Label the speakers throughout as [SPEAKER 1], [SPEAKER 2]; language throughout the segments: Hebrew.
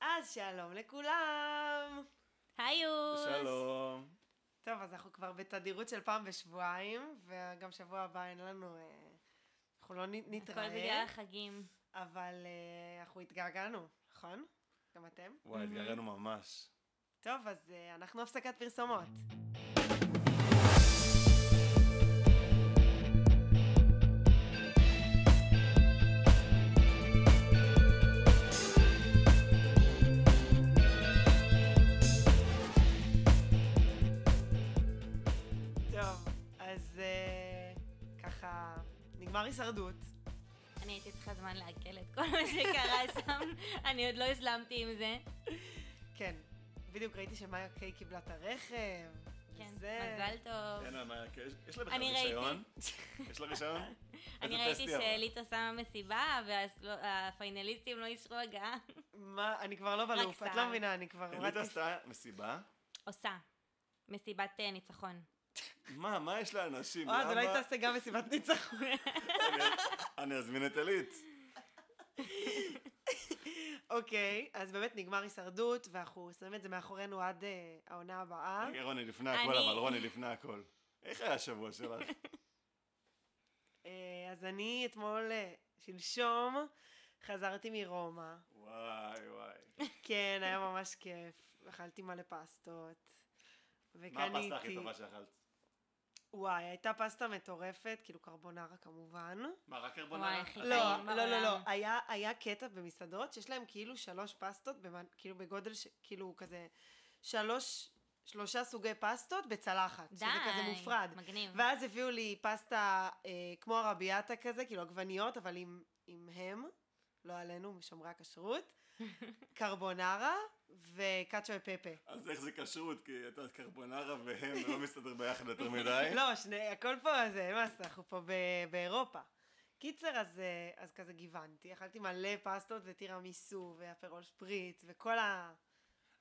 [SPEAKER 1] אז שלום לכולם.
[SPEAKER 2] היוס!
[SPEAKER 3] שלום.
[SPEAKER 1] טוב, אז אנחנו כבר בתדירות של פעם בשבועיים, וגם שבוע הבא אין לנו... אה, אנחנו לא נ-
[SPEAKER 2] הכל בגלל
[SPEAKER 1] נתראה,
[SPEAKER 2] החגים.
[SPEAKER 1] אבל אה, אנחנו התגעגענו, נכון? גם אתם?
[SPEAKER 3] וואי, התגעגענו ממש.
[SPEAKER 1] טוב, אז אה, אנחנו הפסקת פרסומות. טוב, אז אה, ככה, נגמר הישרדות.
[SPEAKER 2] אני הייתי צריכה זמן לעכל את כל מה שקרה שם, אני עוד לא הזלמתי עם זה.
[SPEAKER 1] כן, בדיוק ראיתי שמאיה קיי קיבלה את הרכב.
[SPEAKER 2] כן,
[SPEAKER 1] וזה-
[SPEAKER 2] מזל טוב.
[SPEAKER 3] אין לה מה, כן, יש- יש לה בכלל
[SPEAKER 2] אני ראיתי.
[SPEAKER 3] רישיון? יש לה רישיון?
[SPEAKER 2] אני
[SPEAKER 3] כן, איזה
[SPEAKER 2] ראיתי
[SPEAKER 3] טסט היא עברה?
[SPEAKER 2] שליטה שמה מסיבה, והפיינליסטים לא אישרו הגעה.
[SPEAKER 1] מה, אני כבר לא בלופ, את
[SPEAKER 2] סער.
[SPEAKER 1] לא מבינה, אני כבר...
[SPEAKER 3] אליטה
[SPEAKER 1] הורדתי
[SPEAKER 3] עשתה מסיבה?
[SPEAKER 2] עושה. מסיבת אה, ניצחון.
[SPEAKER 3] מה, מה יש לאנשים?
[SPEAKER 1] אוהד, אולי
[SPEAKER 3] למה?
[SPEAKER 1] תעשה לא גם מסיבת ניצחון.
[SPEAKER 3] אני- אני אזמין את אלית.
[SPEAKER 1] אוקיי, אז באמת נגמר הישרדות, ואנחנו שמים את זה מאחורינו עד אה, העונה הבאה.
[SPEAKER 3] רגע, רוני לפני הכל,
[SPEAKER 2] אני-
[SPEAKER 3] אבל רוני לפני הכל. איך היה השבוע שלך?
[SPEAKER 1] אה, אז אני אתמול, אה, שלשום, חזרתי מרומא.
[SPEAKER 3] וואי, וואי.
[SPEAKER 1] כן, היה ממש כיף. אכלתי מלא פסטות.
[SPEAKER 3] מה
[SPEAKER 1] וקניתי...
[SPEAKER 3] הפסטה הכי טובה שאכלת?
[SPEAKER 1] וואי, הייתה פסטה מטורפת, כאילו קרבונרה כמובן.
[SPEAKER 3] מה, רק
[SPEAKER 2] וואי,
[SPEAKER 3] קרבונרה?
[SPEAKER 2] הכי
[SPEAKER 1] לא,
[SPEAKER 2] טעים
[SPEAKER 1] לא, לא, לא.
[SPEAKER 2] בעולם.
[SPEAKER 1] היה, היה קטע במסעדות שיש להם כאילו שלוש פסטות, במנ... כאילו בגודל, ש... כאילו כזה שלוש, שלושה סוגי פסטות בצלחת. שזה
[SPEAKER 2] די,
[SPEAKER 1] כזה מופרד.
[SPEAKER 2] מגניב.
[SPEAKER 1] ואז הביאו לי פסטה אה, כמו הרביאטה כזה, כאילו עגבניות, אבל עם, עם הם, לא עלינו, משומרי הכשרות, קרבונרה וקאצ'ו ופפה.
[SPEAKER 3] אז איך זה כשרות? כי אתה קרבונרה והם לא מסתדר ביחד יותר מדי.
[SPEAKER 1] לא, שני, הכל פה, זה, מה זה, אנחנו פה ב, באירופה. קיצר, אז, אה, אז כזה גיוונתי, אכלתי מלא פסטות וטירמיסו ואפרול שפריץ וכל ה...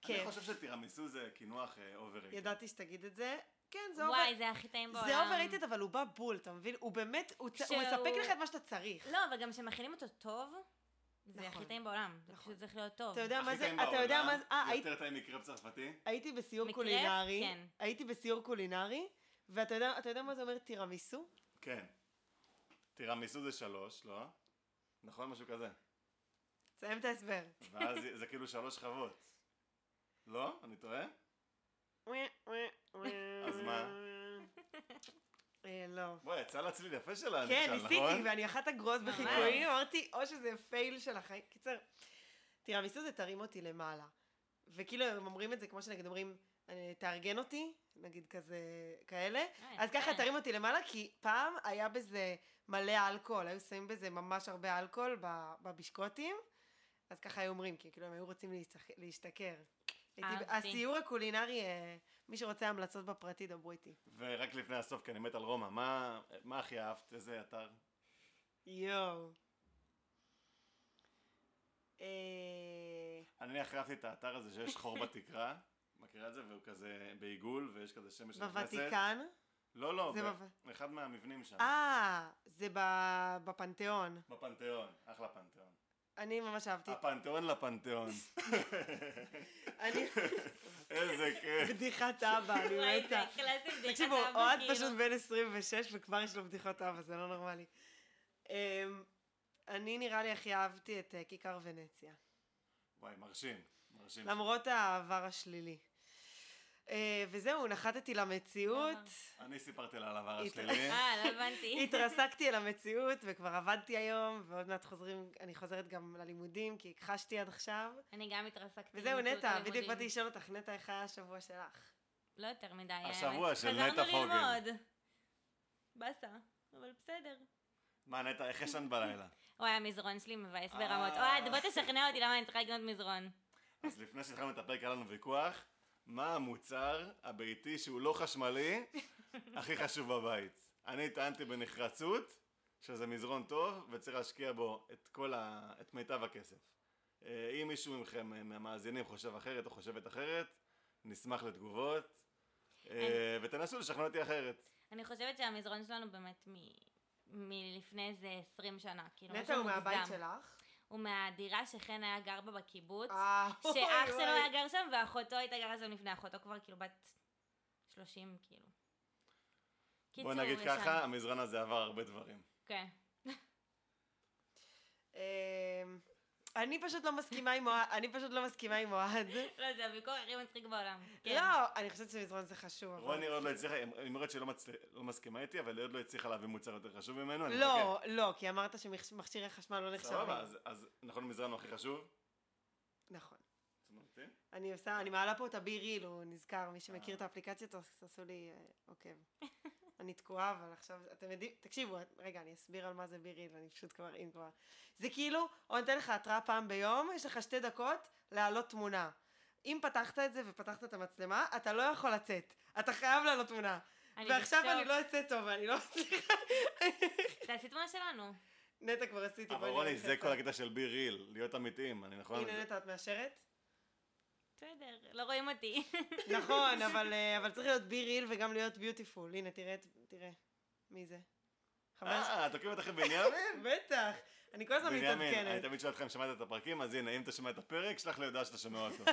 [SPEAKER 3] אני
[SPEAKER 1] כיף.
[SPEAKER 3] חושב שטירמיסו זה קינוח אה, אוברייטד.
[SPEAKER 1] ידעתי שתגיד את זה. כן, זה
[SPEAKER 2] וואי,
[SPEAKER 1] אובר...
[SPEAKER 2] זה הכי טעים בעולם.
[SPEAKER 1] זה overrated, אבל הוא בא בול, אתה מבין? הוא באמת, הוא, צ... הוא
[SPEAKER 2] כשהוא-
[SPEAKER 1] מספק לך את מה שאתה צריך.
[SPEAKER 2] לא, אבל גם כשמאכילים אותו טוב, זה
[SPEAKER 1] נכון.
[SPEAKER 2] הכי טעים בעולם. זה
[SPEAKER 1] נכון.
[SPEAKER 2] פשוט צריך להיות טוב.
[SPEAKER 1] אתה יודע מה
[SPEAKER 3] הכי
[SPEAKER 1] זה,
[SPEAKER 3] טעים
[SPEAKER 1] אתה יודע מה זה, אה,
[SPEAKER 3] בעולם,
[SPEAKER 1] הייתי-
[SPEAKER 3] יותר טעים מקרב צרפתי?
[SPEAKER 1] הייתי בסיור
[SPEAKER 2] מקרה?
[SPEAKER 1] קולינרי,
[SPEAKER 2] כן.
[SPEAKER 1] הייתי בסיור קולינרי, ואתה יודע, אתה יודע מה זה אומר טירמיסו?
[SPEAKER 3] כן. טירמיסו זה שלוש, לא? נכון? משהו כזה.
[SPEAKER 1] תסיים את ההסבר.
[SPEAKER 3] ואז זה כאילו שלוש שכבות. לא? אני טועה? אז מה?
[SPEAKER 1] אה, לא.
[SPEAKER 3] בואי, יצא לה צליל יפה שלה,
[SPEAKER 1] כן,
[SPEAKER 3] נכשל,
[SPEAKER 1] ניסיתי,
[SPEAKER 3] נכון?
[SPEAKER 1] ואני אחת הגרועות בחיקויים, אמרתי, או שזה פייל של החיים. קיצר, תירמיסו זה תרים אותי למעלה. וכאילו, הם אומרים את זה כמו שנגיד אומרים, אה, תארגן אותי, נגיד כזה, כאלה. אז
[SPEAKER 2] יפה.
[SPEAKER 1] ככה תרים אותי למעלה, כי פעם היה בזה מלא אלכוהול, היו שמים בזה ממש הרבה אלכוהול ב- בבישקוטים, אז ככה היו אומרים, כי כאילו הם היו רוצים להשתח- להשתכר. הייתי-
[SPEAKER 2] אהבתי.
[SPEAKER 1] הסיור הקולינרי, אה, מי שרוצה המלצות בפרטי, דברו איתי.
[SPEAKER 3] ורק לפני הסוף, כי אני מת על רומא, מה- מה הכי אהבת? איזה אתר?
[SPEAKER 1] יואו. אה,
[SPEAKER 3] אני הכי אהבתי את האתר הזה שיש חור בתקרה, מכירה את זה? והוא כזה בעיגול, ויש כזה שמש נכנסת.
[SPEAKER 1] בוותיקן?
[SPEAKER 3] לא, לא,
[SPEAKER 1] זה
[SPEAKER 3] ב- אחד מהמבנים שם.
[SPEAKER 1] אה, זה ב- בפנתיאון.
[SPEAKER 3] בפנתיאון, אחלה פנתיאון.
[SPEAKER 1] אני ממש אהבתי.
[SPEAKER 3] הפנתיאון לפנתיאון.
[SPEAKER 1] אני...
[SPEAKER 3] איזה כיף.
[SPEAKER 1] בדיחת אבא, אני
[SPEAKER 2] וואי, זה
[SPEAKER 1] מתה.
[SPEAKER 2] קלאסי בדיחת
[SPEAKER 1] תקשיבו,
[SPEAKER 2] אבא,
[SPEAKER 1] אוהד
[SPEAKER 2] כאילו.
[SPEAKER 1] פשוט בן 26 וכבר יש לו בדיחות אבא, זה לא נורמלי. אמ, אני נראה לי הכי אהבתי את אה, כיכר ונציה.
[SPEAKER 3] וואי, מרשים. מרשים.
[SPEAKER 1] למרות העבר השלילי. אה, וזהו, נחתתי למציאות.
[SPEAKER 3] אני סיפרתי לה על העבר
[SPEAKER 1] היא-
[SPEAKER 3] השלילי.
[SPEAKER 2] אה, לא הבנתי.
[SPEAKER 1] התרסקתי אל המציאות וכבר עבדתי היום, ועוד מעט חוזרים, אני חוזרת גם ללימודים, כי הכחשתי עד עכשיו.
[SPEAKER 2] אני גם התרסקתי.
[SPEAKER 1] וזהו,
[SPEAKER 2] במציאות
[SPEAKER 1] נטע,
[SPEAKER 2] הלימודים.
[SPEAKER 1] בדיוק באתי לשאול אותך, נטע, איך היה השבוע שלך?
[SPEAKER 2] לא יותר מדי. האמת.
[SPEAKER 3] השבוע של נטע
[SPEAKER 2] חזרנו
[SPEAKER 3] פוגל.
[SPEAKER 2] ללמוד. באסה, אבל בסדר.
[SPEAKER 3] מה נטע, איך ישנת בלילה?
[SPEAKER 2] וואי, המזרון שלי מבאס
[SPEAKER 3] אה.
[SPEAKER 2] ברמות. אוהד, בוא תשכנע אותי למה אני צריכה לקנות מזרון.
[SPEAKER 3] אז לפני שהתחלנו את הפרק היה לנו ויכוח, מה המוצר הביתי שהוא לא חשמלי הכי חשוב בבית? אני טענתי בנחרצות שזה מזרון טוב וצריך להשקיע בו את כל ה... את מיטב הכסף. אה, אם מישהו מכם אה, מהמאזינים חושב אחרת או חושבת אחרת, נשמח לתגובות, אה, ותנסו לשכנע אותי אחרת.
[SPEAKER 2] אני חושבת שהמזרון שלנו באמת מ... מלפני איזה 20 שנה. כאילו,
[SPEAKER 1] נטע
[SPEAKER 2] משהו
[SPEAKER 1] הוא מהבית
[SPEAKER 2] מוגזם.
[SPEAKER 1] שלך.
[SPEAKER 2] הוא מהדירה שחן היה גר בה בקיבוץ,
[SPEAKER 1] אה,
[SPEAKER 2] שאח
[SPEAKER 1] אוי,
[SPEAKER 2] שלו
[SPEAKER 1] אוי.
[SPEAKER 2] היה גר שם ואחותו הייתה גרה שם לפני אחותו כבר כאילו בת 30 כאילו.
[SPEAKER 3] בוא נגיד
[SPEAKER 2] ישן.
[SPEAKER 3] ככה, המזרן הזה עבר הרבה דברים.
[SPEAKER 2] כן.
[SPEAKER 1] אמ, אני פשוט לא מסכימה עם אוהד, אני פשוט לא מסכימה עם אוהד.
[SPEAKER 2] לא, זה הביקור הכי מצחיק בעולם. כן.
[SPEAKER 1] לא, אני חושבת שמזרון זה חשוב. אבל-
[SPEAKER 3] רוני עוד לא הצליחה, היא אומרת שהיא לא מצל- לא מסכימה איתי, אבל היא עוד לא הצליחה להביא מוצר יותר חשוב ממנו. אני מחכה.
[SPEAKER 1] לא, לא, כי אמרת שמכשירי חשמל לא נחשבים.
[SPEAKER 3] אוקיי. סבבה, אז- אז נכון המזרן הוא הכי חשוב?
[SPEAKER 1] נכון.
[SPEAKER 3] זאת אומרת, אה?
[SPEAKER 1] אני עושה, אני מעלה פה את הבי ריל, הוא נזכר, מי שמכיר
[SPEAKER 3] אה.
[SPEAKER 1] את האפליקציות, אז תעשו לי אה, עוקב. אני תקועה, אבל עכשיו, אתם יודעים, תקשיבו, רגע, אני אסביר על מה זה בי ריל, אני פשוט כבר, אם כבר. זה כאילו, הוא נותן לך התראה פעם ביום, יש לך שתי דקות להעלות תמונה. אם פתחת את זה ופתחת את המצלמה, אתה לא יכול לצאת. אתה חייב לעלות תמונה.
[SPEAKER 2] אני
[SPEAKER 1] ועכשיו אני
[SPEAKER 2] בשוק.
[SPEAKER 1] לא אצא טוב, אני לא מצליחה.
[SPEAKER 2] תעשי תמונה שלנו.
[SPEAKER 1] נטע כבר עשיתי.
[SPEAKER 3] אבל
[SPEAKER 1] בואי
[SPEAKER 3] רוני,
[SPEAKER 1] נלך
[SPEAKER 3] זה
[SPEAKER 1] לצד.
[SPEAKER 3] כל הקטע של בי ריל, להיות אמיתיים, אני נכון?
[SPEAKER 1] הנה נטע, את מאשרת?
[SPEAKER 2] בסדר, לא רואים אותי.
[SPEAKER 1] נכון, אבל, אה, אבל צריך להיות בי ריל וגם להיות ביוטיפול. הנה, תראה, את- תראה. מי זה? חבר ש...
[SPEAKER 3] אה, את עוקבת אחרי בנימין?
[SPEAKER 1] בטח. אני כל הזמן
[SPEAKER 3] בנימין, אני
[SPEAKER 1] מתעדכנת.
[SPEAKER 3] תמיד שואל אותך אם שמעת את הפרקים, אז הנה, אם אתה שומע את הפרק, שלח לי הודעה שאתה שומע אותו.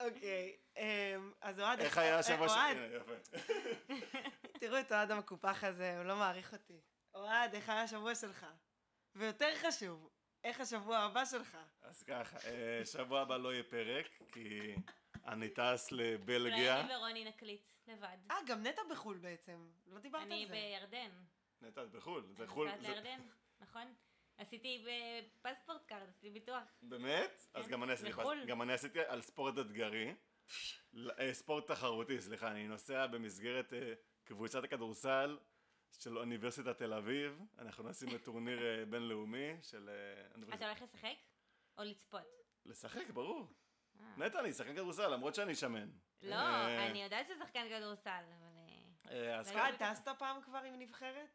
[SPEAKER 1] אוקיי. אמ, אז אוהד...
[SPEAKER 3] איך היה השבוע ש...
[SPEAKER 1] אוהד,
[SPEAKER 3] הנה, יפה.
[SPEAKER 1] תראו את אוהד המקופח הזה, הוא לא מעריך אותי. אוהד, איך היה השבוע שלך? ויותר חשוב, איך השבוע הבא שלך?
[SPEAKER 3] אז ככה, אה, שבוע הבא לא יהיה פרק, כי אני טס
[SPEAKER 2] אולי
[SPEAKER 3] לבלגיה.
[SPEAKER 2] אני ורוני נקליט לבד.
[SPEAKER 1] אה, גם נטע בחו"ל בעצם. לא דיברת
[SPEAKER 2] אני
[SPEAKER 1] על זה.
[SPEAKER 2] בירדן.
[SPEAKER 3] נטע, זה חו"ל, זה
[SPEAKER 2] אני
[SPEAKER 3] חו"ל.
[SPEAKER 2] נוסעת
[SPEAKER 3] זה-
[SPEAKER 2] לירדן, נכון? עשיתי בפספורט קארד, עשיתי ביטוח.
[SPEAKER 3] באמת? אז
[SPEAKER 2] כן,
[SPEAKER 3] גם אני עשיתי
[SPEAKER 2] לחו"ל.
[SPEAKER 3] גם אני עשיתי על ספורט אתגרי. ל- אה, ספורט תחרותי, סליחה, אני נוסע במסגרת אה, קבוצת הכדורסל של אוניברסיטת תל אביב. אנחנו נוסעים לטורניר אה, בינלאומי של אה,
[SPEAKER 2] אתה
[SPEAKER 3] אוניברסיטת...
[SPEAKER 2] הולך לשחק? או לצפות?
[SPEAKER 3] לשחק, ברור.
[SPEAKER 2] אה.
[SPEAKER 1] לא.
[SPEAKER 3] נטע, אני אשחק כדורסל, למרות שאני שמן.
[SPEAKER 2] לא,
[SPEAKER 3] אה,
[SPEAKER 2] אני יודעת ששחקן כדורסל, אבל... אה,
[SPEAKER 3] אה, אז
[SPEAKER 2] רגע.
[SPEAKER 3] ככה,
[SPEAKER 1] אוהד, טסת פעם כבר עם נבחרת?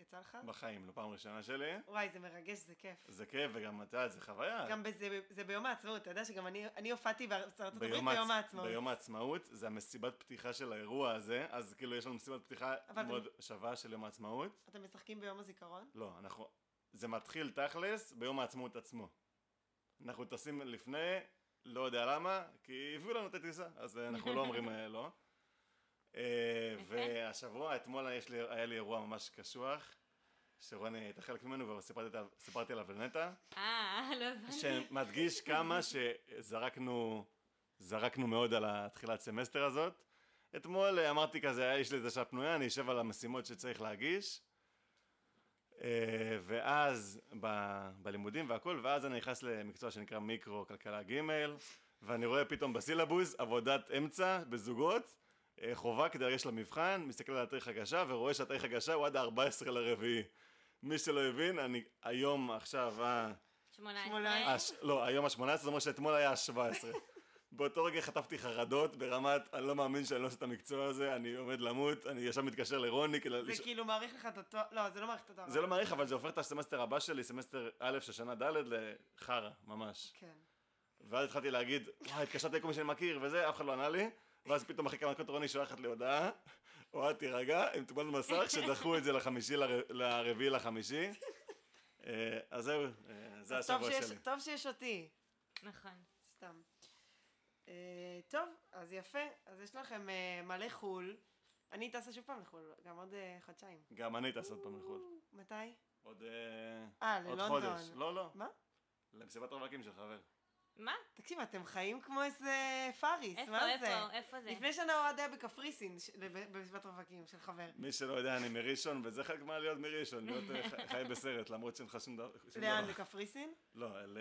[SPEAKER 1] יצא לך?
[SPEAKER 3] בחיים, לא פעם ראשונה שלי.
[SPEAKER 1] וואי, זה מרגש, זה כיף.
[SPEAKER 3] זה כיף, וגם אתה, זה חוויה.
[SPEAKER 1] גם בזה, זה ביום העצמאות, אתה יודע שגם אני, אני הופעתי בארצות הברית ביום,
[SPEAKER 3] העצ-
[SPEAKER 1] העצמאות.
[SPEAKER 3] ביום העצמאות, זה המסיבת פתיחה של האירוע הזה, אז כאילו יש לנו מסיבת פתיחה
[SPEAKER 1] אבל אתם-
[SPEAKER 3] מאוד שווה של יום העצמאות.
[SPEAKER 1] אתם משחקים ביום הזיכרון?
[SPEAKER 3] לא, אנחנו... זה מתחיל תכלס ביום העצמאות עצמו. אנחנו טסים לפני, לא יודע למה, כי הביאו לנו את הטיסה, אז אה, אנחנו לא אומרים אה, לא. אה,
[SPEAKER 2] יפה.
[SPEAKER 3] והשבוע, אתמול יש לי, היה לי אירוע ממש קשוח, שרוני הייתה חלק ממנו וסיפרתי את ה- סיפרתי עליו לנטע,
[SPEAKER 2] אה, לא הבנתי.
[SPEAKER 3] שמדגיש כמה שזרקנו זרקנו מאוד על התחילת סמסטר הזאת. אתמול אה, אמרתי כזה, "אה, יש לי את השעה פנויה, אני אשב על המשימות שצריך להגיש. אה, ואז ב, בלימודים והכל, ואז אני נכנס למקצוע שנקרא מיקרו כלכלה ג' ואני רואה פתאום בסילבוס עבודת אמצע בזוגות, אה, חובה כדי לגשת למבחן, מסתכל על התאריך הגשה ורואה שהתאריך הגשה הוא עד ה-14 לרביעי. מי שלא הבין, אני היום עכשיו, אה,
[SPEAKER 1] שמונה.
[SPEAKER 2] 18.
[SPEAKER 3] הש... לא, היום ה-18, זה אומר שאתמול היה ה-17. באותו רגע חטפתי חרדות ברמת, אני לא מאמין שאני לא עושה את המקצוע הזה, אני עומד למות, אני ישר מתקשר לרוני, כאילו...
[SPEAKER 1] זה
[SPEAKER 3] לש...
[SPEAKER 1] כאילו מעריך לך את התואר, לא, זה לא מעריך את התואר.
[SPEAKER 3] זה לא מעריך, אבל זה הופך את הסמסטר הבא שלי, סמסטר א' של שנה ד', לחרא, ממש.
[SPEAKER 1] כן.
[SPEAKER 3] ואז התחלתי להגיד, וואי, התקשרתי לכל מי שאני מכיר, וזה, אף אחד לא ענה לי, ואז פתאום אחרי כמה דקות רוני שולחת לי הודעה, אוהד תירגע, עם תמונת מסך, שדחו את זה לחמישי, לר- לרביעי לחמישי. אה, אז זהו, אה, זה
[SPEAKER 1] אז טוב
[SPEAKER 3] השבוע
[SPEAKER 1] שיש-
[SPEAKER 3] שלי.
[SPEAKER 1] טוב שיש אותי.
[SPEAKER 2] נכון.
[SPEAKER 1] סתם. אה, טוב, אז יפה. אז יש לכם אה, מלא חו"ל. אני טסה שוב פעם לחו"ל, גם עוד אה, חודשיים.
[SPEAKER 3] גם אני טס עוד פעם לחו"ל.
[SPEAKER 1] מתי?
[SPEAKER 3] עוד... אה,
[SPEAKER 1] אה,
[SPEAKER 3] עוד
[SPEAKER 1] ללונדון.
[SPEAKER 3] חודש. לא, לא.
[SPEAKER 1] מה?
[SPEAKER 3] למסיבת רווקים של חבר.
[SPEAKER 2] מה?
[SPEAKER 1] תקשיב, אתם חיים כמו איזה פאריס,
[SPEAKER 2] איפה,
[SPEAKER 1] מה זה?
[SPEAKER 2] איפה, איפה זה?
[SPEAKER 1] לפני שנה אוהד היה בקפריסין, ש- לב- במסיבת רווקים של חבר.
[SPEAKER 3] מי שלא יודע, אני מראשון, וזה חלק מה להיות מראשון, להיות אה, ח- חי בסרט, למרות שאין לך שום דבר. שום
[SPEAKER 1] לאן?
[SPEAKER 3] דבר.
[SPEAKER 1] לקפריסין?
[SPEAKER 3] לא, ל...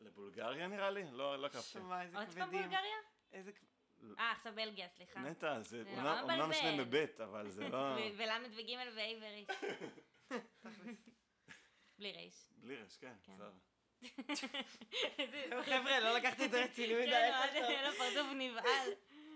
[SPEAKER 3] לבולגריה נראה לי? לא, לא קפתי.
[SPEAKER 1] שמע, איזה
[SPEAKER 2] עוד פעם
[SPEAKER 1] כבדים.
[SPEAKER 2] בולגריה?
[SPEAKER 1] איזה כ-
[SPEAKER 2] אה, עכשיו בלגיה, סליחה.
[SPEAKER 3] נטע, זה
[SPEAKER 2] זה
[SPEAKER 3] אומנם-
[SPEAKER 2] נורא
[SPEAKER 3] אומנם
[SPEAKER 2] מבלבל.
[SPEAKER 3] שניהם בבית, אבל זה לא...
[SPEAKER 2] ו- ולמד וגימל ועברי.
[SPEAKER 1] תכלס.
[SPEAKER 2] בלי רייש.
[SPEAKER 3] בלי רעש, כן,
[SPEAKER 2] כן.
[SPEAKER 3] בסדר.
[SPEAKER 2] איזה-
[SPEAKER 1] חבר'ה, לא לקחתי את זה רציני מדי.
[SPEAKER 2] כן,
[SPEAKER 1] הכל
[SPEAKER 2] אוהד, היה לו פרצוף נבהל.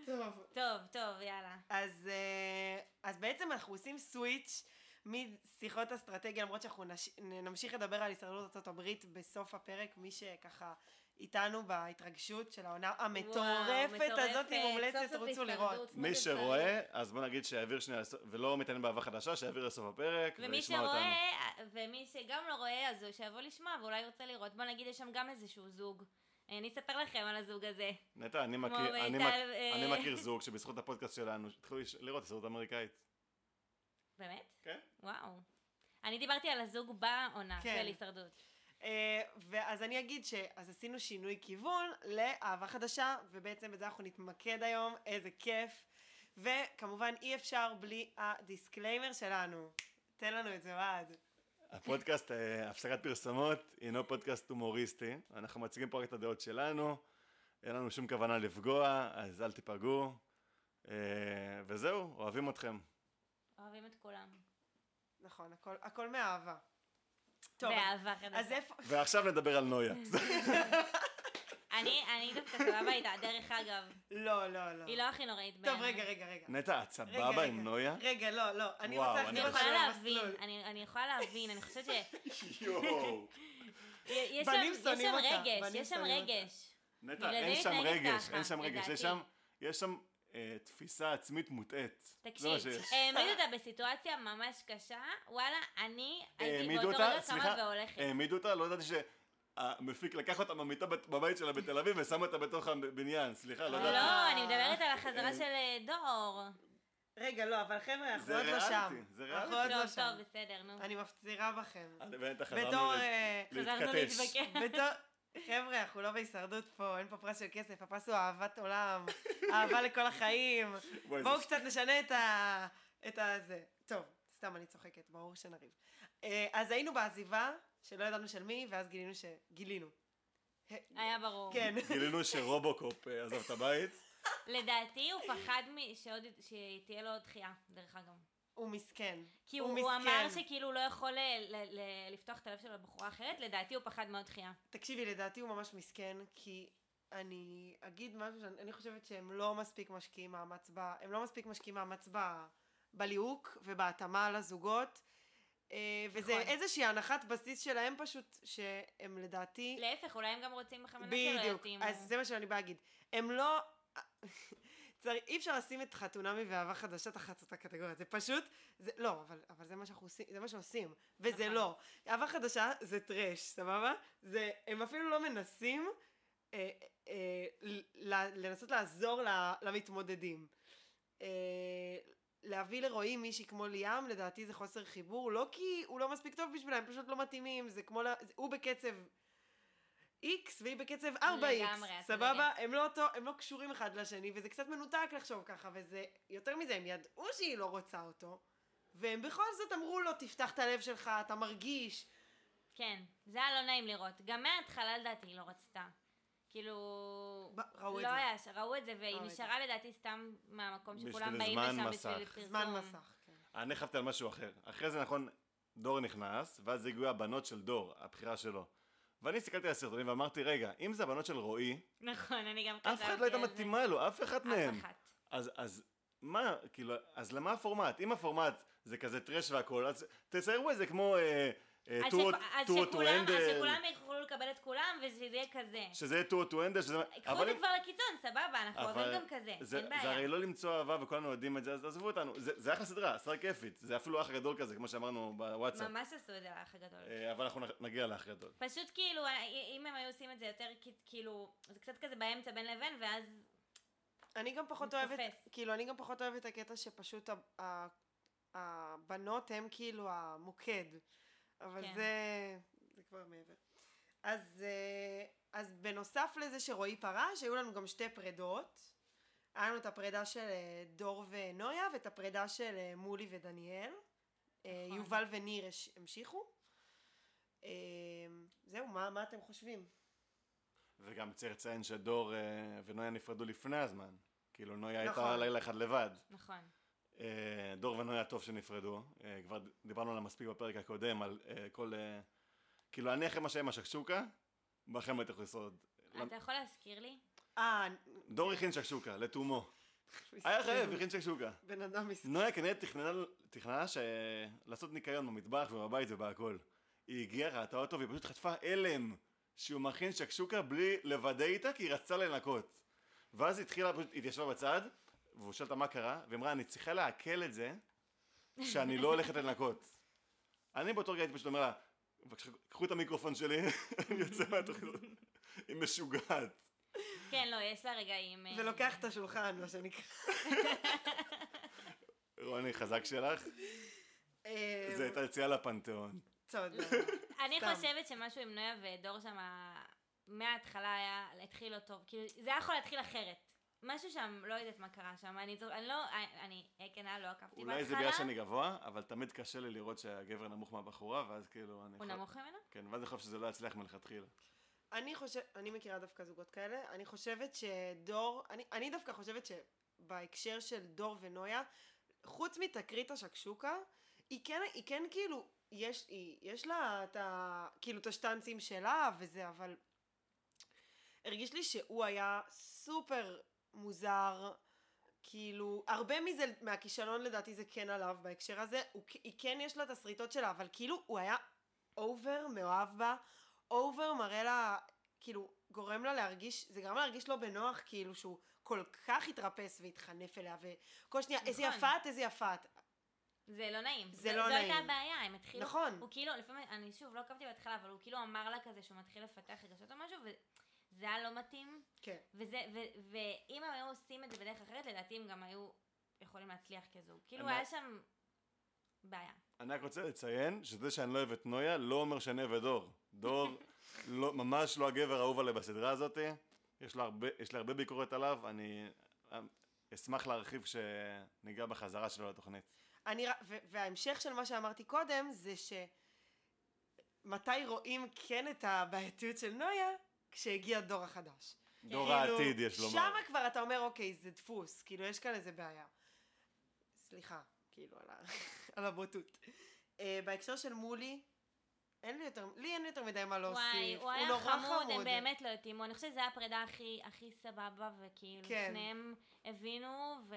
[SPEAKER 1] טוב.
[SPEAKER 2] טוב, טוב, יאללה.
[SPEAKER 1] אז, אה, אז בעצם אנחנו עושים סוויץ' משיחות אסטרטגיה, למרות שאנחנו נש... נ- נמשיך לדבר על הישרדות ארצות הברית בסוף הפרק, מי שככה איתנו בהתרגשות של העונה המטורפת הזאת, היא מומלצת, רוצו לראות.
[SPEAKER 3] מי שרואה, אז בוא נגיד שיעביר שנייה, לסוף- ולא מתעניין באהבה חדשה, שיעביר לסוף הפרק,
[SPEAKER 2] ומי
[SPEAKER 3] וישמע אותנו.
[SPEAKER 2] שרואה, ומי שגם לא רואה, אז הוא שיבוא לשמוע ואולי ירצה לראות. בוא נגיד, יש שם גם איזשהו זוג. אה, אני אספר לכם על הזוג הזה.
[SPEAKER 3] נטע, אני
[SPEAKER 2] כמו
[SPEAKER 3] מכיר- אני
[SPEAKER 2] מיטל,
[SPEAKER 3] מכ-
[SPEAKER 2] אה,
[SPEAKER 3] אני מכיר זוג שבזכות הפודקאסט שלנו, התחילו לש- לראות הסרט האמריקאית.
[SPEAKER 2] באמת?
[SPEAKER 3] כן.
[SPEAKER 2] וואו. אני דיברתי על הזוג בעונה
[SPEAKER 1] כן.
[SPEAKER 2] של הישרדות.
[SPEAKER 1] אה, ואז אני אגיד שאז עשינו שינוי כיוון לאהבה חדשה, ובעצם בזה אנחנו נתמקד היום, איזה כיף. וכמובן אי אפשר בלי הדיסקליימר שלנו. תן לנו את זה אוהד.
[SPEAKER 3] הפודקאסט, אה, הפסקת פרסומות, הינו פודקאסט הומוריסטי. אנחנו מציגים פה רק את הדעות שלנו, אין לנו שום כוונה לפגוע, אז אל תיפגעו. אה, וזהו, אוהבים אתכם.
[SPEAKER 2] אוהבים את כולם.
[SPEAKER 1] נכון, הכל, הכל מאהבה. טוב, אז-
[SPEAKER 2] באהבה חדשה.
[SPEAKER 1] אז איפה...
[SPEAKER 3] ועכשיו נדבר על נויה.
[SPEAKER 2] כן. אני, אני דווקא סבבה איתה, דרך אגב.
[SPEAKER 1] לא, לא, לא.
[SPEAKER 2] היא לא הכי נוראית
[SPEAKER 1] טוב,
[SPEAKER 2] בעיניי.
[SPEAKER 1] רגע, רגע, רגע.
[SPEAKER 3] נטע,
[SPEAKER 1] רגע,
[SPEAKER 3] את סבבה עם נויה?
[SPEAKER 1] רגע, לא, לא. אני
[SPEAKER 3] וואו,
[SPEAKER 1] רוצה
[SPEAKER 3] אני
[SPEAKER 2] אני
[SPEAKER 1] להחזיר אותך
[SPEAKER 2] יכולה
[SPEAKER 1] למסלול.
[SPEAKER 2] להבין, אני, אני יכולה להבין, אני חושבת ש...
[SPEAKER 3] יואו.
[SPEAKER 2] יש
[SPEAKER 1] בנים
[SPEAKER 2] שם, יש
[SPEAKER 1] שונאים
[SPEAKER 2] שם
[SPEAKER 1] אותה,
[SPEAKER 2] רגש,
[SPEAKER 1] בנים
[SPEAKER 2] יש שם
[SPEAKER 1] שונאים אותה.
[SPEAKER 2] רגש.
[SPEAKER 3] נטע,
[SPEAKER 2] בגלל זה
[SPEAKER 3] אין
[SPEAKER 2] היא
[SPEAKER 3] שם
[SPEAKER 2] מתנהגת
[SPEAKER 3] רגש,
[SPEAKER 2] ככה,
[SPEAKER 3] אין שם רגש, יש
[SPEAKER 2] לדעתי.
[SPEAKER 3] שם, יש שם אה, תפיסה עצמית מוטעית. זה מה
[SPEAKER 2] תקשיב, אה,
[SPEAKER 3] שיש.
[SPEAKER 2] העמידו אותה בסיטואציה ממש קשה, וואלה, אני הייתי
[SPEAKER 3] אה, העמידו
[SPEAKER 2] באותו
[SPEAKER 3] אותה?
[SPEAKER 2] רגע
[SPEAKER 3] סליחה,
[SPEAKER 2] קמה והולכת.
[SPEAKER 3] העמידו אותה, לא ידעתי שהמפיק לקח אותה מהמיטה בת- בבית שלה בתל אביב ושם אותה בתוך הבניין, סליחה, לא
[SPEAKER 1] אה,
[SPEAKER 3] ידעתי.
[SPEAKER 2] לא, אני מדברת על החזרה
[SPEAKER 3] אה,
[SPEAKER 2] של אה, דור.
[SPEAKER 1] רגע, לא, אבל חבר'ה, אנחנו
[SPEAKER 3] זה
[SPEAKER 1] עוד לא שם.
[SPEAKER 3] ריאליטי, זה
[SPEAKER 1] אנחנו
[SPEAKER 3] ריאליטי.
[SPEAKER 1] עוד לא
[SPEAKER 2] טוב,
[SPEAKER 1] שם.
[SPEAKER 2] טוב, בסדר, נו.
[SPEAKER 1] אני מפצירה בכם.
[SPEAKER 3] ואתה חזרנו
[SPEAKER 1] בתור...
[SPEAKER 3] ל-
[SPEAKER 1] אה,
[SPEAKER 2] חזרנו
[SPEAKER 3] להתכתש.
[SPEAKER 2] להתווכח.
[SPEAKER 1] בתור... חבר'ה, אנחנו לא בהישרדות פה, אין פה פרס של כסף, הפרס הוא אהבת עולם, אהבה לכל החיים.
[SPEAKER 3] וואי,
[SPEAKER 1] בואו
[SPEAKER 3] זה-
[SPEAKER 1] קצת נשנה את ה... את ה... זה. טוב, סתם אני צוחקת, ברור שנריב. אה, אז היינו בעזיבה, שלא ידענו של מי, ואז גילינו ש... גילינו.
[SPEAKER 2] היה ברור.
[SPEAKER 1] כן.
[SPEAKER 3] גילינו שרובוקופ אה, עזב את הבית.
[SPEAKER 2] לדעתי הוא פחד מ- שעוד- שתהיה לו עוד דחייה, דרך אגב.
[SPEAKER 1] הוא מסכן.
[SPEAKER 2] כי
[SPEAKER 1] הוא
[SPEAKER 2] הוא, הוא אמר
[SPEAKER 1] מסכן.
[SPEAKER 2] שכאילו הוא לא יכול ל- ל- ל- לפתוח את הלב שלו לבחורה אחרת, לדעתי הוא פחד מאוד דחייה.
[SPEAKER 1] תקשיבי, לדעתי הוא ממש מסכן, כי אני אגיד משהו שאני אני חושבת שהם לא מספיק משקיעים מאמץ ב... הם לא מספיק משקיעים מאמץ ב... בליהוק ובהתאמה לזוגות. אה, וזה
[SPEAKER 2] נכון.
[SPEAKER 1] איזושהי הנחת בסיס שלהם פשוט, שהם לדעתי...
[SPEAKER 2] להפך, אולי הם גם רוצים בכוונה שלא
[SPEAKER 1] בדיוק.
[SPEAKER 2] יתאימו.
[SPEAKER 1] אז זה מה שאני באה להגיד. הם לא... צריך, אי אפשר לשים את חתונמי ואהבה חדשה תחת אותה קטגוריה, זה פשוט, זה, לא, אבל, אבל זה מה שאנחנו עושים, זה מה שעושים, וזה
[SPEAKER 2] נכון.
[SPEAKER 1] לא. אהבה חדשה זה טרש, סבבה? זה, הם אפילו לא מנסים אה, אה, ל, לנסות לעזור ל, למתמודדים. אה, להביא לרועים מישהי כמו ליאם, לדעתי זה חוסר חיבור, לא כי הוא לא מספיק טוב בשבילם, הם פשוט לא מתאימים, זה כמו, לה- זה, הוא בקצב X והיא בקצב 4X,
[SPEAKER 2] לגמרי, את
[SPEAKER 1] סבבה? הם לא, אותו, הם לא קשורים אחד לשני, וזה קצת מנותק לחשוב ככה, וזה, יותר מזה, הם ידעו שהיא לא רוצה אותו, והם בכל זאת אמרו לו, תפתח את הלב שלך, אתה מרגיש.
[SPEAKER 2] כן, זה היה לא נעים לראות. גם מההתחלה לדעתי היא לא רצתה. כאילו...
[SPEAKER 1] ב- ראו את
[SPEAKER 2] לא
[SPEAKER 1] זה.
[SPEAKER 2] היה, ש- ראו את זה, והיא
[SPEAKER 1] ראו את
[SPEAKER 2] נשארה לדעתי סתם מהמקום
[SPEAKER 3] בשביל
[SPEAKER 2] שכולם באים
[SPEAKER 3] זמן
[SPEAKER 2] לשם
[SPEAKER 3] מסך.
[SPEAKER 2] בשביל פרסום.
[SPEAKER 1] זמן מסך, כן.
[SPEAKER 3] אני חשבתי על משהו אחר. אחרי זה נכון, דור נכנס, ואז הגיעו הבנות של דור, הבחירה שלו. ואני הסתכלתי על הסרטונים ואמרתי, רגע, אם זה הבנות של רועי,
[SPEAKER 2] נכון, אני גם
[SPEAKER 3] אף אחד לא הייתה מתאימה לו, אף אחד מהם.
[SPEAKER 2] אף אחת.
[SPEAKER 3] אז, אז מה, כאילו, אז למה הפורמט? אם הפורמט זה כזה טרש והכל, אז תציירו את זה כמו אה, אה,
[SPEAKER 2] אז
[SPEAKER 3] טורו
[SPEAKER 2] שכ- אז
[SPEAKER 3] טורו טו
[SPEAKER 2] שכולם- אז
[SPEAKER 3] הנדל,
[SPEAKER 2] שכולם יוכלו לקבל את כולם, ושזה יהיה כזה.
[SPEAKER 3] שזה יהיה טורו טו הנדל, שזה...
[SPEAKER 2] קחו את זה כבר לקיצון, סבבה, אנחנו
[SPEAKER 3] אבל
[SPEAKER 2] אוהבים גם כזה,
[SPEAKER 3] זה,
[SPEAKER 2] אין
[SPEAKER 3] זה הרי
[SPEAKER 2] בעיה.
[SPEAKER 3] לא למצוא אהבה וכולנו יודעים את זה, אז עזבו אותנו. זה, זה אחלה סדרה, סדרה כיפית. זה אפילו אח גדול כזה, כמו שאמרנו בוואטסאפ.
[SPEAKER 2] ממש עשו את זה לאח הגדול.
[SPEAKER 3] אה, אבל אנחנו נ- נגיע לאח גדול.
[SPEAKER 2] פשוט כאילו, אם הם היו עושים את זה יותר, כאילו, זה קצת כזה באמצע בין לבין, ואז
[SPEAKER 1] אני גם פחות
[SPEAKER 2] מתכופף.
[SPEAKER 1] אוהבת, כאילו, אני גם פחות אוהבת את הקטע שפשוט ה- ה- הבנות הן כאילו המוקד. אבל
[SPEAKER 2] כן.
[SPEAKER 1] זה, זה כבר מעבר. אז, אה, אז בנוסף לזה שרועי פרש, היו לנו גם שתי פרדות. היה לנו את הפרידה של אה, דור ונויה, ואת הפרידה של אה, מולי ודניאל. אה,
[SPEAKER 2] נכון.
[SPEAKER 1] יובל וניר הש- המשיכו. אה, זהו, מה, מה אתם חושבים?
[SPEAKER 3] וגם צריך לציין שדור אה, ונויה נפרדו לפני הזמן. כאילו, נויה הייתה
[SPEAKER 1] נכון.
[SPEAKER 3] לילה אחד לבד.
[SPEAKER 2] נכון.
[SPEAKER 3] אה, דור ונויה טוב שנפרדו, אה, כבר דיברנו עליהם מספיק בפרק הקודם, על אה, כל... אה, כאילו, אני אחרי מה שהיה עם השקשוקה, בכם הייתי יכול לשרוד. למ-
[SPEAKER 2] אתה יכול להזכיר לי?
[SPEAKER 1] אה,
[SPEAKER 3] דור הכין שקשוקה, לתומו. היה
[SPEAKER 1] מסכן.
[SPEAKER 3] חייב, הכין שקשוקה.
[SPEAKER 1] בן אדם מסכן.
[SPEAKER 3] נויה כנראה תכננה, תכננה ש... לעשות ניקיון במטבח ובבית ובהכל. היא הגיעה, ראתה אותו, והיא פשוט חטפה הלם שהוא מכין שקשוקה בלי לוודא איתה כי היא רצתה לנקות. ואז היא התחילה, פשוט היא התיישבה בצד, והוא שאל אותה מה קרה, והיא אמרה, אני צריכה לעכל את זה שאני לא הולכת לנקות. אני באותו רגע הייתי פשוט אומר לה, בבקשה, קחו את המיקרופון שלי, אני יוצא מהתוכנית. היא משוגעת.
[SPEAKER 2] כן, לא, יש לה רגעים... אה,
[SPEAKER 1] ולוקח את השולחן, מה שנקרא.
[SPEAKER 3] רוני, חזק שלך?
[SPEAKER 1] אה,
[SPEAKER 3] זו הייתה יציאה לפנתיאון.
[SPEAKER 1] תודה.
[SPEAKER 2] אני
[SPEAKER 1] סתם.
[SPEAKER 2] חושבת שמשהו עם נויה ודור שם מההתחלה היה, התחיל לא טוב. כאילו, זה היה יכול להתחיל אחרת. משהו שם, לא יודעת מה קרה שם, אני זו- אני לא, אני, אה, כנה, לא עקבתי בהתחלה.
[SPEAKER 3] אולי זה בגלל שאני גבוה, אבל תמיד קשה לי לראות שהגבר נמוך מהבחורה, ואז כאילו אני...
[SPEAKER 2] הוא
[SPEAKER 3] חו-
[SPEAKER 2] נמוך ממנו?
[SPEAKER 3] כן, ואז אני חושב שזה לא יצליח מלכתחילה.
[SPEAKER 1] אני חושבת, אני מכירה דווקא זוגות כאלה, אני חושבת שדור, אני, אני דווקא חושבת שבהקשר של דור ונויה, חוץ מתקרית השקשוקה, היא כן, היא כן כאילו, יש, היא, יש לה את ה... כאילו את השטנצים שלה וזה, אבל הרגיש לי שהוא היה סופר מוזר, כאילו, הרבה מזה, מהכישלון לדעתי זה כן עליו בהקשר הזה, הוא, כ- היא כן יש לה את השריטות שלה, אבל כאילו הוא היה אובר מאוהב בה, אובר מראה לה, כאילו, גורם לה להרגיש, זה גרם לה להרגיש לא בנוח, כאילו שהוא כל כך התרפס והתחנף אליה, וכל שנייה, איזה
[SPEAKER 2] נכון.
[SPEAKER 1] יפה את, איזה יפה את.
[SPEAKER 2] זה לא נעים.
[SPEAKER 1] זה לא
[SPEAKER 2] זו
[SPEAKER 1] נעים.
[SPEAKER 2] הייתה הבעיה, הם התחילו...
[SPEAKER 1] נכון.
[SPEAKER 2] הוא כאילו, לפעמים, אני שוב, לא עקבתי בהתחלה, אבל הוא כאילו אמר לה כזה שהוא מתחיל לפתח רגשות או משהו, וזה היה לא מתאים.
[SPEAKER 1] כן.
[SPEAKER 2] וזה, ו, ואם הם היו עושים את זה בדרך אחרת, לדעתי הם גם היו יכולים להצליח כזוג. כאילו,
[SPEAKER 3] אני-
[SPEAKER 2] היה שם בעיה.
[SPEAKER 3] אני רק רוצה לציין שזה שאני לא אוהב את נויה, לא אומר שאני אוהב את דור. דור לא, ממש לא הגבר האהוב עליה בסדרה הזאת. יש לה הרבה, יש לה הרבה ביקורת עליו, אני אמ, אשמח להרחיב כשניגע בחזרה שלו לתוכנית.
[SPEAKER 1] אני, ר- ו- וההמשך של מה שאמרתי קודם זה ש... מתי רואים כן את הבעייתיות של נויה? כשהגיע הדור החדש.
[SPEAKER 3] דור
[SPEAKER 1] כאילו,
[SPEAKER 3] העתיד, יש לומר.
[SPEAKER 1] שמה כבר אתה אומר, אוקיי, זה דפוס, כאילו, יש כאן איזה בעיה. סליחה, כאילו, על, ה... על הבוטות. Uh, בהקשר של מולי, אין לי יותר, לי אין יותר מדי מה להוסיף.
[SPEAKER 2] וואי, הוא היה
[SPEAKER 1] לא נורא
[SPEAKER 2] חמוד, הם באמת לא התאימו. אני חושבת שזו הייתה הפרידה הכי, הכי סבבה, וכאילו,
[SPEAKER 1] כן.
[SPEAKER 2] שניהם הבינו, ו...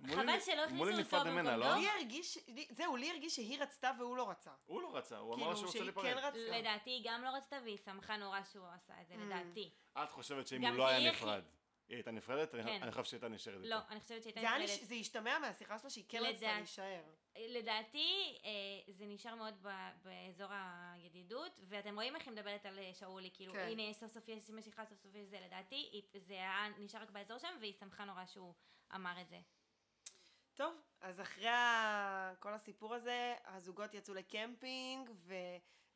[SPEAKER 3] מולי-
[SPEAKER 2] חבל שלא הכניסו
[SPEAKER 3] מולי
[SPEAKER 2] אותו
[SPEAKER 3] נפרד
[SPEAKER 2] במקום
[SPEAKER 3] ממנה, לא?
[SPEAKER 2] דור.
[SPEAKER 1] לי הרגיש, לי, זהו, לי הרגיש שהיא רצתה והוא לא רצה.
[SPEAKER 3] הוא לא רצה, הוא אמר
[SPEAKER 1] כאילו,
[SPEAKER 3] לה שהוא רוצה
[SPEAKER 1] שהיא
[SPEAKER 3] להיפרד.
[SPEAKER 1] כן רצתה.
[SPEAKER 2] לדעתי היא גם לא רצתה, והיא שמחה נורא שהוא עשה את זה,
[SPEAKER 1] Mm.
[SPEAKER 2] לדעתי.
[SPEAKER 3] את חושבת שאם
[SPEAKER 2] גם
[SPEAKER 3] הוא לא
[SPEAKER 2] היא
[SPEAKER 3] היה
[SPEAKER 2] הכי-
[SPEAKER 3] נפרד, היא הייתה נפרדת? אני-
[SPEAKER 2] כן.
[SPEAKER 3] אני חושב שהיא הייתה נשארת איתו.
[SPEAKER 2] לא, אני חושבת שהיא
[SPEAKER 1] זה,
[SPEAKER 2] הייתה
[SPEAKER 1] היה לי,
[SPEAKER 2] נפרדת.
[SPEAKER 1] זה השתמע מהשיחה שלה שהיא כן רצתה
[SPEAKER 2] לדעת-
[SPEAKER 1] להישאר.
[SPEAKER 2] לדעתי אה, זה נשאר מאוד ב- באזור הידידות ואתם רואים איך היא מדברת על אה, שאולי כאילו
[SPEAKER 1] כן.
[SPEAKER 2] כן. הנה סוף סוף יש משיכה סוף סוף יש זה לדעתי היא- זה היה נשאר רק באזור שם והיא שמחה נורא שהוא אמר את זה.
[SPEAKER 1] טוב, אז אחרי ה- כל הסיפור הזה, הזוגות יצאו לקמפינג,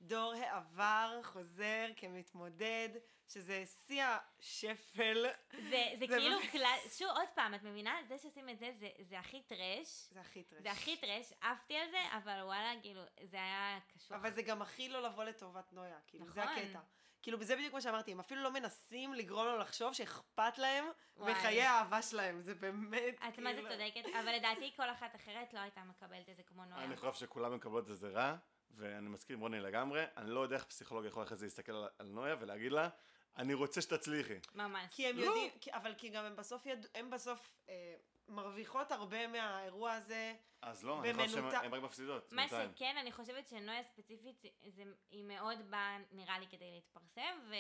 [SPEAKER 1] ודור העבר חוזר כמתמודד, שזה שיא השפל.
[SPEAKER 2] זה, זה
[SPEAKER 1] זה לא-
[SPEAKER 2] כאילו
[SPEAKER 1] ממש-
[SPEAKER 2] כלל שוב עוד פעם את מבינה זה שעושים את זה זה, זה הכי טרש
[SPEAKER 1] זה הכי טרש.
[SPEAKER 2] זה הכי טרש עפתי על זה אבל וואלה כאילו זה היה קשור.
[SPEAKER 1] אבל זה גם הכי לא לבוא לטובת נויה, כאילו, זה
[SPEAKER 2] נכון.
[SPEAKER 1] הקטע. כאילו, זה בדיוק מה שאמרתי, הם אפילו לא מנסים לגרום לו לחשוב שאכפת להם
[SPEAKER 2] וואי.
[SPEAKER 1] מחיי האהבה שלהם, זה באמת,
[SPEAKER 2] את מה זה
[SPEAKER 1] כאילו-
[SPEAKER 2] צודקת אבל לדעתי כל אחת אחרת לא הייתה מקבלת את זה כמו נויה.
[SPEAKER 3] אני חושב שכולם מקבלות את זה רע, ואני מסכים עם רוני לגמרי. אני לא יודע איך פסיכולוג יכול אחרי זה להסתכל על, על נויה ולהגיד לה, אני רוצה שתצליחי.
[SPEAKER 2] ממש.
[SPEAKER 1] כי הם
[SPEAKER 3] לא.
[SPEAKER 1] יודעים, כי- אבל כי גם הם בסוף יד- הם בסוף אה, מרוויחות הרבה מהאירוע הזה.
[SPEAKER 3] אז לא, אני חושב
[SPEAKER 1] במנותק.
[SPEAKER 3] שהן רק מפסידות.
[SPEAKER 2] מה
[SPEAKER 3] בינתיים.
[SPEAKER 2] שכן, אני חושבת שנויה ספציפית, זה- זה, היא מאוד באה, נראה לי, כדי להתפרסם, ו,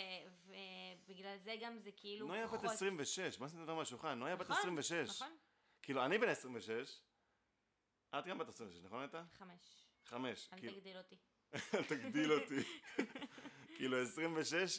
[SPEAKER 2] ובגלל זה גם זה כאילו...
[SPEAKER 3] נויה בת
[SPEAKER 2] פחות-
[SPEAKER 3] 26, מה זה דבר מהשולחן? נויה בת
[SPEAKER 2] נכון,
[SPEAKER 3] 26.
[SPEAKER 2] נכון?
[SPEAKER 3] כאילו, אני בן 26, את גם בת 26, נכון הייתה?
[SPEAKER 2] חמש.
[SPEAKER 3] חמש.
[SPEAKER 2] אל
[SPEAKER 3] כאילו-
[SPEAKER 2] תגדיל אותי.
[SPEAKER 3] אל תגדיל אותי. כאילו, 26,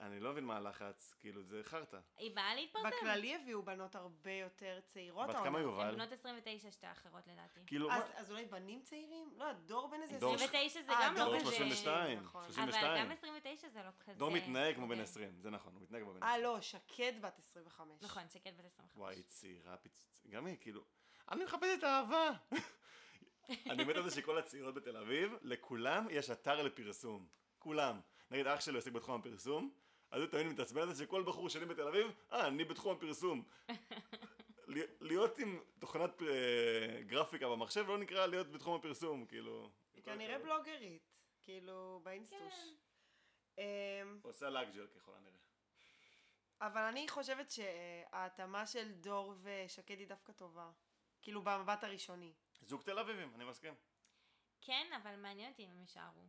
[SPEAKER 3] אני לא מבין מה הלחץ, כאילו, זה חרטא.
[SPEAKER 2] היא באה להתפרסם.
[SPEAKER 1] בכללי הביאו בנות הרבה יותר צעירות.
[SPEAKER 3] בת כמה
[SPEAKER 1] העונה.
[SPEAKER 2] הן
[SPEAKER 3] יובל?
[SPEAKER 2] בנות 29 שתי האחרות לדעתי.
[SPEAKER 3] כאילו,
[SPEAKER 1] אז,
[SPEAKER 3] מה-
[SPEAKER 1] אז אולי בנים צעירים? לא, הדור בן איזה...
[SPEAKER 3] דור
[SPEAKER 2] 29 זה
[SPEAKER 1] אה,
[SPEAKER 2] גם
[SPEAKER 1] דור
[SPEAKER 2] לא
[SPEAKER 3] דור
[SPEAKER 1] בן
[SPEAKER 2] כזה...
[SPEAKER 3] 32,
[SPEAKER 1] נכון. אבל
[SPEAKER 3] 32.
[SPEAKER 2] אבל גם 29 זה לא כזה...
[SPEAKER 3] דור מתנהג כמו בן
[SPEAKER 2] כן.
[SPEAKER 3] 20, זה נכון, הוא מתנהג כמו בן 20.
[SPEAKER 1] אה, לא, שקד בת 25.
[SPEAKER 2] נכון, שקד בת 25.
[SPEAKER 3] וואי, צעירה פיצוץ. גם היא, כאילו, אני מחפש את האהבה. אני מת על זה שכל הצעירות בתל אביב, לכולם יש אתר לפרסום. כולם. נגיד אח שלי עוסק בתחום הפרסום, אז הוא תמיד מתעצבן על זה שכל בחור שני בתל אביב, אה, אני בתחום הפרסום. ל- להיות עם תוכנת פר- אה, גרפיקה במחשב לא נקרא להיות בתחום הפרסום, כאילו... עם כל
[SPEAKER 1] כנראה
[SPEAKER 3] הכבוד.
[SPEAKER 1] בלוגרית, כאילו, באינסטוש.
[SPEAKER 2] כן.
[SPEAKER 1] אמ,
[SPEAKER 3] עושה לאג'ל ככל הנראה.
[SPEAKER 1] אבל אני חושבת שההתאמה של דור ושקד היא דווקא טובה. כאילו במבט הראשוני.
[SPEAKER 3] זוג תל אביבים, אני מסכים.
[SPEAKER 2] כן, אבל מעניין אותי אם הם יישארו.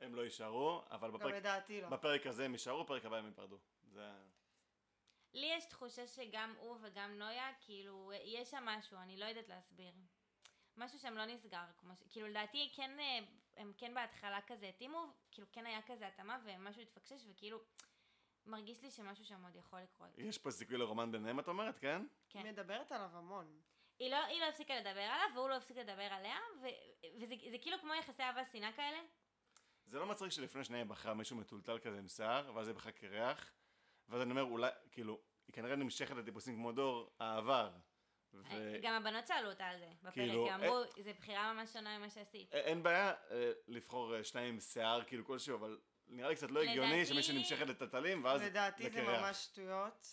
[SPEAKER 3] הם לא יישארו, אבל
[SPEAKER 1] גם
[SPEAKER 3] בפרק,
[SPEAKER 1] לדעתי לא.
[SPEAKER 3] בפרק הזה הם יישארו, בפרק הבא הם ייפרדו. זה...
[SPEAKER 2] לי יש תחושה שגם הוא וגם נויה, כאילו, יש שם משהו, אני לא יודעת להסביר. משהו שם לא נסגר, כמו ש... כאילו, לדעתי, כן, אה, הם כן בהתחלה כזה התאימו, כאילו, כן היה כזה התאמה, ומשהו התפקשש, וכאילו, מרגיש לי שמשהו שם עוד יכול לקרות.
[SPEAKER 3] יש פה סיכוי לרומן ביניהם, את אומרת, כן?
[SPEAKER 1] היא מדברת עליו המון.
[SPEAKER 2] היא לא, היא לא הפסיקה לדבר עליו, והוא לא הפסיק לדבר עליה, ו, וזה זה כאילו כמו יחסי אהבה שנאה כאלה.
[SPEAKER 3] זה לא מצחיק שלפני שנייה היא בחרה מישהו מטולטל כזה עם שיער, ואז היא בחרה קרח, ואז אני אומר, אולי, כאילו, היא כנראה נמשכת לטיפוסים כמו דור העבר. ו...
[SPEAKER 2] אה, גם הבנות שאלו אותה על זה בפרק,
[SPEAKER 3] כאילו,
[SPEAKER 2] כאילו, אמרו, זו בחירה ממש שונה ממה שעשית.
[SPEAKER 3] א- אין בעיה אה, לבחור אה, שניים עם שיער, כאילו כלשהו, אבל נראה לי קצת לא הגיוני
[SPEAKER 2] לדעתי-
[SPEAKER 3] שמישהי נמשכת לטלטלים, ואז
[SPEAKER 1] לדעתי זה
[SPEAKER 3] לקרח.
[SPEAKER 1] ממש שטויות.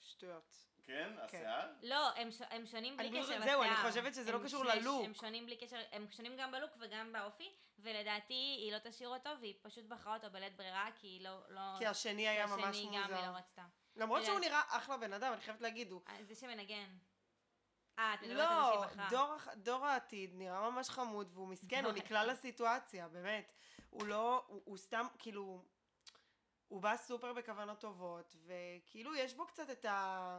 [SPEAKER 1] שטויות.
[SPEAKER 3] כן, השיער?
[SPEAKER 2] לא, הם, ש... הם שונים בלי
[SPEAKER 1] אני
[SPEAKER 2] קשר
[SPEAKER 1] פשוט-
[SPEAKER 2] לשיער.
[SPEAKER 1] זהו, אני חושבת שזה לא
[SPEAKER 2] הם
[SPEAKER 1] קשור
[SPEAKER 2] שני-
[SPEAKER 1] ללוק.
[SPEAKER 2] הם שונים בלי קשר, הם שונים גם בלוק וגם באופי, ולדעתי היא לא תשאיר אותו, והיא פשוט בחרה אותו בלית ברירה, כי היא לא... לא...
[SPEAKER 1] כי השני היה
[SPEAKER 2] השני
[SPEAKER 1] ממש
[SPEAKER 2] גם היא
[SPEAKER 1] מוזר.
[SPEAKER 2] לא רצתה.
[SPEAKER 1] למרות שהוא
[SPEAKER 2] לדעתי-
[SPEAKER 1] נראה אחלה בן אדם, אני חייבת להגיד, הוא...
[SPEAKER 2] אה, זה שמנגן. אה, את מדברת על
[SPEAKER 1] לא,
[SPEAKER 2] זה שהיא בחרה.
[SPEAKER 1] דור, הח- דור העתיד נראה ממש חמוד, והוא מסכן, הוא
[SPEAKER 2] דור
[SPEAKER 1] נקלע
[SPEAKER 2] העתיד.
[SPEAKER 1] לסיטואציה, באמת. הוא לא, הוא, הוא סתם, כאילו, הוא בא סופר בכוונות טובות, וכאילו יש בו קצת את ה...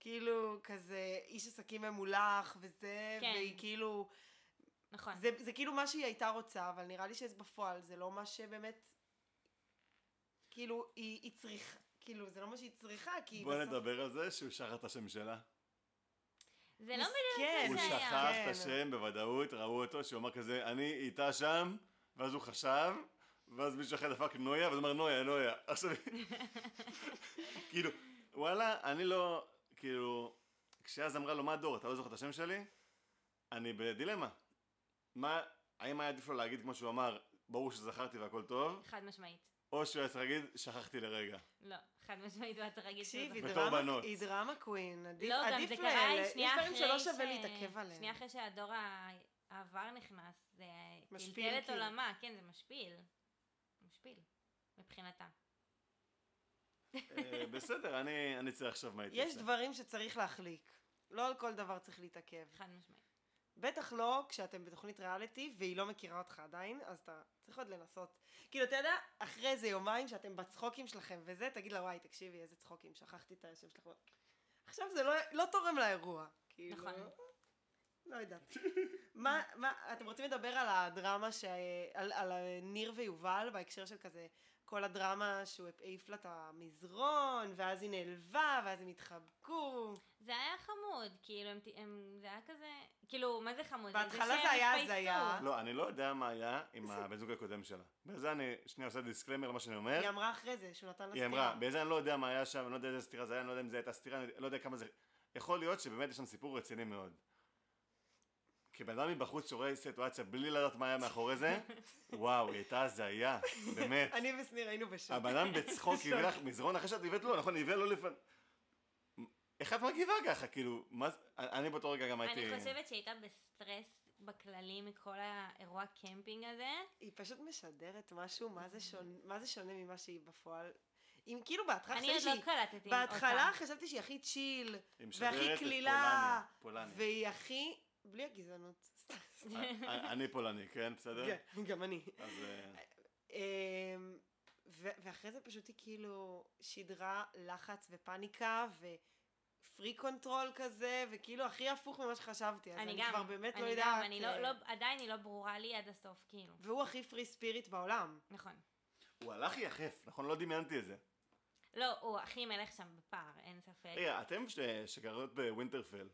[SPEAKER 1] כאילו, כזה איש עסקים ממולח וזה,
[SPEAKER 2] כן.
[SPEAKER 1] והיא כאילו,
[SPEAKER 2] נכון.
[SPEAKER 1] זה, זה כאילו מה שהיא הייתה רוצה, אבל נראה לי שבפועל זה לא מה שבאמת, כאילו, היא, היא צריכה, כאילו, זה לא מה שהיא צריכה, כי
[SPEAKER 3] בוא
[SPEAKER 1] בסוף-
[SPEAKER 3] נדבר על זה שהוא שכח את השם שלה.
[SPEAKER 2] זה לא
[SPEAKER 1] מסכן.
[SPEAKER 2] בדיוק
[SPEAKER 3] הוא
[SPEAKER 2] מה שהיה.
[SPEAKER 3] שכח
[SPEAKER 1] כן.
[SPEAKER 3] את השם בוודאות, ראו אותו, שהוא אמר כזה, אני איתה שם, ואז הוא חשב, ואז מישהו אחר דפק נויה, ואז הוא אמר נויה, נויה. עכשיו, כאילו, וואלה, אני לא, כאילו, כשאז אמרה לו, מה דור, אתה לא זוכר את השם שלי? אני בדילמה. מה, האם היה עדיף לו להגיד, כמו שהוא אמר, ברור שזכרתי והכל טוב,
[SPEAKER 2] חד משמעית.
[SPEAKER 3] או שהוא היה צריך להגיד, שכחתי לרגע.
[SPEAKER 2] לא, חד משמעית, הוא היה צריך להגיד
[SPEAKER 1] תקשיב,
[SPEAKER 2] שהוא
[SPEAKER 1] היא
[SPEAKER 2] זכר.
[SPEAKER 3] בתור
[SPEAKER 1] דרמה-
[SPEAKER 3] בנות.
[SPEAKER 1] היא דרמה קווין, עדיף
[SPEAKER 2] לא, גם
[SPEAKER 1] עדיף
[SPEAKER 2] זה
[SPEAKER 1] לאלה.
[SPEAKER 2] קרה לי
[SPEAKER 1] יש
[SPEAKER 2] שנייה אחרי
[SPEAKER 1] דברים
[SPEAKER 2] ש...
[SPEAKER 1] שלא שווה להתעכב עליהם.
[SPEAKER 2] שנייה אחרי שהדור ה- העבר נכנס, זה
[SPEAKER 1] משפיל,
[SPEAKER 2] טלטל את
[SPEAKER 1] כאילו.
[SPEAKER 2] עולמה, כן, זה משפיל. משפיל, מבחינתה.
[SPEAKER 3] אה, בסדר, אני אני צריך עכשיו מה הייתי
[SPEAKER 1] יש דברים שצריך להחליק. לא על כל דבר צריך להתעכב.
[SPEAKER 2] חד משמעית.
[SPEAKER 1] בטח לא כשאתם בתוכנית ריאליטי והיא לא מכירה אותך עדיין, אז אתה צריך עוד לנסות. כאילו, אתה יודע, אחרי איזה יומיים שאתם בצחוקים שלכם וזה, תגיד לה, וואי, תקשיבי, איזה צחוקים, שכחתי את השם שלך. עכשיו זה לא, לא תורם לאירוע. כאילו,
[SPEAKER 2] נכון.
[SPEAKER 1] לא יודעת. מה, מה, אתם רוצים לדבר על הדרמה, ש... על, על ניר ויובל, בהקשר של כזה, כל הדרמה שהוא העיף לה את המזרון, ואז היא נעלבה, ואז הם התחבקו.
[SPEAKER 2] זה היה חמוד, כאילו, הם, הם, זה היה כזה, כאילו, מה זה חמוד?
[SPEAKER 1] בהתחלה
[SPEAKER 2] שהם
[SPEAKER 1] זה היה
[SPEAKER 2] התפייסו.
[SPEAKER 1] הזיה.
[SPEAKER 3] לא, אני לא יודע מה היה עם הבן זוג הקודם שלה. בזה אני שנייה עושה דיסקלמר למה שאני אומר.
[SPEAKER 1] היא אמרה אחרי זה, שהוא נתן לה
[SPEAKER 3] אה? היא אמרה, בזה אני לא יודע מה היה שם, אני לא יודע איזה סתירה זה היה, אני לא יודע אם זה הייתה סתירה, אני לא יודע כמה זה... יכול להיות שבאמת יש שם סיפור רציני מאוד. כי בן אדם מבחוץ שרואה סיטואציה בלי לדעת מה היה מאחורי זה, וואו, היא הייתה הזיה, באמת.
[SPEAKER 1] אני ושניר היינו בשוק.
[SPEAKER 3] הבן אדם בצחוק הביא לך מזרון אחרי שאת הבאת לו, נכון, הביא לו לפני... איך את מגיבה ככה, כאילו, מה זה... אני באותו רגע גם הייתי...
[SPEAKER 2] אני חושבת שהיא הייתה בסטרס בכללי מכל האירוע קמפינג הזה.
[SPEAKER 1] היא פשוט משדרת משהו, מה
[SPEAKER 2] אה.
[SPEAKER 1] זה שונה, מה זה שונה ממה שהיא בפועל. אם כאילו בהתחלה
[SPEAKER 2] אני עוד
[SPEAKER 1] חשבתי
[SPEAKER 2] לא
[SPEAKER 1] שהיא...
[SPEAKER 2] קלטתי
[SPEAKER 1] בהתחלה
[SPEAKER 2] אותה.
[SPEAKER 1] חשבתי שהיא הכי צ'יל,
[SPEAKER 3] היא משדרת
[SPEAKER 1] והכי
[SPEAKER 3] את
[SPEAKER 1] קלילה,
[SPEAKER 3] פולני, פולני.
[SPEAKER 1] והיא הכי... בלי הגזענות. סתם, סתם.
[SPEAKER 3] א- א- אני פולני, כן, בסדר?
[SPEAKER 1] כן, גם אני.
[SPEAKER 3] אז אה,
[SPEAKER 1] אמ, ו- ואחרי זה פשוט היא כאילו שידרה לחץ ופאניקה ופרי קונטרול כזה, וכאילו הכי הפוך ממה שחשבתי. אז
[SPEAKER 2] אני
[SPEAKER 1] אני
[SPEAKER 2] גם,
[SPEAKER 1] כבר באמת לא
[SPEAKER 2] אני
[SPEAKER 1] יודעת.
[SPEAKER 2] גם, אני לא,
[SPEAKER 1] אה,
[SPEAKER 2] לא, עדיין היא לא ברורה לי עד הסוף, כאילו.
[SPEAKER 1] והוא הכי פרי ספיריט בעולם.
[SPEAKER 2] נכון.
[SPEAKER 3] הוא הלך יחף, נכון? לא דמיינתי את זה.
[SPEAKER 2] לא, הוא הכי מלך שם בפער, אין ספק.
[SPEAKER 3] רגע, אתם ש- שגרות בווינטרפל,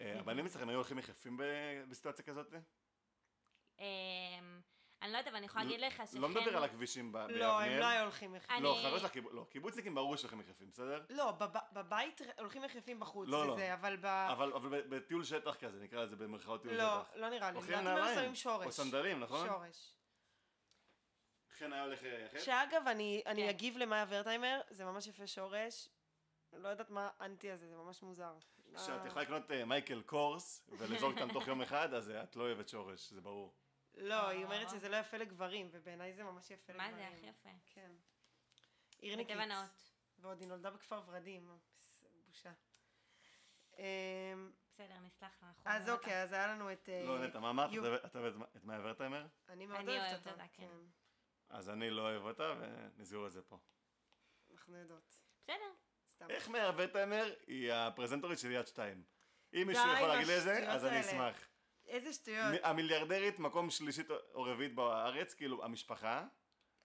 [SPEAKER 3] אה, הבנים אצלכם היו הולכים יחפים ב- בסיטואציה כזאת?
[SPEAKER 2] אמ, אני לא יודעת, אבל אני יכולה להגיד לך שכן...
[SPEAKER 3] לא מדבר על הכבישים ב- ביבנאל.
[SPEAKER 1] לא, הם לא היו הולכים
[SPEAKER 2] אני-
[SPEAKER 1] יחפים.
[SPEAKER 3] לא, חבר'ה של הקיבוץ, לא, קיבוצניקים ברור שהולכים יחפים, בסדר?
[SPEAKER 1] לא, בב- בבית ר- הולכים יחפים בחוץ
[SPEAKER 3] לא, לא.
[SPEAKER 1] וזה, אבל ב...
[SPEAKER 3] אבל אבל ב- בטיול שטח כזה, נקרא לזה במרכאות טיול
[SPEAKER 1] אה. לא,
[SPEAKER 3] שטח.
[SPEAKER 1] לא נראה לי.
[SPEAKER 3] הולכים עם
[SPEAKER 1] לדעתי הם
[SPEAKER 3] נעליים,
[SPEAKER 1] שמים שורש.
[SPEAKER 3] או סנדלים, נכון?
[SPEAKER 1] שורש.
[SPEAKER 3] חן היה הולך אה, יחף?
[SPEAKER 1] שאגב, אני,
[SPEAKER 2] כן.
[SPEAKER 1] אני אגיב למאיה ורטהיימר, זה ממש יפה שורש. לא יודעת מה האנטי הזה, זה ממש מוזר.
[SPEAKER 3] כשאת
[SPEAKER 1] אה,
[SPEAKER 3] יכולה לקנות אה, מייקל קורס ולזרוק אותם תוך יום אחד, אז אה, את לא אוהבת שורש, זה ברור.
[SPEAKER 1] לא, היא אומרת
[SPEAKER 2] אה.
[SPEAKER 1] שזה לא יפה לגברים, ובעיניי זה כן. ממש יפה
[SPEAKER 2] מה
[SPEAKER 1] לגברים.
[SPEAKER 2] זה הכי יפה?
[SPEAKER 1] כן. עירניקית.
[SPEAKER 2] בטבע נאות.
[SPEAKER 1] ועוד היא נולדה בכפר ורדים, בושה. אמ,
[SPEAKER 2] בסדר, נסלח נכון, לה. אנחנו
[SPEAKER 1] אז
[SPEAKER 2] אוהבים
[SPEAKER 1] אוקיי, אז היה לנו את... אה,
[SPEAKER 3] לא, נטע, מה אמרת?
[SPEAKER 1] יו-
[SPEAKER 3] את אוהבת- את אוהבת את- את מאיה ורטהיימר?
[SPEAKER 1] אני מאוד
[SPEAKER 2] אני
[SPEAKER 1] אוהבת
[SPEAKER 2] אוהבת
[SPEAKER 1] אותה,
[SPEAKER 2] אותה, כן.
[SPEAKER 1] כן.
[SPEAKER 3] אז אני לא אוהב אותה, ונסגור את זה פה.
[SPEAKER 1] אנחנו יודעות.
[SPEAKER 2] אותה. בסדר.
[SPEAKER 1] סתם.
[SPEAKER 3] איך מאיה ורטהיימר היא הפרזנטורית של יד שתיים? אם
[SPEAKER 1] די
[SPEAKER 3] מישהו
[SPEAKER 1] עם
[SPEAKER 3] יכול להגיד לי את זה,
[SPEAKER 1] השטויות
[SPEAKER 3] אז אני
[SPEAKER 1] האלה.
[SPEAKER 3] אשמח.
[SPEAKER 1] איזה שטויות.
[SPEAKER 3] מ- המיליארדרית, מקום שלישית או רביעית בארץ, כאילו, המשפחה,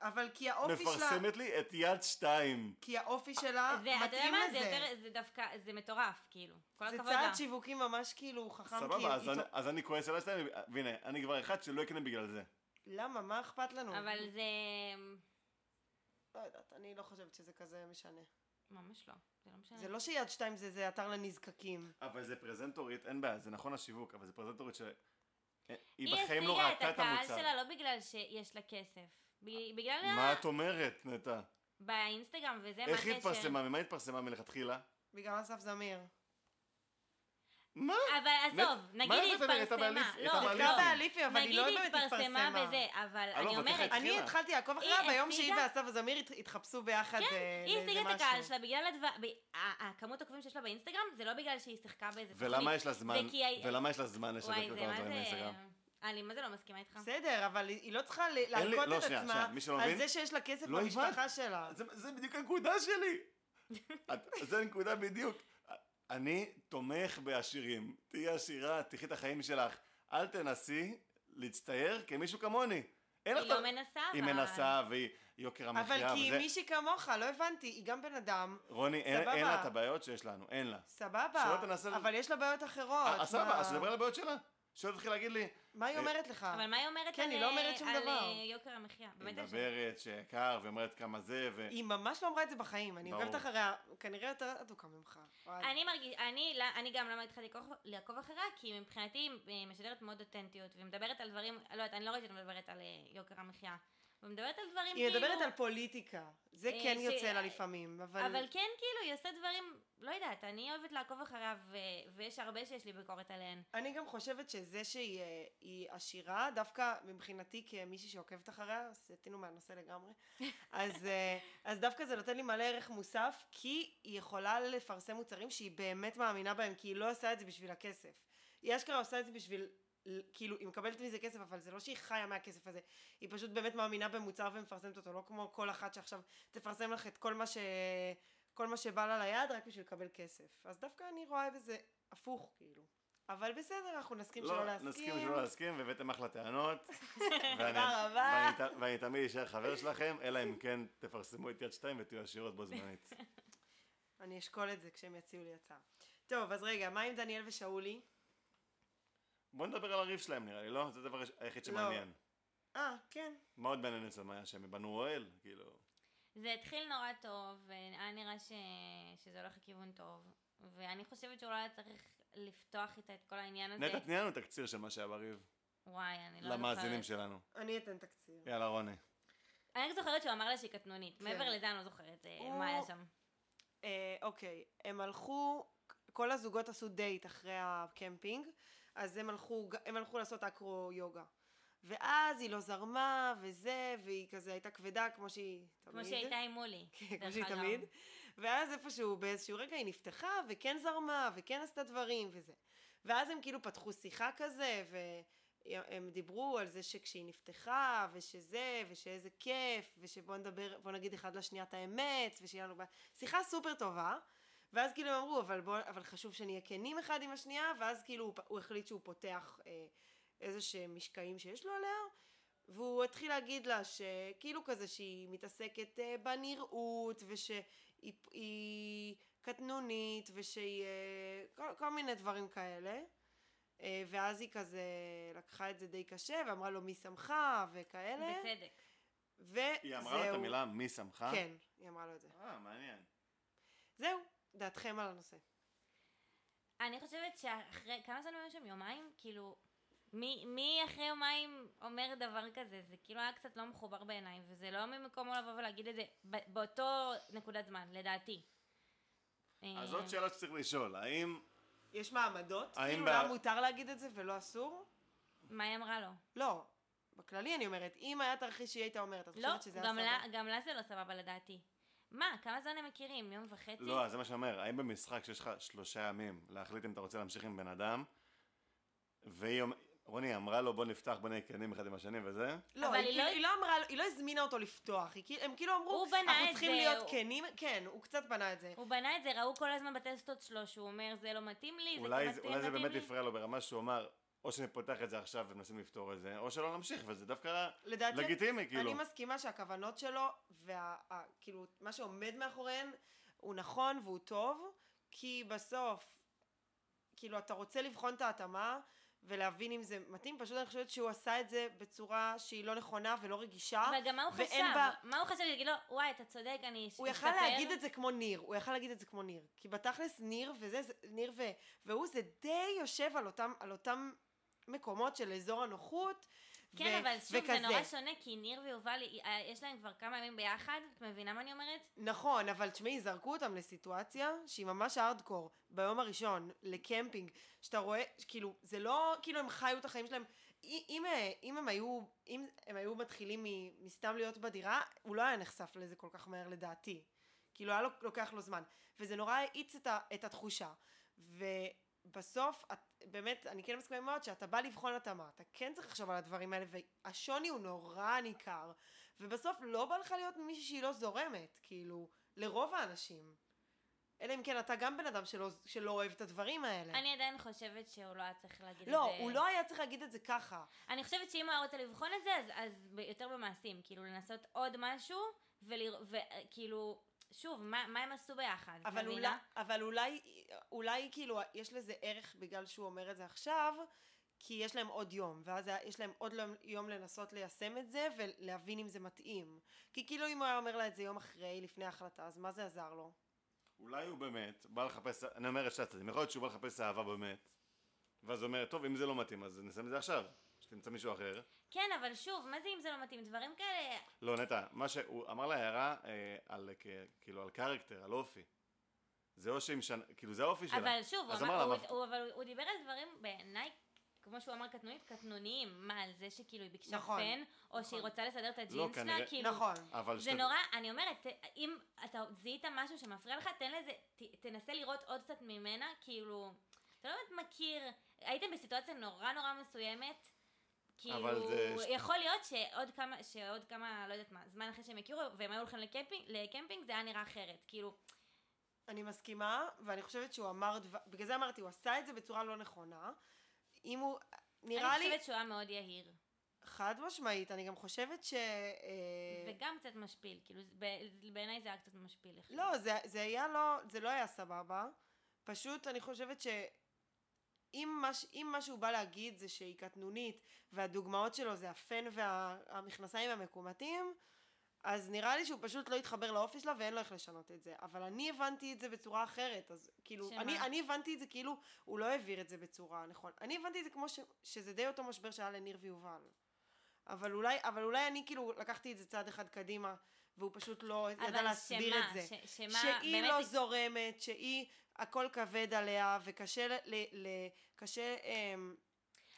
[SPEAKER 1] אבל כי האופי שלה...
[SPEAKER 3] מפרסמת לי את יד שתיים.
[SPEAKER 1] כי האופי שלה
[SPEAKER 2] זה, אתה יודע
[SPEAKER 1] אה, מתאים
[SPEAKER 2] מה? זה
[SPEAKER 1] לזה.
[SPEAKER 2] יותר, זה דווקא, זה מטורף, כאילו. כל
[SPEAKER 1] זה
[SPEAKER 2] הכבוד לה.
[SPEAKER 1] צעד שיווקי ממש כאילו חכם. כי
[SPEAKER 3] סבבה, אז
[SPEAKER 1] היא-
[SPEAKER 3] אני- אז אני כועס על יד שתיים, והנה, אני כבר אחד שלא יקנה בגלל זה.
[SPEAKER 1] למה? מה אכפת לנו?
[SPEAKER 2] אבל זה...
[SPEAKER 1] לא יודעת, אני לא חושבת שזה כזה משנה.
[SPEAKER 2] ממש לא. זה לא משנה.
[SPEAKER 1] זה לא שיד שתיים זה זה אתר לנזקקים.
[SPEAKER 3] אבל זה פרזנטורית, אין בעיה, זה נכון השיווק, אבל זה פרזנטורית ש... היא
[SPEAKER 2] היא
[SPEAKER 3] בחיים לא
[SPEAKER 2] השיגה
[SPEAKER 3] ראתה את המוצר.
[SPEAKER 2] הקהל שלה לא בגלל שיש לה כסף. ב- בגלל...
[SPEAKER 3] מה
[SPEAKER 2] ה-
[SPEAKER 3] את אומרת, נטע?
[SPEAKER 2] באינסטגרם וזה, מה
[SPEAKER 3] איך היא
[SPEAKER 2] הקשר?
[SPEAKER 3] התפרסמה? ממה היא התפרסמה מלכתחילה?
[SPEAKER 1] בגלל אסף זמיר.
[SPEAKER 3] לא, מה?
[SPEAKER 2] אבל עזוב,
[SPEAKER 3] מת-
[SPEAKER 2] נגיד
[SPEAKER 3] מה
[SPEAKER 2] היא
[SPEAKER 3] זאת אומרת? הייתה
[SPEAKER 2] התפרסמה.
[SPEAKER 3] באליפ-
[SPEAKER 2] לא,
[SPEAKER 3] הייתה
[SPEAKER 2] לא.
[SPEAKER 1] זה לא
[SPEAKER 3] באליפי.
[SPEAKER 1] באליפי, אבל היא
[SPEAKER 2] נגיד
[SPEAKER 1] לא
[SPEAKER 2] היא
[SPEAKER 1] באמת
[SPEAKER 2] התפרסמה
[SPEAKER 1] התפרסמה.
[SPEAKER 2] בזה, אבל
[SPEAKER 3] אבל
[SPEAKER 2] אני
[SPEAKER 3] איך
[SPEAKER 2] אומרת,
[SPEAKER 3] התחילה?
[SPEAKER 1] אני התחלתי לעקוב
[SPEAKER 2] היא
[SPEAKER 1] אחריה ביום שהיא
[SPEAKER 2] השיגה- כן,
[SPEAKER 1] ואסף זמיר הת- התחפשו ביחד אה, לאיזה משהו.
[SPEAKER 2] היא השיגה את הקהל שלה בגלל הדבר... ב- ה- הכמות עוקבים שיש לה באינסטגרם, זה לא בגלל שהיא שיחקה באיזה תוכנית.
[SPEAKER 3] ולמה יש לה זמן?
[SPEAKER 2] זה כי ה-
[SPEAKER 3] ולמה יש לה זמן לשווק
[SPEAKER 2] וואי,
[SPEAKER 3] את
[SPEAKER 2] זה
[SPEAKER 3] כל הדברים
[SPEAKER 2] מה זה...
[SPEAKER 3] באינסטגרם?
[SPEAKER 2] אני מה זה לא מסכימה איתך?
[SPEAKER 1] בסדר, אבל היא היא לא צריכה ל-
[SPEAKER 3] לי-
[SPEAKER 1] להלקות
[SPEAKER 3] לא,
[SPEAKER 1] את
[SPEAKER 3] שנייה, שנייה,
[SPEAKER 1] עצמה
[SPEAKER 3] מי שלא
[SPEAKER 1] על
[SPEAKER 3] מבין,
[SPEAKER 1] זה שיש לה כסף
[SPEAKER 3] לא
[SPEAKER 1] במשפחה
[SPEAKER 3] הבנת.
[SPEAKER 1] שלה.
[SPEAKER 3] זה, זה בדיוק הנקודה שלי. את- זה הנקודה בדיוק. אני תומך בעשירים. תהיי עשירה, תחי את החיים שלך. אל תנסי להצטייר כמישהו כמוני. אין לך...
[SPEAKER 2] היא
[SPEAKER 3] את ה-
[SPEAKER 2] לא מנסה, אבל...
[SPEAKER 3] היא מנסה, והיא יוקר
[SPEAKER 1] אבל
[SPEAKER 3] המחיה,
[SPEAKER 1] כי היא
[SPEAKER 3] וזה...
[SPEAKER 1] מישהי כמוך, לא הבנתי, היא גם בן אדם,
[SPEAKER 3] רוני, אין
[SPEAKER 1] סבבה.
[SPEAKER 3] אין לה את הבעיות שיש לנו, אין לה.
[SPEAKER 1] סבבה,
[SPEAKER 3] שלא תנסה ל-
[SPEAKER 1] אבל יש לה בעיות אחרות.
[SPEAKER 3] אה, סבבה,
[SPEAKER 1] מה-
[SPEAKER 3] אז תדבר על הבעיות שלה. שלא תתחיל להגיד לי,
[SPEAKER 1] מה היא
[SPEAKER 3] אה,
[SPEAKER 1] אומרת לך?
[SPEAKER 2] אבל מה היא אומרת
[SPEAKER 1] כן,
[SPEAKER 2] על
[SPEAKER 1] היא לא אומרת שום
[SPEAKER 2] על,
[SPEAKER 1] דבר.
[SPEAKER 2] אה, יוקר המחיה?
[SPEAKER 3] היא
[SPEAKER 2] באמת אני שואלת.
[SPEAKER 3] מדברת שיקר, ואומרת כמה זה, ו...
[SPEAKER 1] היא ממש לא אמרה את זה בחיים, אני
[SPEAKER 3] ברור.
[SPEAKER 1] עוקבת אחריה, כנראה יותר אדוקה ממך. וואי.
[SPEAKER 2] אני מרגיש, אני, לא- אני גם למה התחלתי לעקוב- לעקוב אחריה, כי מבחינתי היא אה, משדרת מאוד אותנטיות, ומדברת על דברים, לא יודעת, אני לא ראיתי אותה מדברת על אה, יוקר המחיה, ומדברת על דברים
[SPEAKER 1] היא
[SPEAKER 2] כאילו,
[SPEAKER 1] מדברת על פוליטיקה, זה
[SPEAKER 2] אה,
[SPEAKER 1] כן
[SPEAKER 2] ש-
[SPEAKER 1] יוצא לה לפעמים, אבל...
[SPEAKER 2] אבל כן כאילו, היא עושה דברים, לא יודעת, אני אוהבת לעקוב אחריה, ו... ויש הרבה שיש לי ביקורת עליהן.
[SPEAKER 1] אני גם חושבת שזה שהיא אה, היא עשירה, דווקא מבחינתי כמישהי שעוקבת אחריה, סטינו מהנושא לגמרי, אז, אה, אז דווקא זה נותן לי מלא ערך מוסף, כי היא יכולה לפרסם מוצרים שהיא באמת מאמינה בהם, כי היא לא עושה את זה בשביל הכסף. היא אשכרה עושה את זה בשביל, ל- כאילו, היא מקבלת מזה כסף, אבל זה לא שהיא חיה מהכסף הזה, היא פשוט באמת מאמינה במוצר ומפרסמת אותו, לא כמו כל אחת שעכשיו תפרסם לך את כל מה ש... כל מה שבא לה ליד רק בשביל לקבל כסף. אז דווקא אני רואה בזה הפוך, כאילו. אבל בסדר, אנחנו נסכים שלא
[SPEAKER 3] לא,
[SPEAKER 1] להסכים.
[SPEAKER 3] נסכים שלא להסכים, והבאתם אחלה טענות. ואני-
[SPEAKER 1] תודה רבה.
[SPEAKER 3] ואני ת- ואני תמיד אשאר חבר שלכם, אלא אם כן תפרסמו את יד שתיים ותהיו עשירות בו זמנית.
[SPEAKER 1] אני אשקול את זה כשהם יציעו לי הצעה. טוב, אז רגע, מה עם דניאל ושאולי?
[SPEAKER 3] בוא נדבר על הריב שלהם נראה לי, לא? זה הדבר היחיד שמעניין.
[SPEAKER 1] אה, כן.
[SPEAKER 3] מה עוד מעניין אצל מאיה? שהם בנו אוהל? כאילו...
[SPEAKER 2] זה התחיל נורא טוב, והיה נראה ש... שזה הולך לכיוון טוב, ואני חושבת שאולי היה צריך לפתוח איתה את כל העניין הזה.
[SPEAKER 3] נטע, תני לנו תקציר של מה שהיה בריב.
[SPEAKER 2] וואי, אני לא
[SPEAKER 3] למאזינים
[SPEAKER 2] זוכרת.
[SPEAKER 3] שלנו.
[SPEAKER 1] אני אתן תקציר.
[SPEAKER 3] יאללה, רוני.
[SPEAKER 2] אני רק זוכרת שהוא אמר לה שהיא קטנונית,
[SPEAKER 1] כן.
[SPEAKER 2] מעבר לזה אני לא זוכרת אה,
[SPEAKER 1] הוא-
[SPEAKER 2] מה היה שם.
[SPEAKER 1] אה, אוקיי, הם הלכו, כל הזוגות עשו דייט אחרי הקמפינג, אז הם הלכו, הם הלכו לעשות אקרו יוגה. ואז היא לא זרמה, וזה, והיא כזה הייתה כבדה כמו שהיא תמיד.
[SPEAKER 2] כמו שהיא הייתה עם מולי.
[SPEAKER 1] כן, כמו
[SPEAKER 2] דרך
[SPEAKER 1] שהיא
[SPEAKER 2] אגב.
[SPEAKER 1] תמיד. ואז איפשהו, באיזשהו רגע היא נפתחה, וכן זרמה, וכן עשתה דברים, וזה. ואז הם כאילו פתחו שיחה כזה, והם דיברו על זה שכשהיא נפתחה, ושזה, ושאיזה כיף, ושבוא נדבר, בוא נגיד אחד לשנייה את האמת, ושיהיה לנו... ב- שיחה סופר טובה. ואז כאילו הם אמרו, אבל, בוא, אבל חשוב שנהיה כנים אחד עם השנייה, ואז כאילו הוא, פ- הוא החליט שהוא פותח אה, איזה שהם משקעים שיש לו עליה, והוא התחיל להגיד לה שכאילו כזה שהיא מתעסקת אה, בנראות, ושהיא היא קטנונית, ושהיא... אה, כל, כל מיני דברים כאלה. אה, ואז היא כזה לקחה את זה די קשה, ואמרה לו מי שמך, וכאלה.
[SPEAKER 2] בצדק.
[SPEAKER 1] וזהו.
[SPEAKER 3] היא אמרה לו את המילה אה? מי שמך?
[SPEAKER 1] כן, היא אמרה לו את זה.
[SPEAKER 3] אה, מעניין.
[SPEAKER 1] זהו, דעתכם על הנושא.
[SPEAKER 2] אני חושבת שאחרי, כמה זמן היו שם? יומיים? כאילו, מי, מי אחרי יומיים אומר דבר כזה? זה כאילו היה קצת לא מחובר בעיניי, וזה לא ממקומו לבוא ולהגיד את זה ב- באותו נקודת זמן, לדעתי.
[SPEAKER 3] אז
[SPEAKER 2] אה,
[SPEAKER 3] זאת שאלה שצריך לשאול, האם...
[SPEAKER 1] יש מעמדות?
[SPEAKER 3] האם
[SPEAKER 1] כאילו,
[SPEAKER 3] ב-
[SPEAKER 1] למה מותר להגיד את זה ולא אסור?
[SPEAKER 2] מה היא אמרה לו?
[SPEAKER 1] לא. בכללי אני אומרת, אם היה תרחיש שהיא הייתה אומרת, את
[SPEAKER 2] לא,
[SPEAKER 1] חושבת שזה היה
[SPEAKER 2] גם
[SPEAKER 1] סבבה?
[SPEAKER 2] לה, גם לה זה לא סבבה לדעתי. מה, כמה זמן הם מכירים? יום וחצי?
[SPEAKER 3] לא, אז זה מה שאני אומר, האם במשחק שיש לך שלושה ימים להחליט אם אתה רוצה להמשיך עם בן אדם, והיא אומרת, רוני אמרה לו בוא נפתח, בוא נהיה כנים אחד עם השני וזה,
[SPEAKER 1] לא,
[SPEAKER 2] אבל
[SPEAKER 1] היא,
[SPEAKER 2] היא
[SPEAKER 1] כאילו-
[SPEAKER 2] לא-
[SPEAKER 1] היא לא אמרה, לו- היא לא הזמינה אותו לפתוח, היא, כאילו- הם כאילו אמרו,
[SPEAKER 2] הוא בנה
[SPEAKER 1] אנחנו
[SPEAKER 2] את
[SPEAKER 1] צריכים
[SPEAKER 2] זה,
[SPEAKER 1] להיות
[SPEAKER 2] הוא-
[SPEAKER 1] כנים, כן, הוא קצת בנה את זה.
[SPEAKER 2] הוא בנה את זה, ראו כל הזמן בטסטות שלו, שהוא אומר, זה לא מתאים לי, זה
[SPEAKER 3] אולי
[SPEAKER 2] כן
[SPEAKER 3] זה-
[SPEAKER 2] מתאים
[SPEAKER 3] אולי זה באמת
[SPEAKER 2] מתאים לי."
[SPEAKER 3] הפריע לו ברמה שהוא אמר, או שנפתח את זה עכשיו ומנסים לפתור את זה, או שלא נמשיך, וזה דווקא
[SPEAKER 1] לדעתי,
[SPEAKER 3] לגיטימי, כאילו.
[SPEAKER 1] אני מסכימה שהכוונות שלו, וה- ה- כאילו, מה שעומד מאחוריהן, הוא נכון והוא טוב, כי בסוף, כאילו, אתה רוצה לבחון את ההתאמה, ולהבין אם זה מתאים, פשוט אני חושבת שהוא עשה את זה בצורה שהיא לא נכונה ולא רגישה.
[SPEAKER 2] אבל גם מה הוא חשב?
[SPEAKER 1] ואין בה-
[SPEAKER 2] מה הוא חשב? להגיד לו, וואי, אתה צודק, אני אש-
[SPEAKER 1] הוא יכל
[SPEAKER 2] אשתפר."
[SPEAKER 1] להגיד את זה כמו ניר, הוא יכל להגיד את זה כמו ניר. כי בתכלס ניר וזה, זה- ניר ו, והוא זה די יושב על אותם, על אותם מקומות של אזור הנוחות.
[SPEAKER 2] כן, אבל שוב, זה
[SPEAKER 1] וכזה.
[SPEAKER 2] נורא שונה, כי ניר ויובל, אה, יש להם כבר כמה ימים ביחד, את מבינה מה אני אומרת?
[SPEAKER 1] נכון, אבל תשמעי, זרקו אותם לסיטואציה שהיא ממש הארדקור, ביום הראשון, לקמפינג, שאתה רואה, כאילו, זה לא כאילו הם חיו את החיים שלהם. אי- אם, אה, אם, הם, היו, אם הם היו מתחילים מ- מסתם להיות בדירה, הוא לא היה נחשף לזה כל כך מהר לדעתי. כאילו היה לו, לוקח לו זמן. וזה נורא האיץ את, ה, את התחושה. ובסוף, את, באמת, אני כן מסכימה מאוד שאתה בא לבחון התאמה, אתה כן צריך לחשוב על הדברים האלה, והשוני הוא נורא ניכר. ובסוף לא בא לך להיות מישהי שהיא לא זורמת, כאילו, לרוב האנשים. אלא אם כן אתה גם בן אדם שלא, שלא אוהב את הדברים האלה.
[SPEAKER 2] אני עדיין חושבת שהוא לא היה צריך להגיד את
[SPEAKER 1] כן.
[SPEAKER 2] זה.
[SPEAKER 1] לא, הוא לא היה צריך להגיד את זה ככה.
[SPEAKER 2] אני חושבת שאם הוא היה רוצה לבחון את זה, אז, אז ב- יותר במעשים, כאילו לנסות עוד משהו, וכאילו, שוב, מה, מה הם עשו ביחד? את
[SPEAKER 1] אבל, לא- אולי,
[SPEAKER 2] מבינה?
[SPEAKER 1] אבל אולי, אולי כאילו יש לזה ערך בגלל שהוא אומר את זה עכשיו, כי יש להם עוד יום, ואז היה- יש להם עוד להם- יום לנסות ליישם את זה ולהבין אם זה מתאים. כי כאילו אם הוא היה אומר לה את זה יום אחרי, לפני ההחלטה, אז מה זה עזר לו?
[SPEAKER 3] אולי הוא באמת בא לחפש, אני אומר את שני הצדדים, יכול להיות שהוא בא לחפש אהבה באמת, ואז הוא אומר, טוב, אם זה לא מתאים, אז נסיים את זה עכשיו, שתמצא מישהו אחר.
[SPEAKER 2] כן, אבל שוב, מה זה אם זה לא מתאים? דברים כאלה...
[SPEAKER 3] לא, נטע, מה שהוא אמר לה הערה אה, על, כ- כאילו, על קרקטר, על אופי. זה או שהיא משנה, כאילו, זה האופי שלה.
[SPEAKER 2] אבל שוב, הוא
[SPEAKER 3] אז
[SPEAKER 2] אמר,
[SPEAKER 3] אמר
[SPEAKER 2] הוא,
[SPEAKER 3] לה,
[SPEAKER 2] הוא, הוא, אבל הוא, הוא דיבר על דברים בעיניי, כמו שהוא אמר קטנונית, קטנוניים. מה, על זה שכאילו היא ביקשה
[SPEAKER 1] נכון,
[SPEAKER 2] פן, או
[SPEAKER 1] נכון.
[SPEAKER 2] שהיא רוצה לסדר את הג'ינס שלה,
[SPEAKER 3] לא, כנראה-
[SPEAKER 2] כאילו...
[SPEAKER 1] נכון.
[SPEAKER 3] אבל
[SPEAKER 2] זה נורא, אני אומרת, ת- אם אתה זיהית משהו שמפריע לך, תן לזה, ת- תנסה לראות עוד קצת ממנה, כאילו, אתה לא באמת מכיר, הייתם בסיטואציה נורא נורא מסוימת,
[SPEAKER 3] אבל
[SPEAKER 2] כאילו,
[SPEAKER 3] זה-
[SPEAKER 2] יכול להיות שעוד כמה, שעוד כמה, לא יודעת מה, זמן אחרי שהם הכירו, והם היו הולכים לקמפינג, לקמפינג, זה היה נראה אחרת, כאילו,
[SPEAKER 1] אני מסכימה, ואני חושבת שהוא אמר דבר... בגלל זה אמרתי, הוא עשה את זה בצורה לא נכונה. אם הוא... נראה
[SPEAKER 2] אני
[SPEAKER 1] לי,
[SPEAKER 2] חושבת שהוא היה מאוד יהיר,
[SPEAKER 1] חד משמעית, אני גם חושבת ש... אה,
[SPEAKER 2] וגם קצת משפיל, כאילו, זה- ב- בעיניי זה היה קצת משפיל. איך-
[SPEAKER 1] לא, זה, זה היה לא, זה לא היה סבבה. פשוט אני חושבת ש... אם מה, ש- אם מה שהוא בא להגיד זה שהיא קטנונית והדוגמאות שלו זה הפן והמכנסיים המקומטים אז נראה לי שהוא פשוט לא התחבר לאופי שלה ואין לו איך לשנות את זה אבל אני הבנתי את זה בצורה אחרת אז כאילו
[SPEAKER 2] שמה?
[SPEAKER 1] אני, אני הבנתי את זה כאילו הוא לא העביר את זה בצורה נכון אני הבנתי את זה כמו ש, שזה די אותו משבר שהיה לניר ויובל אבל אולי אבל אולי אני כאילו לקחתי את זה צעד אחד קדימה והוא פשוט לא ידע
[SPEAKER 2] אבל
[SPEAKER 1] להסביר
[SPEAKER 2] שמה,
[SPEAKER 1] את זה
[SPEAKER 2] ש- שמה,
[SPEAKER 1] שהיא
[SPEAKER 2] באמת
[SPEAKER 1] לא זורמת, שהיא הכל כבד עליה וקשה ל, ל, ל, קשה, אמ,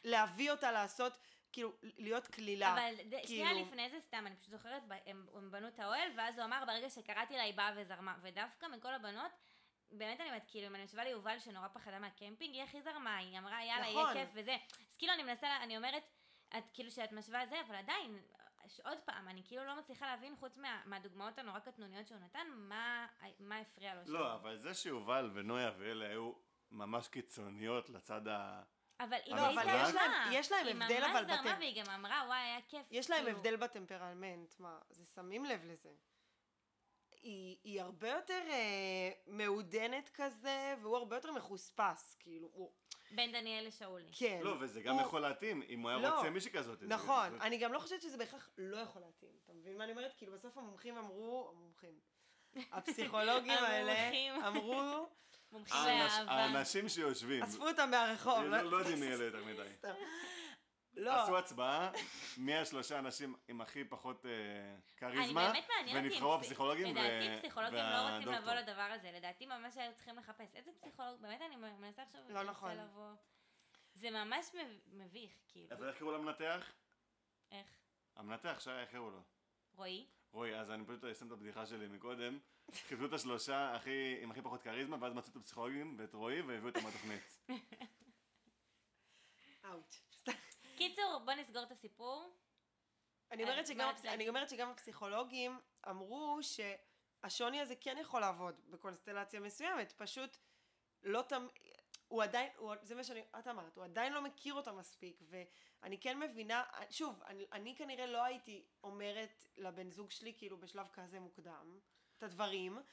[SPEAKER 1] להביא אותה לעשות, כאילו להיות קלילה.
[SPEAKER 2] אבל ד- שנייה
[SPEAKER 1] כאילו-
[SPEAKER 2] לפני זה סתם, אני פשוט זוכרת, ב- הם, הם בנו את האוהל, ואז הוא אמר, ברגע שקראתי לה, היא באה וזרמה. ודווקא מכל הבנות, באמת אני אומרת, כאילו, אם אני יושבה ליובל שנורא פחדה מהקמפינג, היא הכי זרמה, היא אמרה, יאללה,
[SPEAKER 1] נכון.
[SPEAKER 2] יהיה כיף וזה. אז כאילו, אני מנסה, לה- אני אומרת, את כאילו שאת משווה זה, אבל עדיין, ש- עוד פעם, אני כאילו לא מצליחה להבין, חוץ מה, מהדוגמאות הנורא קטנוניות שהוא נתן, מה, מה הפריע לו שם.
[SPEAKER 3] לא, אבל זה שיובל ונויה ואלה היו ממש קיצוניות לצד ה...
[SPEAKER 2] אבל היא
[SPEAKER 3] לא,
[SPEAKER 2] די
[SPEAKER 3] אבל
[SPEAKER 2] זרמה.
[SPEAKER 3] יש
[SPEAKER 1] להם- יש להם הבדל,
[SPEAKER 2] היא
[SPEAKER 1] אבל
[SPEAKER 2] ממש זרמה,
[SPEAKER 1] בטבע.
[SPEAKER 2] והיא גם אמרה, וואי, היה כיף.
[SPEAKER 1] יש להם
[SPEAKER 2] כאילו.
[SPEAKER 1] הבדל בטמפרמנט, מה, זה שמים לב לזה. היא, היא הרבה יותר אה, מעודנת כזה, והוא הרבה יותר מחוספס, כאילו, הוא,
[SPEAKER 2] בין דניאל לשאולי.
[SPEAKER 1] כן.
[SPEAKER 3] לא, וזה גם
[SPEAKER 1] הוא-
[SPEAKER 3] יכול להתאים, אם הוא היה
[SPEAKER 1] לא.
[SPEAKER 3] רוצה מישהי כזאת. זה-
[SPEAKER 1] נכון,
[SPEAKER 3] זה-
[SPEAKER 1] אני גם לא חושבת שזה בהכרח לא יכול להתאים, אתה מבין מה אני אומרת? כאילו בסוף המומחים אמרו, המומחים, הפסיכולוגים האלה
[SPEAKER 2] המומחים.
[SPEAKER 1] אמרו,
[SPEAKER 2] מומחים
[SPEAKER 3] האנש-
[SPEAKER 2] לאהבה.
[SPEAKER 3] האנשים שיושבים,
[SPEAKER 1] אספו אותם מהרחוב.
[SPEAKER 3] לא לא יודעים מי אלה יותר מדי.
[SPEAKER 1] סתם.
[SPEAKER 3] עשו
[SPEAKER 1] לא,
[SPEAKER 3] הצבעה, מי השלושה אנשים עם הכי פחות אה,
[SPEAKER 2] אני
[SPEAKER 3] כריזמה,
[SPEAKER 2] באמת מעניין אותי.
[SPEAKER 3] ונבחרו
[SPEAKER 2] אם פס-
[SPEAKER 3] הפסיכולוגים
[SPEAKER 2] לדעתי פסיכולוגים לא רוצים לבוא
[SPEAKER 3] והדוקטור.
[SPEAKER 2] לדבר הזה, לדעתי ממש היו צריכים לחפש. איזה פסיכולוג, באמת אני מנסה עכשיו...
[SPEAKER 1] לא נכון.
[SPEAKER 2] זה ממש מב- מביך, כאילו.
[SPEAKER 3] אבל איך קראו למנתח?
[SPEAKER 2] איך?
[SPEAKER 3] המנתח שהיה, איך קראו לו?
[SPEAKER 2] רועי?
[SPEAKER 3] אוי, אז אני פשוט אסיים את הבדיחה שלי מקודם. חיפשו את השלושה הכי, עם הכי פחות כריזמה, ואז מצאו את הפסיכולוגים ואת רועי והביאו אותם לתוכנית.
[SPEAKER 1] אאוט.
[SPEAKER 2] קיצור, בוא נסגור את הסיפור.
[SPEAKER 1] אני אומרת
[SPEAKER 2] אז
[SPEAKER 1] שגם
[SPEAKER 2] מה
[SPEAKER 1] הפס-
[SPEAKER 2] את-
[SPEAKER 1] אני אומרת שגם הפסיכולוגים אמרו שהשוני הזה כן יכול לעבוד בקונסטלציה מסוימת, פשוט לא תמ... הוא עדיין, הוא, זה מה שאני, את אמרת, הוא עדיין לא מכיר אותה מספיק, ואני כן מבינה, שוב, אני, אני כנראה לא הייתי אומרת לבן זוג שלי, כאילו, בשלב כזה מוקדם, את הדברים,
[SPEAKER 3] מתי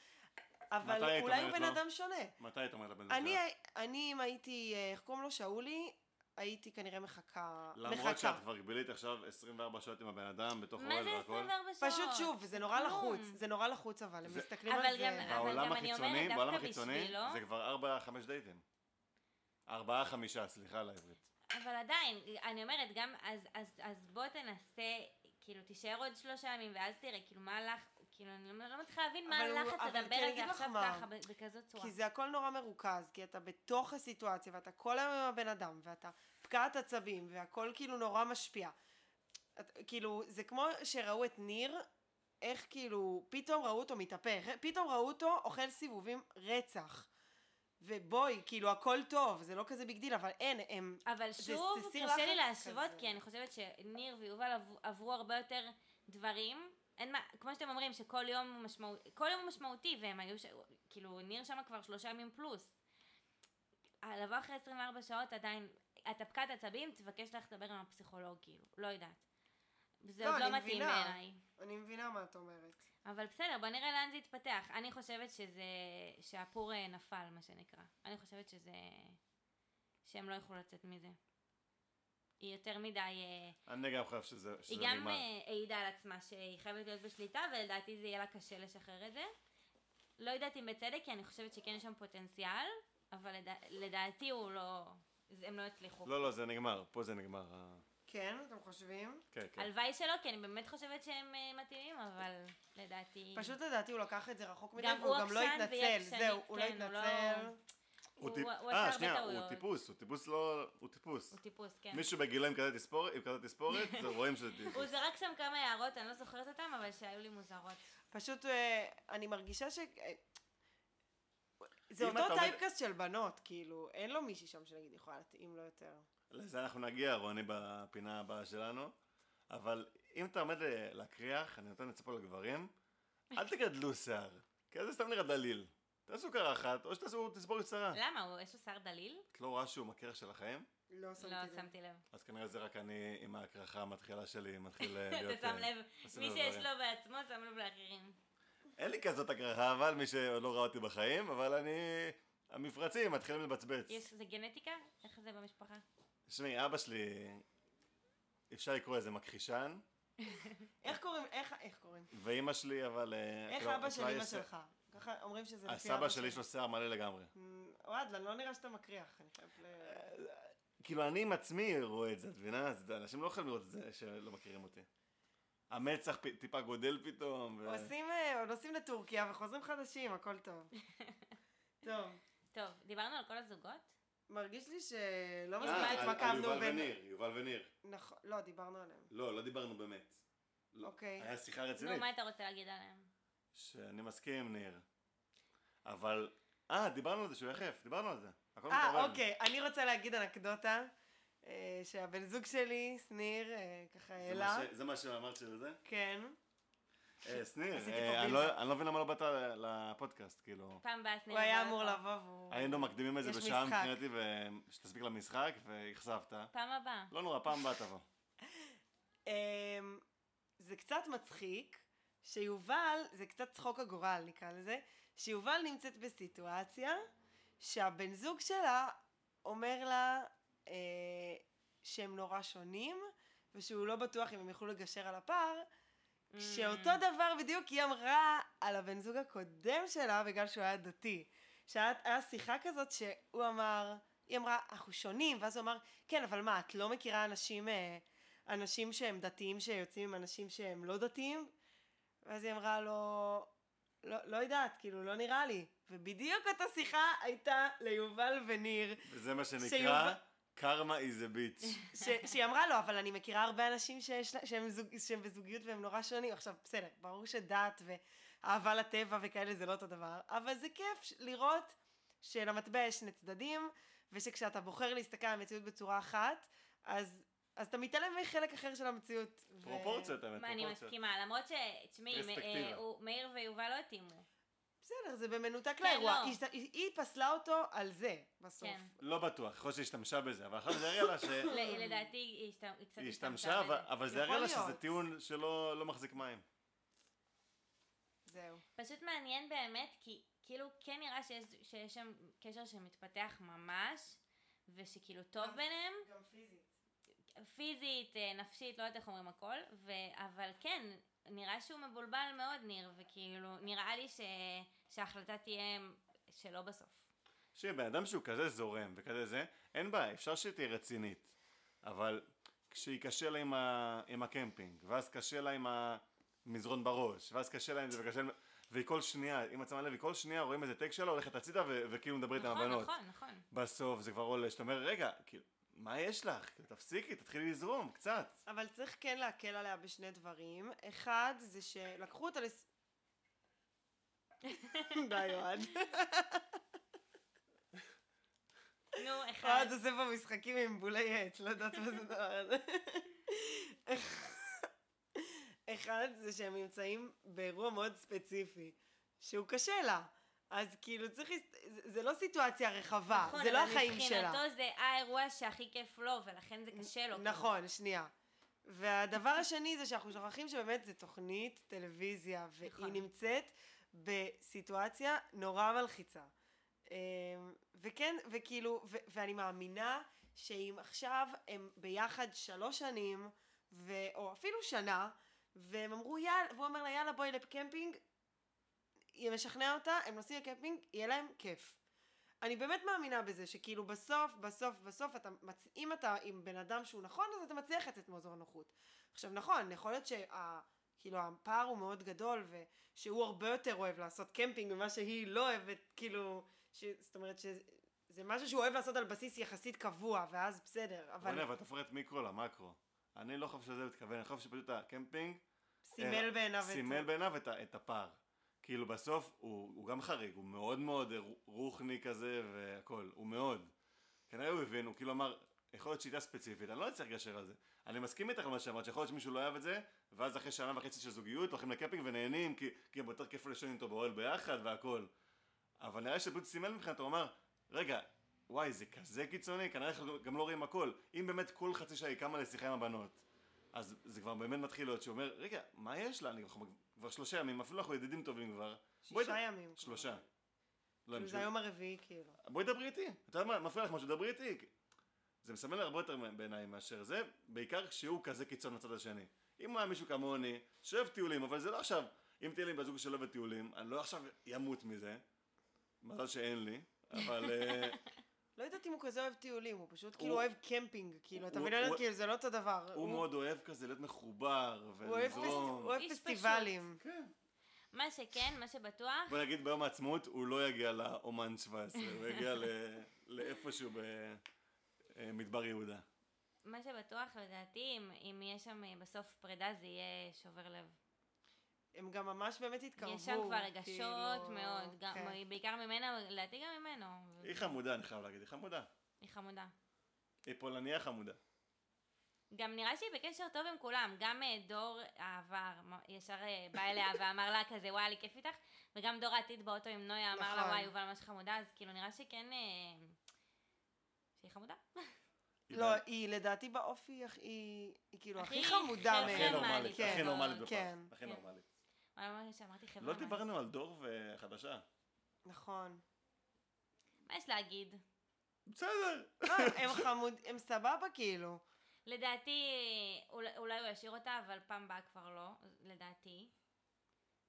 [SPEAKER 1] אבל
[SPEAKER 3] היית
[SPEAKER 1] אולי הוא
[SPEAKER 3] אומרת
[SPEAKER 1] בן
[SPEAKER 3] לו?
[SPEAKER 1] אדם שונה.
[SPEAKER 3] מתי היית אומרת לבן זוג
[SPEAKER 1] אני,
[SPEAKER 3] שלך?
[SPEAKER 1] אני, אם הייתי, אה, איך קוראים לו, שאולי, הייתי כנראה מחכה,
[SPEAKER 3] למרות שאת כבר הגבילית עכשיו 24 שעות עם הבן אדם בתוך
[SPEAKER 2] מה
[SPEAKER 3] אוהל
[SPEAKER 2] זה
[SPEAKER 3] והכל.
[SPEAKER 2] 24 שעות?
[SPEAKER 1] פשוט שוב, זה נורא
[SPEAKER 2] כלום.
[SPEAKER 1] לחוץ, זה נורא לחוץ אבל, הם
[SPEAKER 3] זה-
[SPEAKER 1] מסתכלים על
[SPEAKER 2] לא. Mm. אבל גם,
[SPEAKER 1] זה.
[SPEAKER 2] אבל
[SPEAKER 3] בעולם
[SPEAKER 2] גם אני
[SPEAKER 3] החיצוני,
[SPEAKER 2] אומרת,
[SPEAKER 3] בעולם
[SPEAKER 2] דווקא
[SPEAKER 3] החיצוני,
[SPEAKER 2] בשבילו,
[SPEAKER 3] זה כבר 4-5 דייטים. 4-5, סליחה על העברית.
[SPEAKER 2] אבל עדיין, אני אומרת, גם, אז, אז, אז בוא תנסה, כאילו, תישאר עוד שלושה ימים, ואז תראה, כאילו, מה הלך, כאילו, אני לא לא מצליחה להבין מה
[SPEAKER 1] אבל הוא-
[SPEAKER 2] הלחץ
[SPEAKER 1] אבל
[SPEAKER 2] לדבר
[SPEAKER 1] כי אני
[SPEAKER 2] על
[SPEAKER 1] אגיד לך
[SPEAKER 2] זה עכשיו
[SPEAKER 1] מה.
[SPEAKER 2] ככה, ב- בכזאת צורה.
[SPEAKER 1] כי זה הכל נורא מרוכז, כי אתה בתוך הסיטואציה, ואתה כל היום עם הבן אדם, ואתה פקעת עצבים, והכל כאילו נורא משפיע. את, כאילו, זה כמו שראו את ניר, איך כאילו, פתאום ראו אותו מתהפך, פתאום ראו אותו אוכל סיבובים רצח. ובואי, כאילו, הכל טוב, זה לא כזה ביג דיל, אבל אין, הם...
[SPEAKER 2] אבל
[SPEAKER 1] זה-
[SPEAKER 2] שוב,
[SPEAKER 1] זה סיר
[SPEAKER 2] קשה לי
[SPEAKER 1] לחץ
[SPEAKER 2] להשוות,
[SPEAKER 1] כזה.
[SPEAKER 2] כי אני חושבת שניר ויובל עברו- עברו הרבה יותר דברים. אין מה, כמו שאתם אומרים, שכל יום הוא משמעותי, כל יום הוא משמעותי, והם היו, ש... כאילו, ניר שם כבר שלושה ימים פלוס. לבוא אחרי 24 שעות עדיין, אתה פקעת עצבים, תבקש לך לדבר עם הפסיכולוג, כאילו, לא יודעת. זה
[SPEAKER 1] לא,
[SPEAKER 2] עוד לא
[SPEAKER 1] אני
[SPEAKER 2] מתאים
[SPEAKER 1] מבינה.
[SPEAKER 2] בעיניי.
[SPEAKER 1] אני מבינה מה את אומרת.
[SPEAKER 2] אבל בסדר, בוא נראה לאן זה יתפתח. אני חושבת שזה... שהפור אה, נפל, מה שנקרא. אני חושבת שזה... שהם לא יוכלו לצאת מזה. היא יותר מדי... אה,
[SPEAKER 3] אני גם חושב שזה שזה לא
[SPEAKER 2] היא גם
[SPEAKER 3] נגמר.
[SPEAKER 2] אה, העידה על עצמה שהיא חייבת להיות בשליטה, ולדעתי זה יהיה לה קשה לשחרר את זה. לא יודעת אם בצדק, כי אני חושבת שכן יש שם פוטנציאל, אבל לדע... לדעתי הוא לא... זה- הם לא יצליחו.
[SPEAKER 3] לא, לא, זה נגמר. פה זה נגמר. ה-
[SPEAKER 1] כן, אתם חושבים?
[SPEAKER 3] כן, כן.
[SPEAKER 2] הלוואי שלא, כי אני באמת חושבת שהם אה, מתאימים, אבל לדעתי...
[SPEAKER 1] פשוט לדעתי הוא לקח את זה רחוק מדי,
[SPEAKER 2] כן. גם
[SPEAKER 1] והוא
[SPEAKER 2] הוא
[SPEAKER 1] גם לא
[SPEAKER 2] עקשן והיא
[SPEAKER 1] התנצל.
[SPEAKER 2] עקשנית,
[SPEAKER 1] זהו, הוא לא
[SPEAKER 2] כן, הוא לא-
[SPEAKER 1] התנצל.
[SPEAKER 2] הוא, הוא,
[SPEAKER 3] טיפ-
[SPEAKER 2] הוא, הוא
[SPEAKER 3] אה,
[SPEAKER 2] עשה הרבה
[SPEAKER 3] שנייה,
[SPEAKER 2] טעויות.
[SPEAKER 3] הוא טיפוס, הוא טיפוס לא... הוא טיפוס.
[SPEAKER 2] הוא טיפוס, כן.
[SPEAKER 3] מישהו בגילו עם כזה תספורת, עם כזה תספורת, זה- רואים שזה
[SPEAKER 2] הוא
[SPEAKER 3] טיפוס.
[SPEAKER 2] זרק שם כמה הערות, אני לא זוכרת אותן, אבל שהיו לי מוזרות.
[SPEAKER 1] פשוט אה, אני מרגישה ש... אה, זה
[SPEAKER 3] אם אתה
[SPEAKER 1] אותו
[SPEAKER 3] עומד-
[SPEAKER 1] טייפקאסט של בנות, כאילו, אין לו מישהי שם שנגיד יכולה להתאים לו יותר.
[SPEAKER 3] לזה אנחנו נגיע, רוני, בפינה הבאה שלנו. אבל אם אתה עומד ל- להקריח, אני נותן את זה פה לגברים, אל תגדלו שיער, כי זה סתם נראה דליל. תעשו קרחת, או שתעשו תספורת קצרה.
[SPEAKER 2] למה? הוא- יש לו שיער דליל?
[SPEAKER 3] את לא רואה שהוא מקרח של החיים?
[SPEAKER 1] לא שמתי
[SPEAKER 2] לא,
[SPEAKER 1] לב.
[SPEAKER 2] שמתי לב.
[SPEAKER 3] אז כנראה זה רק אני עם ההקרחה המתחילה שלי, מתחיל אה, להיות...
[SPEAKER 2] אתה שם
[SPEAKER 3] אה,
[SPEAKER 2] לב,
[SPEAKER 3] עושים
[SPEAKER 2] מי
[SPEAKER 3] לב
[SPEAKER 2] שיש
[SPEAKER 3] דברים.
[SPEAKER 2] לו בעצמו שם לב לאחרים.
[SPEAKER 3] אין לי כזאת הקרחה, אבל מי שעוד לא ראה אותי בחיים, אבל אני... המפרצים מתחילים לבצבץ.
[SPEAKER 2] יש, זה גנטיקה? איך זה במשפחה?
[SPEAKER 3] תשמעי, אבא שלי, אפשר לקרוא לזה מכחישן,
[SPEAKER 1] איך קוראים, איך, איך קוראים?
[SPEAKER 3] ואימא שלי, אבל... אה,
[SPEAKER 1] איך
[SPEAKER 3] לא,
[SPEAKER 1] אבא של
[SPEAKER 3] אצלה
[SPEAKER 1] אמא
[SPEAKER 3] יש-
[SPEAKER 1] שלך? ככה אומרים שזה לפי אבא
[SPEAKER 3] הסבא לא שלי יש לו שיער מלא לגמרי.
[SPEAKER 1] אמ, אוהד, לא נראה שאתה מקריח. אני חייבת ל...
[SPEAKER 3] כאילו, אני עם עצמי רואה את זה, את מבינה? אז אנשים לא יכולים לראות את זה שלא מכירים אותי. המצח פ- טיפה גודל פתאום, ו...
[SPEAKER 1] עושים, אה, נוסעים לטורקיה וחוזרים חדשים, הכל טוב. טוב,
[SPEAKER 2] טוב, דיברנו על כל הזוגות?
[SPEAKER 1] מרגיש לי שלא
[SPEAKER 3] אה,
[SPEAKER 1] מספיק
[SPEAKER 3] על- על
[SPEAKER 1] התמקמנו
[SPEAKER 3] יובל
[SPEAKER 1] בין...
[SPEAKER 3] וניר, יובל וניר.
[SPEAKER 1] נכון, לא, דיברנו עליהם.
[SPEAKER 3] לא, לא דיברנו באמת. לא.
[SPEAKER 1] אוקיי.
[SPEAKER 3] היה שיחה
[SPEAKER 2] נו,
[SPEAKER 3] רצינית.
[SPEAKER 2] לא, מה אתה רוצה להגיד עליהם?
[SPEAKER 3] שאני מסכים עם ניר. אבל... אה, דיברנו על זה שהוא יחף, דיברנו על זה. הכל
[SPEAKER 1] אה,
[SPEAKER 3] מתערבב.
[SPEAKER 1] אוקיי, אני רוצה להגיד אנקדוטה, אה, שהבן זוג שלי, שניר, אה, ככה
[SPEAKER 3] זה מה
[SPEAKER 1] העלה,
[SPEAKER 3] ש- זה מה שאמרת שזה זה?
[SPEAKER 1] כן,
[SPEAKER 3] אה, שניר,
[SPEAKER 1] עשיתי
[SPEAKER 3] אה,
[SPEAKER 1] פה
[SPEAKER 3] אני
[SPEAKER 1] בילדה.
[SPEAKER 3] לא- אני לא מבין למה לא באת לפודקאסט, כאילו.
[SPEAKER 2] פעם הבאה
[SPEAKER 1] הוא היה אמור לבוא והוא...
[SPEAKER 3] היינו מקדימים את זה
[SPEAKER 1] נכון. יש
[SPEAKER 3] בשעה
[SPEAKER 1] משחק.
[SPEAKER 3] מבחינתי, ו- שתספיק למשחק, ואכזבת.
[SPEAKER 2] פעם הבאה.
[SPEAKER 3] לא נורא, פעם הבאה תבוא.
[SPEAKER 1] אמ, זה קצת מצחיק, שיובל, זה קצת צחוק הגורל נקרא לזה, שיובל נמצאת בסיטואציה שהבן זוג שלה אומר לה אה, שהם נורא שונים, ושהוא לא בטוח אם הם יוכלו לגשר על הפער, שאותו
[SPEAKER 2] Mm.
[SPEAKER 1] דבר בדיוק היא אמרה על הבן זוג הקודם שלה בגלל שהוא היה דתי. שהיה שיחה כזאת שהוא אמר, היא אמרה, אנחנו שונים, ואז הוא אמר, כן, אבל מה, את לא מכירה אנשים, אה, אנשים שהם דתיים שיוצאים עם אנשים שהם לא דתיים? ואז היא אמרה לו, לא, לא יודעת, כאילו, לא נראה לי. ובדיוק אותה שיחה הייתה ליובל וניר.
[SPEAKER 3] וזה מה שנקרא
[SPEAKER 1] שיובל-
[SPEAKER 3] קרמה is a bitch.
[SPEAKER 1] ש- שהיא אמרה לו, אבל אני מכירה הרבה אנשים שיש, לה- שהם, זוג, שהם בזוגיות והם נורא שונים. עכשיו, בסדר, ברור שדת ואהבה לטבע וכאלה זה לא אותו דבר, אבל זה כיף ש- לראות שלמטבע יש שני צדדים, ושכשאתה בוחר להסתכל על המציאות בצורה אחת, אז, אז אתה מתעלם מחלק אחר של המציאות. ו-
[SPEAKER 3] פרופורציות, האמת,
[SPEAKER 2] מה, אני
[SPEAKER 3] פרופורציות.
[SPEAKER 2] מסכימה, למרות ש... תשמעי, מ-
[SPEAKER 3] פרספקטיבה.
[SPEAKER 2] אה, הוא- מאיר ויובל לא התאימו.
[SPEAKER 1] בסדר, זה במנותק
[SPEAKER 2] כן,
[SPEAKER 1] לאירוע.
[SPEAKER 2] לא.
[SPEAKER 1] היא, הסת- היא, היא פסלה אותו על זה, בסוף.
[SPEAKER 2] כן.
[SPEAKER 3] לא בטוח, יכול להיות שהיא השתמשה בזה, אבל אחר זה הרי לה שהיא
[SPEAKER 2] ל- לדעתי היא השת- היא קצת
[SPEAKER 3] השתמשה, אבל-
[SPEAKER 2] בזה.
[SPEAKER 3] אבל זה הרי
[SPEAKER 1] יכול
[SPEAKER 3] לה שזה
[SPEAKER 1] להיות.
[SPEAKER 3] טיעון שלא לא מחזיק מים.
[SPEAKER 1] זהו.
[SPEAKER 2] פשוט מעניין באמת, כי כאילו כן נראה שיש, שיש שם קשר שמתפתח ממש, ושכאילו טוב
[SPEAKER 1] גם-
[SPEAKER 2] ביניהם,
[SPEAKER 1] גם פיזית.
[SPEAKER 2] פיזית, אה, נפשית, לא יודעת איך אומרים הכל, ו... אבל כן, נראה שהוא מבולבל מאוד ניר, וכאילו, נראה לי ש... שההחלטה תהיה שלא בסוף.
[SPEAKER 3] שבן אדם שהוא כזה זורם וכזה זה, אין בעיה, אפשר שהיא תהיה רצינית. אבל כשהיא קשה לה עם, ה... עם הקמפינג, ואז קשה לה עם המזרון בראש, ואז קשה לה עם זה וקשה לה... והיא כל שנייה, אם את שמה לב, היא כל שנייה רואים איזה טק שלה, הולכת הצידה ו... וכאילו מדברת עם
[SPEAKER 2] נכון,
[SPEAKER 3] הבנות.
[SPEAKER 2] נכון, נכון.
[SPEAKER 3] בסוף זה כבר עולה, שאתה אומר, רגע, כאילו, מה יש לך? כאילו, תפסיקי, תתחילי לזרום, קצת.
[SPEAKER 1] אבל צריך כן להקל עליה בשני דברים. אחד, זה שלקחו אותה לס... די, אוהד.
[SPEAKER 2] נו, אחד.
[SPEAKER 1] אוהד עושה פה משחקים עם בולי עץ, לא יודעת מה זה הדבר הזה. אחד, זה שהם נמצאים באירוע מאוד ספציפי, שהוא קשה לה. אז כאילו צריך, להס- זה- זה לא סיטואציה רחבה,
[SPEAKER 2] נכון,
[SPEAKER 1] זה לא
[SPEAKER 2] אבל
[SPEAKER 1] החיים שלה.
[SPEAKER 2] מבחינתו זה האירוע שהכי כיף לו, ולכן זה קשה לו. כאילו.
[SPEAKER 1] נכון, שנייה. והדבר השני זה שאנחנו שוכחים שבאמת זה תוכנית טלוויזיה, והיא
[SPEAKER 2] נכון.
[SPEAKER 1] נמצאת בסיטואציה נורא מלחיצה. אמ, וכן, וכאילו, ו- ואני מאמינה שאם עכשיו הם ביחד שלוש שנים, ו- או אפילו שנה, והם אמרו יאללה, והוא אומר לה יאללה בואי לקמפינג, היא משכנע אותה, הם נוסעים לקמפינג, יהיה להם כיף. אני באמת מאמינה בזה, שכאילו בסוף, בסוף, בסוף, אתה מצ... אם אתה עם בן אדם שהוא נכון, אז אתה מצליח לצאת מאזור הנוחות. עכשיו נכון, יכול להיות שה... כאילו הפער הוא מאוד גדול, ושהוא הרבה יותר אוהב לעשות קמפינג ממה שהיא לא אוהבת, כאילו, ש... זאת אומרת שזה משהו שהוא אוהב לעשות על בסיס יחסית קבוע, ואז בסדר,
[SPEAKER 3] אבל...
[SPEAKER 1] אבל
[SPEAKER 3] אבל את הופכת מיקרו למקרו. אני לא חושב שזה מתכוון, אני חושב שפשוט הקמפינג
[SPEAKER 1] סימל בעיניו את...
[SPEAKER 3] אה, סימל בעיניו את, ה- את הפער. כאילו בסוף הוא, הוא גם חריג, הוא מאוד מאוד רוחני כזה והכל, הוא מאוד. כנראה הוא הבין, הוא כאילו אמר, יכול להיות שיטה ספציפית, אני לא אצליח לגשר על זה. אני מסכים איתך על מה שאמרת, שיכול להיות שמישהו לא אהב את זה, ואז אחרי שנה וחצי של זוגיות הולכים לקפינג ונהנים, כי, כי הם יותר כיף לישון איתו באוהל ביחד והכל. אבל נראה שפשוט סימל מבחינתו, הוא אמר, רגע, וואי, זה כזה קיצוני, כנראה אנחנו גם לא רואים הכל. אם באמת כל חצי שעה היא קמה לשיחה עם הבנות, אז זה כבר באמת מתחיל להיות, שהוא אומר, רגע, מה יש לה? אני כבר, כבר שלושה ימים, אפילו אנחנו ידידים טובים כבר. בואי ת-
[SPEAKER 1] שישה ימים. כבר.
[SPEAKER 3] שלושה. לא,
[SPEAKER 1] כאילו
[SPEAKER 3] הם
[SPEAKER 1] זה
[SPEAKER 3] שלושה.
[SPEAKER 1] היום הרביעי, כאילו.
[SPEAKER 3] בואי דברי איתי. אתה יודע מה, מפריע לך משהו, דברי איתי. זה מסמל הרבה יותר בעיניי מאשר זה, בעיקר כשהוא כזה קיצון לצד השני. אם הוא היה מישהו כמוני, שאוהב טיולים, אבל זה לא עכשיו, אם תהיה לי בת זוג שלא אוהב טיולים, אני לא עכשיו ימות מזה. מזל שאין לי, אבל... אה,
[SPEAKER 1] לא יודעת אם הוא כזה אוהב טיולים, הוא פשוט כאילו
[SPEAKER 3] הוא-
[SPEAKER 1] אוהב קמפינג, כאילו, אתה
[SPEAKER 3] הוא-
[SPEAKER 1] מבין?
[SPEAKER 3] הוא-
[SPEAKER 1] כאילו, זה לא אותו דבר.
[SPEAKER 3] הוא מאוד אוהב כזה להיות מחובר
[SPEAKER 1] הוא אוהב פס- הוא
[SPEAKER 3] ולזרום.
[SPEAKER 1] אוהב
[SPEAKER 2] איש פשוט.
[SPEAKER 1] פסטיבלים.
[SPEAKER 3] כן.
[SPEAKER 2] מה שכן, מה שבטוח,
[SPEAKER 3] בוא נגיד ביום העצמאות הוא לא יגיע לאומן 17, הוא יגיע ל- לאיפשהו במדבר יהודה.
[SPEAKER 2] מה שבטוח לדעתי, אם, אם יהיה שם אה, בסוף פרידה זה יהיה שובר לב.
[SPEAKER 1] הם גם ממש באמת התקרבו.
[SPEAKER 2] יש שם כבר רגשות
[SPEAKER 1] כאילו,
[SPEAKER 2] מאוד, גם,
[SPEAKER 1] כן.
[SPEAKER 2] בעיקר ממנה, לדעתי גם ממנו.
[SPEAKER 1] אוקיי.
[SPEAKER 3] היא חמודה, אני חייב להגיד, היא חמודה.
[SPEAKER 2] היא חמודה.
[SPEAKER 3] היא פולניה חמודה.
[SPEAKER 1] לא,
[SPEAKER 2] גם נראה שהיא בקשר טוב עם כולם, גם אה, דור העבר מ- ישר אה, בא אליה ואמר לה כזה וואי לי כיף איתך, וגם דור העתיד באוטו עם נויה אמר לה
[SPEAKER 1] נכון.
[SPEAKER 2] וואי יובל ממש חמודה, אז כאילו נראה שכן, אה, שהיא חמודה.
[SPEAKER 3] היא
[SPEAKER 1] לא,
[SPEAKER 3] בן-
[SPEAKER 1] היא לדעתי באופי, הכ- היא היא כאילו הכי
[SPEAKER 2] הכי-
[SPEAKER 1] חמודה
[SPEAKER 2] הכי
[SPEAKER 1] מהם.
[SPEAKER 3] הכי
[SPEAKER 2] נורמלית,
[SPEAKER 3] נורמלית, הכי
[SPEAKER 1] כן.
[SPEAKER 3] נורמלית
[SPEAKER 1] כן,
[SPEAKER 3] בפעם. הכי
[SPEAKER 2] כן.
[SPEAKER 3] נורמלית.
[SPEAKER 2] וואי, ממש אמרתי חברה.
[SPEAKER 3] לא
[SPEAKER 2] מה-
[SPEAKER 3] דיברנו על דור וחדשה.
[SPEAKER 1] נכון.
[SPEAKER 2] מה יש להגיד?
[SPEAKER 3] בסדר.
[SPEAKER 1] לא, הם חמוד, הם סבבה כאילו.
[SPEAKER 2] לדעתי, אולי, אולי הוא ישאיר אותה, אבל פעם באה כבר לא, לדעתי.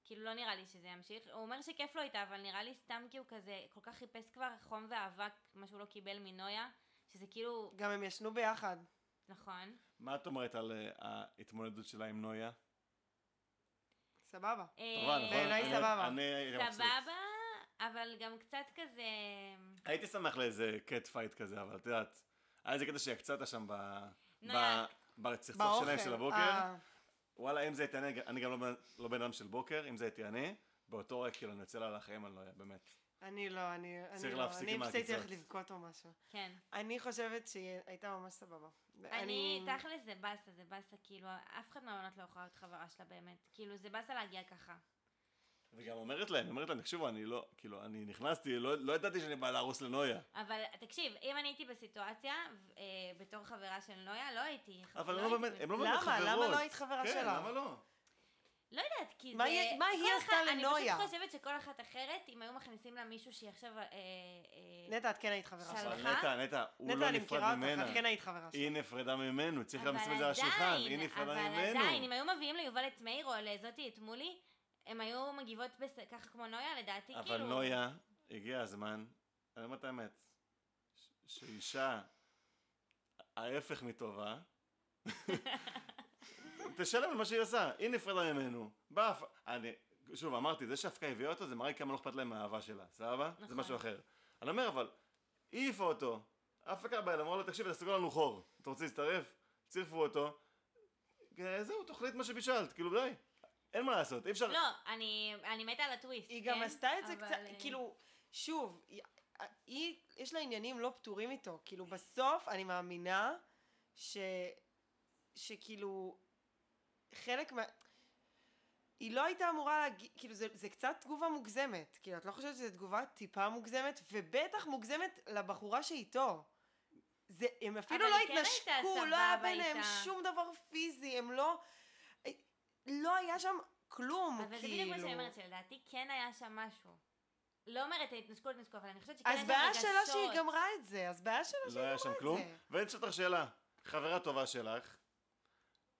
[SPEAKER 2] כאילו, לא נראה לי שזה ימשיך. הוא אומר שכיף לו איתה, אבל נראה לי סתם כי הוא כזה, כל כך חיפש כבר חום ואהבה, מה שהוא לא קיבל מנויה, שזה כאילו,
[SPEAKER 1] גם הם ישנו ביחד.
[SPEAKER 2] נכון.
[SPEAKER 3] מה את אומרת על אה, ההתמודדות שלה עם נויה?
[SPEAKER 1] סבבה.
[SPEAKER 2] אה,
[SPEAKER 3] טובה, נכון?
[SPEAKER 1] בעיניי
[SPEAKER 3] אני-
[SPEAKER 1] סבבה.
[SPEAKER 3] אני הייתי מבסוט.
[SPEAKER 2] סבבה, אבל גם קצת כזה...
[SPEAKER 3] הייתי שמח לאיזה קט פייט כזה, אבל את יודעת, היה איזה קטע שהקצת שם ב- ב-
[SPEAKER 2] נויה.
[SPEAKER 3] בסכסוך
[SPEAKER 1] באוכל.
[SPEAKER 3] שלהם של הבוקר.
[SPEAKER 1] אה,
[SPEAKER 3] וואלה, אם זה הייתי אני, אני גם לא, בן- לא בן אדם של בוקר, אם זה הייתי אני, באותו רגע כאילו אני יוצא לה על החיים, אני לא יודע, באמת.
[SPEAKER 1] אני לא, אני
[SPEAKER 3] צריך
[SPEAKER 1] אני לא.
[SPEAKER 3] להפסיק
[SPEAKER 1] אני
[SPEAKER 3] עם
[SPEAKER 1] פשוט הייתי
[SPEAKER 3] העקיצות.
[SPEAKER 1] הולכת לבכות או משהו.
[SPEAKER 2] כן.
[SPEAKER 1] אני חושבת שהיא הייתה ממש סבבה.
[SPEAKER 2] אני, תכל'ס זה באסה, זה באסה, כאילו, אף אחד מהבנות לא יכולה להיות חברה שלה באמת. כאילו, זה באסה להגיע ככה.
[SPEAKER 3] וגם אומרת להם, אומרת להם, תקשיבו, אני לא, כאילו, אני נכנסתי, לא, לא ידעתי שאני בא להרוס לנויה.
[SPEAKER 2] אבל תקשיב, אם אני הייתי בסיטואציה, ו- אה, בתור חברה של נויה, לא הייתי...
[SPEAKER 3] אבל
[SPEAKER 2] לא
[SPEAKER 3] הם לא
[SPEAKER 2] הייתי-
[SPEAKER 3] באמת, הם לא
[SPEAKER 1] למה?
[SPEAKER 3] באמת חברות.
[SPEAKER 1] למה לא היית חברה
[SPEAKER 3] כן,
[SPEAKER 1] שלה?
[SPEAKER 3] למה לא?
[SPEAKER 2] לא יודעת, כי
[SPEAKER 1] מה
[SPEAKER 2] זה...
[SPEAKER 1] היא- מה
[SPEAKER 2] כל
[SPEAKER 1] היא עשתה
[SPEAKER 2] אחת-
[SPEAKER 1] לנויה?
[SPEAKER 2] אני פשוט חושבת שכל אחת אחרת, אם היו מכניסים לה מישהו שהיא עכשיו... אה, אה,
[SPEAKER 1] נטע, את כן היית חברה
[SPEAKER 2] שלום.
[SPEAKER 1] שלה.
[SPEAKER 3] אבל
[SPEAKER 2] שלך?
[SPEAKER 3] נטע, נטע, הוא
[SPEAKER 1] נטע,
[SPEAKER 3] לא
[SPEAKER 1] אני
[SPEAKER 3] נפרד
[SPEAKER 1] מכירה אותך,
[SPEAKER 3] ממנה.
[SPEAKER 1] את כן היית חברה שלה.
[SPEAKER 3] היא נפרדה ממנו, צריך
[SPEAKER 2] אבל
[SPEAKER 3] גם לשים את זה על השולחן, היא
[SPEAKER 2] עדיין,
[SPEAKER 3] נפרדה
[SPEAKER 2] אבל
[SPEAKER 3] ממנו.
[SPEAKER 2] עדיין, אם היו מביאים ליובל את מאיר או לזאתי את מולי, הם היו מגיבות בס- ככה כמו נויה, לדעתי, כאילו...
[SPEAKER 3] אבל נויה, הגיע הזמן, אני אומר את האמת, ש- שאישה, ההפך מטובה, תשלם על מה שהיא עושה, היא נפרדה ממנו, באה, הפ- אני, שוב אמרתי, זה שהפקה הביאה אותו, זה מראה כמה לא אכפת להם מהאהבה שלה, סבבה? זה
[SPEAKER 2] נכון.
[SPEAKER 3] משהו אחר. אני אומר, אבל, היא העיפה אותו, ההפקה באה, אליו, אמרה לו, תקשיב, תעשו לנו חור, אתה רוצה להצטרף? צירפו אותו, אה, זהו, תחליט מה שבישלת, כאילו די, אין מה לעשות, אי אפשר...
[SPEAKER 2] לא, אני, אני מתה על הטוויסט,
[SPEAKER 1] היא
[SPEAKER 2] כן?
[SPEAKER 1] גם עשתה את זה
[SPEAKER 2] אבל,
[SPEAKER 1] קצת,
[SPEAKER 2] אה,
[SPEAKER 1] כאילו, שוב, היא- היא, יש לה עניינים לא פתורים איתו. כאילו, בסוף אני מאמינה ש... שכאילו, חלק מה... היא לא הייתה אמורה להגיד, כאילו זה, זה קצת תגובה מוגזמת, כאילו את לא חושבת שזו תגובה טיפה מוגזמת, ובטח מוגזמת לבחורה שאיתו. זה, הם אפילו
[SPEAKER 2] אבל
[SPEAKER 1] לא
[SPEAKER 2] היא כן
[SPEAKER 1] התנשקו,
[SPEAKER 2] הייתה
[SPEAKER 1] לא היה
[SPEAKER 2] סבבה
[SPEAKER 1] ביניהם
[SPEAKER 2] איתה.
[SPEAKER 1] שום דבר פיזי, הם לא, לא היה שם כלום,
[SPEAKER 2] אבל זה
[SPEAKER 1] כאילו.
[SPEAKER 2] בדיוק מה שאני אומרת, שלדעתי כן היה שם משהו. לא אומרת התנשקות, התנשקות, אבל אני חושבת שכן היה
[SPEAKER 1] אז
[SPEAKER 2] שם
[SPEAKER 1] בעיה
[SPEAKER 2] כן, רגשות.
[SPEAKER 1] שלה שהיא גמרה את זה, אז בעיה שלה
[SPEAKER 3] לא היה שם כלום.
[SPEAKER 1] זה.
[SPEAKER 3] ואני אשאל אותך שאלה, חברה טובה שלך,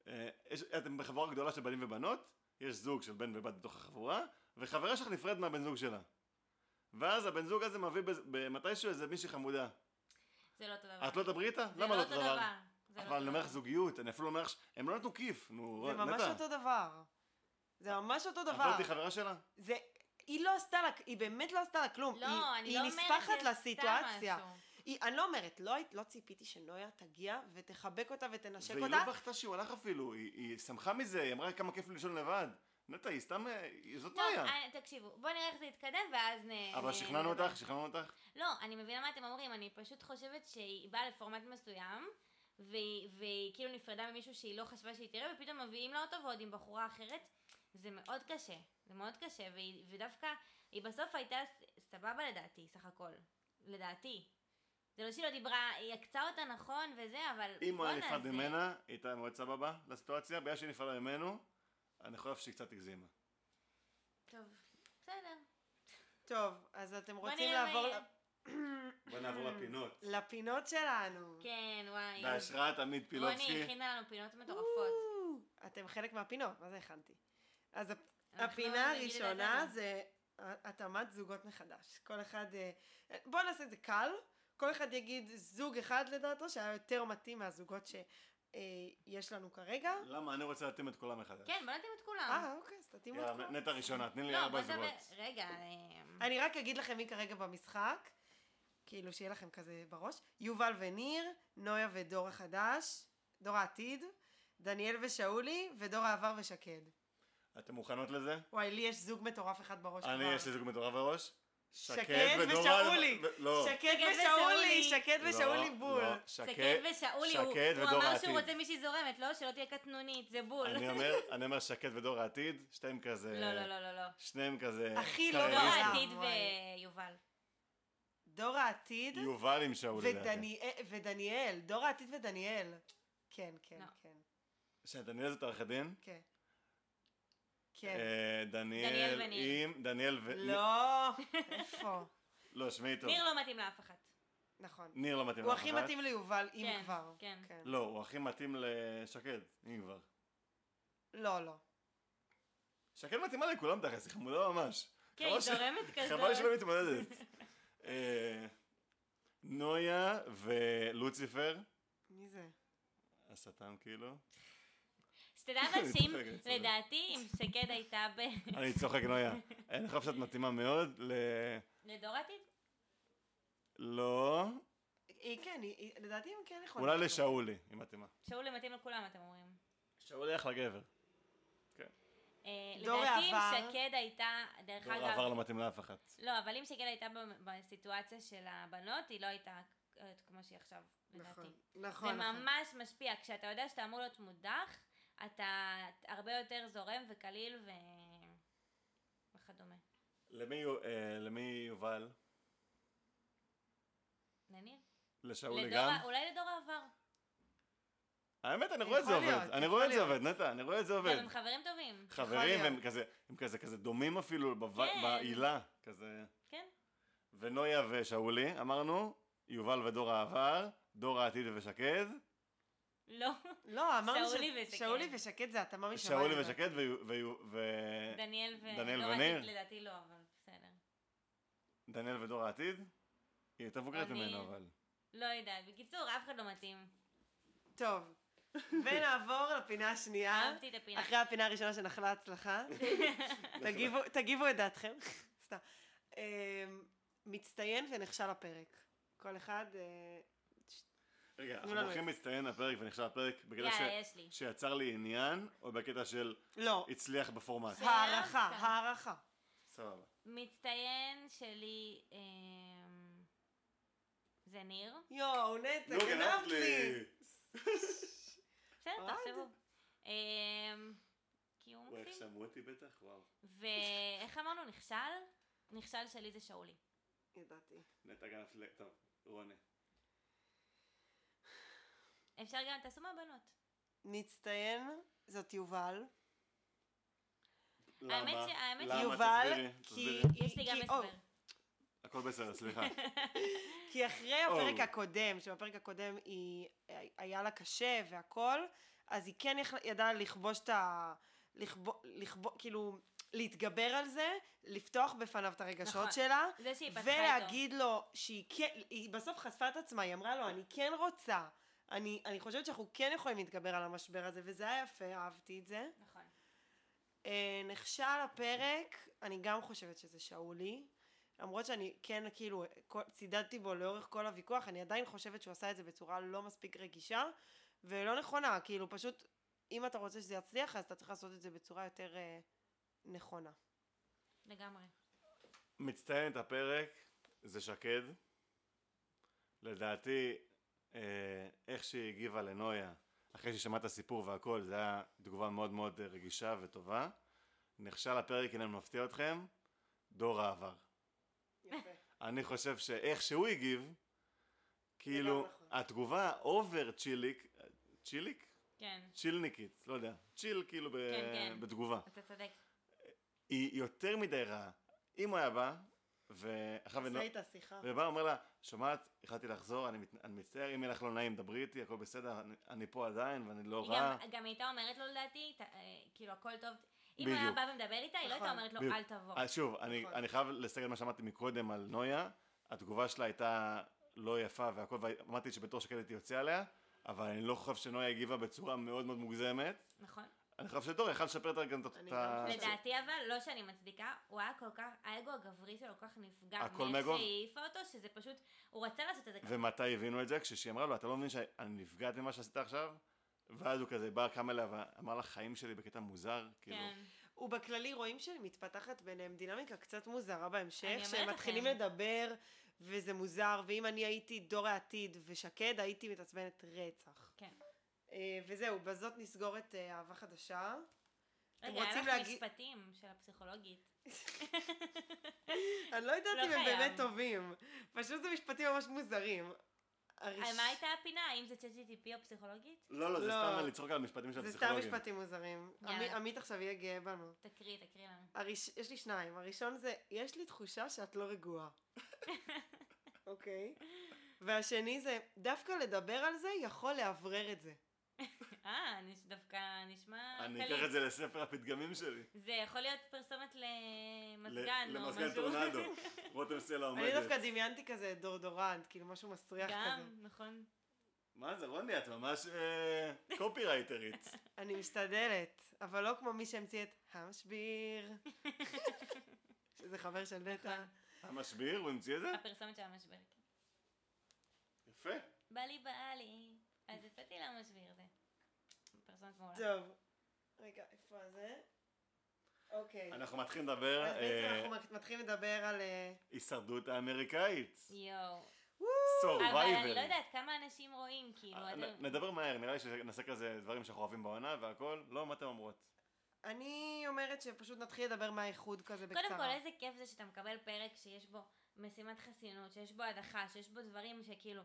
[SPEAKER 3] אה, יש- אתם בחבורה גדולה של בנים ובנות, יש זוג של בן ובת בתוך החבורה, וחברה שלך נפרדת מהבן זוג שלה. ואז הבן זוג הזה מביא בז- במתישהו איזה מישהי חמודה.
[SPEAKER 2] זה לא אותו דבר.
[SPEAKER 3] את לא תדברי איתה?
[SPEAKER 2] זה
[SPEAKER 3] למה לא
[SPEAKER 2] לא
[SPEAKER 3] אותו
[SPEAKER 2] אותו
[SPEAKER 3] דבר?
[SPEAKER 2] דבר. זה לא
[SPEAKER 3] אבל אני
[SPEAKER 2] אותו
[SPEAKER 3] אומר לך
[SPEAKER 2] דבר.
[SPEAKER 3] זוגיות, אני אפילו לא אומר לך, ש- הם לא נתנו כיף, נו,
[SPEAKER 1] זה
[SPEAKER 3] נטע.
[SPEAKER 1] ממש אותו דבר. זה ממש אותו
[SPEAKER 3] את לא
[SPEAKER 1] דבר.
[SPEAKER 3] הייתי חברה שלה?
[SPEAKER 1] זה... היא לא עשתה לה, היא באמת לא עשתה לה כלום.
[SPEAKER 2] לא,
[SPEAKER 1] היא,
[SPEAKER 2] אני
[SPEAKER 1] היא
[SPEAKER 2] לא אומרת
[SPEAKER 1] נספחת
[SPEAKER 2] שהיא עשתה
[SPEAKER 1] לסיטואציה.
[SPEAKER 2] משהו.
[SPEAKER 1] היא, אני לא אומרת, לא, היית- לא ציפיתי שנויה תגיע ותחבק אותה ותנשק
[SPEAKER 3] והיא
[SPEAKER 1] אותה.
[SPEAKER 3] לא בכתה שהוא הלך אפילו, היא- היא שמחה מזה, היא אמרה כמה כיף לי לישון לבד. נטע, היא סתם, אה, היא- זאת
[SPEAKER 2] טוב,
[SPEAKER 3] נויה.
[SPEAKER 2] לא, אני- תקשיבו, בואו נראה איך זה יתקדם ואז נ...
[SPEAKER 3] אבל
[SPEAKER 2] נ-
[SPEAKER 3] שכנענו
[SPEAKER 2] נדבר.
[SPEAKER 3] אותך, שכנענו אותך.
[SPEAKER 2] לא, אני מבינה מה אתם אומרים, אני פשוט חושבת שהיא באה לפורמט מסוים, והיא, והיא כאילו נפרדה ממישהו שהיא לא חשבה שהיא תראה, ופתאום מביאים לה אותו ועוד עם בחורה אחרת. זה מאוד קשה, זה מאוד קשה, והיא, ודווקא, היא בסוף הייתה ס- סבבה לדעתי, סך הכל. לדעתי. זה לא שהיא לא דיברה, היא עקצה אותה נכון וזה, אבל...
[SPEAKER 3] אם הוא היה
[SPEAKER 2] בואנה,
[SPEAKER 3] נפרד
[SPEAKER 2] זה-
[SPEAKER 3] ממנה, היא הייתה מאוד סבבה לסיטואציה, בגלל שהיא נפרדה ממנו, אני חושב שהיא קצת הגזימה.
[SPEAKER 2] טוב, בסדר.
[SPEAKER 1] טוב, אז אתם רוצים
[SPEAKER 2] נראה מה
[SPEAKER 1] לעבור
[SPEAKER 2] יהיה.
[SPEAKER 1] ל-
[SPEAKER 3] בוא נעבור לפינות.
[SPEAKER 1] לא, לפינות שלנו.
[SPEAKER 2] כן, וואי.
[SPEAKER 3] בהשראת עמית
[SPEAKER 2] רוני
[SPEAKER 3] פילובסקי.
[SPEAKER 2] הכינה לנו פינות מטורפות.
[SPEAKER 1] אתם חלק מהפינות, מה זה הכנתי? אז הפ-
[SPEAKER 2] אנחנו
[SPEAKER 1] הפינה
[SPEAKER 2] נגיד את
[SPEAKER 1] הראשונה
[SPEAKER 2] דעתנו.
[SPEAKER 1] זה התאמת זוגות מחדש. כל אחד, אה, בואו נעשה את זה קל, כל אחד יגיד זוג אחד לדעתו שהיה יותר מתאים מהזוגות שיש לנו כרגע.
[SPEAKER 3] למה? אני רוצה להתאים את כולם מחדש.
[SPEAKER 2] כן, בוא נתאים את כולם.
[SPEAKER 1] אה, אוקיי, אז תתאימו את
[SPEAKER 3] יאללה,
[SPEAKER 1] כולם.
[SPEAKER 3] נטע ראשונה, תני לי
[SPEAKER 2] לא, בוא
[SPEAKER 3] ארבע
[SPEAKER 2] נדבר...
[SPEAKER 3] זוגות.
[SPEAKER 2] רגע, אה,
[SPEAKER 1] אני רק אגיד לכם מי כרגע במשחק, כאילו שיהיה לכם כזה בראש. יובל וניר, נויה ודור החדש, דור העתיד, דניאל ושאולי, ודור העבר ושקד.
[SPEAKER 3] אתן מוכנות לזה?
[SPEAKER 1] וואי, לי יש זוג מטורף אחד בראש
[SPEAKER 3] אני,
[SPEAKER 1] כבר.
[SPEAKER 3] יש לי זוג מטורף בראש.
[SPEAKER 1] שקד
[SPEAKER 3] ודורון-
[SPEAKER 1] ושאולי.
[SPEAKER 3] ו- לא.
[SPEAKER 1] שקד
[SPEAKER 2] שקד
[SPEAKER 1] ושאולי,
[SPEAKER 2] ושאולי.
[SPEAKER 1] שקד
[SPEAKER 3] לא,
[SPEAKER 1] ושאולי
[SPEAKER 3] לא,
[SPEAKER 1] בול.
[SPEAKER 2] שקד
[SPEAKER 3] שקד
[SPEAKER 2] ושאולי, הוא,
[SPEAKER 3] שקד
[SPEAKER 2] הוא
[SPEAKER 3] ודור
[SPEAKER 2] אמר
[SPEAKER 3] העתיד.
[SPEAKER 2] שהוא רוצה מישהי זורמת, לא? שלא תהיה קטנונית, זה בול.
[SPEAKER 3] אני אומר, אני אומר שקד ודור העתיד, שתיהם כזה...
[SPEAKER 2] לא, לא, לא, לא, לא.
[SPEAKER 3] שניהם כזה...
[SPEAKER 1] הכי לא
[SPEAKER 2] דור
[SPEAKER 1] אה,
[SPEAKER 3] קרייריסטים.
[SPEAKER 2] העתיד
[SPEAKER 1] וואי.
[SPEAKER 2] ויובל.
[SPEAKER 1] דור העתיד
[SPEAKER 3] יובל עם שאולי. כן. לדעתי.
[SPEAKER 1] ודניאל, ודניאל, דור העתיד ודניאל. כן, כן,
[SPEAKER 2] לא.
[SPEAKER 1] כן,
[SPEAKER 3] שדניאל זאת עורכת דין?
[SPEAKER 1] כן. כן.
[SPEAKER 3] אה,
[SPEAKER 2] דניאל
[SPEAKER 3] דניאל
[SPEAKER 2] וניר.
[SPEAKER 3] עם... דניאל ו...
[SPEAKER 1] לא, איפה?
[SPEAKER 3] לא, שמעי טוב.
[SPEAKER 2] ניר לא מתאים לאף אחת.
[SPEAKER 1] נכון.
[SPEAKER 3] ניר לא מתאים
[SPEAKER 1] הוא
[SPEAKER 3] לאף
[SPEAKER 1] הכי
[SPEAKER 3] אחד.
[SPEAKER 1] מתאים ליובל, אם
[SPEAKER 2] כן,
[SPEAKER 1] כבר.
[SPEAKER 2] כן.
[SPEAKER 3] לא, הוא הכי מתאים לשקד, אם כבר.
[SPEAKER 1] לא, לא.
[SPEAKER 3] שקד מתאימה לכולם תכלס, היא חמודה ממש.
[SPEAKER 2] כן,
[SPEAKER 3] חבל
[SPEAKER 2] היא
[SPEAKER 3] ש-
[SPEAKER 2] זורמת כזאת.
[SPEAKER 3] חבל שלא מתמודדת. אה, נויה ולוציפר,
[SPEAKER 1] מי זה?
[SPEAKER 3] השטן כאילו.
[SPEAKER 2] שתדע אבל שאם,
[SPEAKER 3] אני צוחק, אני צוחק.
[SPEAKER 2] לדעתי, אם שקד הייתה ב...
[SPEAKER 3] אני צוחק נויה. אני חושב שאת מתאימה מאוד ל...
[SPEAKER 2] לדור העתיד?
[SPEAKER 3] לא.
[SPEAKER 1] היא כן, היא- היא- לדעתי הם כן יכולים.
[SPEAKER 3] אולי לשאולי, היא מתאימה.
[SPEAKER 2] שאולי מתאים לכולם, אתם אומרים.
[SPEAKER 3] שאולי אחלה גבר.
[SPEAKER 2] אה,
[SPEAKER 1] דור
[SPEAKER 2] לדעתי אם
[SPEAKER 1] העבר.
[SPEAKER 2] שקד הייתה, דרך
[SPEAKER 3] דור העבר
[SPEAKER 2] אגב,
[SPEAKER 3] לא מתאים לאף אחת.
[SPEAKER 2] לא, אבל אם שקד הייתה ב- בסיטואציה של הבנות, היא לא הייתה אה, כמו שהיא עכשיו, לדעתי.
[SPEAKER 1] נכון, נכון.
[SPEAKER 2] זה
[SPEAKER 1] נכון.
[SPEAKER 2] ממש משפיע, כשאתה יודע שאתה אמור להיות מודח, אתה הרבה יותר זורם וקליל ו... וכדומה.
[SPEAKER 3] למי יו- אה, למי יובל?
[SPEAKER 2] נניח?
[SPEAKER 3] לשאולי
[SPEAKER 2] לדור ה-
[SPEAKER 3] גם?
[SPEAKER 2] אולי לדור העבר.
[SPEAKER 3] האמת, אני רואה את זה
[SPEAKER 1] יכול
[SPEAKER 3] עובד.
[SPEAKER 1] להיות,
[SPEAKER 3] אני
[SPEAKER 1] יכול
[SPEAKER 3] רואה את זה
[SPEAKER 1] להיות.
[SPEAKER 3] עובד, נטע, אני רואה את זה עובד.
[SPEAKER 2] גם הם חברים טובים.
[SPEAKER 3] חברים,
[SPEAKER 1] להיות.
[SPEAKER 3] הם כזה, הם כזה, כזה דומים אפילו בב-
[SPEAKER 2] כן.
[SPEAKER 3] בעילה, כזה.
[SPEAKER 2] כן.
[SPEAKER 3] ונויה ושאולי, אמרנו, יובל ודור העבר, דור העתיד ושקד,
[SPEAKER 2] לא.
[SPEAKER 1] לא, אמרנו
[SPEAKER 2] שאולי ושקד.
[SPEAKER 1] שאולי ושקד זה התאמה משמיים.
[SPEAKER 3] שאולי ושקד ו- ו- ו-
[SPEAKER 2] דניאל ו...
[SPEAKER 3] אה, דניאל
[SPEAKER 2] לא,
[SPEAKER 3] וניר?
[SPEAKER 2] רציתי- לדעתי לא, אבל בסדר.
[SPEAKER 3] דניאל ודור העתיד. היא יותר מבוגרת
[SPEAKER 2] אני-
[SPEAKER 3] ממנו, אבל.
[SPEAKER 2] לא יודעת. בקיצור, אף אחד לא מתאים.
[SPEAKER 1] טוב. ונעבור לפינה השנייה.
[SPEAKER 2] אהבתי את הפינה.
[SPEAKER 1] אה? אחרי הפינה הראשונה שנחלה הצלחה. תגיבו- תגיבו את דעתכם. סתם. אמ, מצטיין ונחשב הפרק. כל אחד... אה,
[SPEAKER 3] רגע, אנחנו
[SPEAKER 1] לנו
[SPEAKER 3] הולכים להצטיין הפרק ונכשל הפרק בקטע ש-
[SPEAKER 2] יאללה, יש לי.
[SPEAKER 3] שיצר לי עניין, או בקטע של
[SPEAKER 1] לא.
[SPEAKER 3] הצליח בפורמט.
[SPEAKER 2] שאלה
[SPEAKER 1] הערכה,
[SPEAKER 2] דווקא.
[SPEAKER 1] הערכה.
[SPEAKER 3] סבבה.
[SPEAKER 2] מצטיין שלי אמ, זה ניר.
[SPEAKER 1] יואו, נטע,
[SPEAKER 3] נו, גנבת לי!
[SPEAKER 2] בסדר,
[SPEAKER 1] אוהד.
[SPEAKER 2] תחשבו. אמ, כי הוא
[SPEAKER 3] וואי, איך
[SPEAKER 2] מקסים.
[SPEAKER 3] שמעו אותי בטח? וואו.
[SPEAKER 2] ואיך אמרנו, נכשל? נכשל שלי זה שאולי.
[SPEAKER 1] ידעתי.
[SPEAKER 3] נטע גנבת לי... טוב, רוני.
[SPEAKER 2] אפשר גם, תעשו מהבנות.
[SPEAKER 1] מצטיין, זאת יובל.
[SPEAKER 3] למה?
[SPEAKER 2] האמת ש- האמת
[SPEAKER 3] למה?
[SPEAKER 1] יובל,
[SPEAKER 3] תסבירי,
[SPEAKER 1] כי...
[SPEAKER 3] תסבירי.
[SPEAKER 2] יש לי גם
[SPEAKER 1] כי- או,
[SPEAKER 2] הסבר.
[SPEAKER 3] הכל בסדר, סליחה.
[SPEAKER 1] כי אחרי הפרק
[SPEAKER 3] אוי.
[SPEAKER 1] הקודם, שבפרק הקודם היא, אה, היה לה קשה והכל, אז היא כן יכלה- ידעה לכבוש את ה... לכבוש, לכבוש, כאילו, להתגבר על זה, לפתוח בפניו את הרגשות
[SPEAKER 2] נכון.
[SPEAKER 1] שלה,
[SPEAKER 2] זה שהיא פתחה איתו.
[SPEAKER 1] ולהגיד לו שהיא כן, היא בסוף חשפה את עצמה, היא אמרה לו, אני כן רוצה. אני, אני חושבת שאנחנו כן יכולים להתגבר על המשבר הזה, וזה היה יפה, אהבתי את זה.
[SPEAKER 2] נכון.
[SPEAKER 1] אה, נכשל הפרק, אני גם חושבת שזה שאולי. למרות שאני כן כאילו כל- צידדתי בו לאורך כל הוויכוח, אני עדיין חושבת שהוא עשה את זה בצורה לא מספיק רגישה ולא נכונה, כאילו פשוט אם אתה רוצה שזה יצליח אז אתה צריך לעשות את זה בצורה יותר אה, נכונה.
[SPEAKER 2] לגמרי.
[SPEAKER 3] מצטיין את הפרק, זה שקד. לדעתי, אה, איך שהיא הגיבה לנויה, אחרי שהיא שמעה את הסיפור והכל, זו הייתה תגובה מאוד מאוד אה, רגישה וטובה. נכשל הפרק, הנה אני מפתיע אתכם, דור העבר.
[SPEAKER 1] יפה.
[SPEAKER 3] אני חושב שאיך שהוא הגיב,
[SPEAKER 1] זה
[SPEAKER 3] כאילו,
[SPEAKER 1] גם נכון.
[SPEAKER 3] התגובה אובר צ'יליק, צ'יליק?
[SPEAKER 2] כן.
[SPEAKER 3] צ'ילניקית, לא יודע, צ'יל כאילו ב-
[SPEAKER 2] כן, כן.
[SPEAKER 3] בתגובה.
[SPEAKER 2] אתה צודק.
[SPEAKER 3] היא יותר מדי רעה. אם הוא היה בא, ואחר
[SPEAKER 1] עשה איתה שיחה.
[SPEAKER 3] ובא אומר לה, שומעת, החלטתי לחזור, אני, מת, אני מצטער, אם יהיה לך לא נעים, דברי איתי, הכל בסדר, אני, אני פה עדיין ואני לא
[SPEAKER 2] היא
[SPEAKER 3] רע.
[SPEAKER 2] גם- גם הייתה אומרת לו לדעתי, ת- אה, כאילו הכל טוב. אם הוא היה
[SPEAKER 3] בדיוק.
[SPEAKER 2] בא ומדבר איתה, היא לא הייתה
[SPEAKER 1] נכון.
[SPEAKER 2] אומרת לו
[SPEAKER 3] בדיוק.
[SPEAKER 2] אל תבוא.
[SPEAKER 3] אז אה, שוב, אני,
[SPEAKER 1] נכון.
[SPEAKER 3] אני חייב לסגל מה שאמרתי מקודם על נויה, התגובה שלה הייתה לא יפה והכל, ואמרתי שבתור שקד הייתי יוצא עליה, אבל אני לא חושב שנויה הגיבה בצורה מאוד מאוד מוגזמת.
[SPEAKER 2] נכון?
[SPEAKER 3] אני חושב שדור יכל לשפר את- גם את
[SPEAKER 1] אני
[SPEAKER 3] את
[SPEAKER 1] גם
[SPEAKER 3] ה...
[SPEAKER 1] חושבת.
[SPEAKER 2] לדעתי אבל, לא שאני מצדיקה, הוא היה כל כך, האגו הגברי שלו כל כך נפגע.
[SPEAKER 3] הכל
[SPEAKER 2] מאיך
[SPEAKER 3] מהאגו.
[SPEAKER 2] שהיא העיפה אותו, שזה פשוט, הוא רצה לעשות את זה. ככה.
[SPEAKER 3] ומתי הבינו את זה? כשהיא אמרה לו, אתה לא מבין שאני נפגעת ממה שעשית עכשיו? ואז הוא כזה בא, קם אליה ואמר לה, חיים שלי בקטע מוזר, כאילו.
[SPEAKER 2] כן.
[SPEAKER 1] ובכללי רואים שמתפתחת ביניהם דינמיקה קצת מוזרה בהמשך,
[SPEAKER 2] אני
[SPEAKER 1] שהם
[SPEAKER 2] אומרת
[SPEAKER 1] מתחילים
[SPEAKER 2] לכם.
[SPEAKER 1] לדבר וזה מוזר, ואם אני הייתי דור העתיד ושקד הייתי מתעצבנת רצח.
[SPEAKER 2] כן.
[SPEAKER 1] אה, וזהו, בזאת נסגור את אה, אהבה חדשה.
[SPEAKER 2] רגע, היה
[SPEAKER 1] רוצים
[SPEAKER 2] לך
[SPEAKER 1] להגיד-
[SPEAKER 2] משפטים של הפסיכולוגית.
[SPEAKER 1] אני לא יודעת
[SPEAKER 2] לא
[SPEAKER 1] אם הם
[SPEAKER 2] חייב.
[SPEAKER 1] באמת טובים. פשוט זה משפטים ממש מוזרים. הראש-
[SPEAKER 2] על מה הייתה הפינה? האם זה צ'אט GTP או פסיכולוגית?
[SPEAKER 3] לא, לא, זה
[SPEAKER 1] לא.
[SPEAKER 3] סתם לצחוק על משפטים של
[SPEAKER 1] זה סתם
[SPEAKER 3] הפסיכולוגים.
[SPEAKER 1] משפטים מוזרים.
[SPEAKER 2] יאללה.
[SPEAKER 1] עמי- עמית עכשיו יהיה גאה בנו.
[SPEAKER 2] תקריא, תקריא לנו.
[SPEAKER 1] הראש... יש לי שניים. הראשון זה, יש לי תחושה שאת לא רגועה. אוקיי. והשני זה, דווקא לדבר על זה יכול לאוורר את זה.
[SPEAKER 2] אה, נש- דווקא נשמע
[SPEAKER 3] אני
[SPEAKER 2] קליט.
[SPEAKER 3] אקח את זה לספר הפתגמים שלי.
[SPEAKER 2] זה יכול להיות פרסומת למזגן
[SPEAKER 3] ל-
[SPEAKER 2] או
[SPEAKER 3] למזגן
[SPEAKER 2] משהו.
[SPEAKER 3] טורנדו. רותם סלע
[SPEAKER 1] אני דווקא
[SPEAKER 3] עומדת.
[SPEAKER 1] דמיינתי כזה דורדורנט, כאילו משהו מסריח כזה.
[SPEAKER 2] גם, נכון.
[SPEAKER 3] מה זה, רוני, את ממש אה, קופירייטרית.
[SPEAKER 1] אני משתדלת, אבל לא כמו מי שהמציא את המשביר. שזה חבר של נטע.
[SPEAKER 2] נכון.
[SPEAKER 3] המשביר, הוא המציא את זה?
[SPEAKER 2] כן. הפרסומת של המשבר.
[SPEAKER 3] יפה. יפה.
[SPEAKER 2] בא לי בא לי. אז יצאתי למשביר זה. פרסומת מעולה.
[SPEAKER 1] טוב. רגע, איפה זה? אוקיי. אז
[SPEAKER 3] אנחנו מתחילים לדבר
[SPEAKER 1] בעצם
[SPEAKER 3] אה,
[SPEAKER 1] אנחנו מת- מתחילים לדבר על... אה,
[SPEAKER 3] הישרדות האמריקאית.
[SPEAKER 2] יואו. אבל אני לא
[SPEAKER 3] סורווייבל.
[SPEAKER 2] יודעת כמה אנשים רואים, כאילו, אתם-
[SPEAKER 3] אה, נדבר מהר, נראה לי שנעשה כזה דברים שאנחנו אוהבים בעונה והכל. לא, מה אתן אומרות?
[SPEAKER 1] אני אומרת שפשוט נתחיל לדבר מהאיחוד כזה בקצרה.
[SPEAKER 2] קודם כל, איזה כיף זה שאתה מקבל פרק שיש בו משימת חסינות, שיש בו הדחה, שיש בו דברים שכאילו...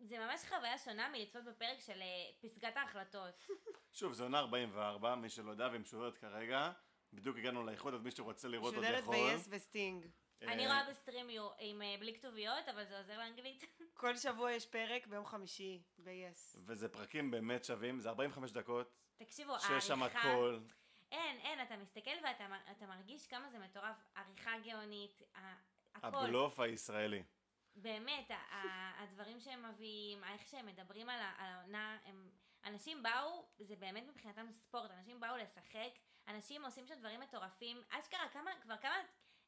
[SPEAKER 2] זה ממש חוויה שונה מלצפות בפרק של אה, פסגת ההחלטות.
[SPEAKER 3] שוב, זו עונה 44, מי שלא יודע והיא משודרת כרגע. בדיוק הגענו לאיחוד, אז מי שרוצה לראות עוד
[SPEAKER 1] משודרת
[SPEAKER 3] יכול.
[SPEAKER 1] ביס וסטינג.
[SPEAKER 3] אה,
[SPEAKER 2] אני רואה בסטרים יו- עם אה, בלי כתוביות, אבל זה עוזר לאנגלית.
[SPEAKER 1] כל שבוע יש פרק ביום חמישי ביס.
[SPEAKER 3] וזה פרקים באמת שווים, זה 45 דקות,
[SPEAKER 2] תקשיבו,
[SPEAKER 3] שיש שם
[SPEAKER 2] העריכה...
[SPEAKER 3] הכל.
[SPEAKER 2] אין, אין, אתה מסתכל ואתה מ- אתה מרגיש כמה זה מטורף. עריכה גאונית, ה- הכל.
[SPEAKER 3] הבלוף הישראלי.
[SPEAKER 2] באמת, ה- ה- הדברים שהם מביאים, איך שהם מדברים על ה- על העונה, הם... אנשים באו, זה באמת מבחינתם ספורט, אנשים באו לשחק, אנשים עושים שם דברים מטורפים, אשכרה כמה, כבר כמה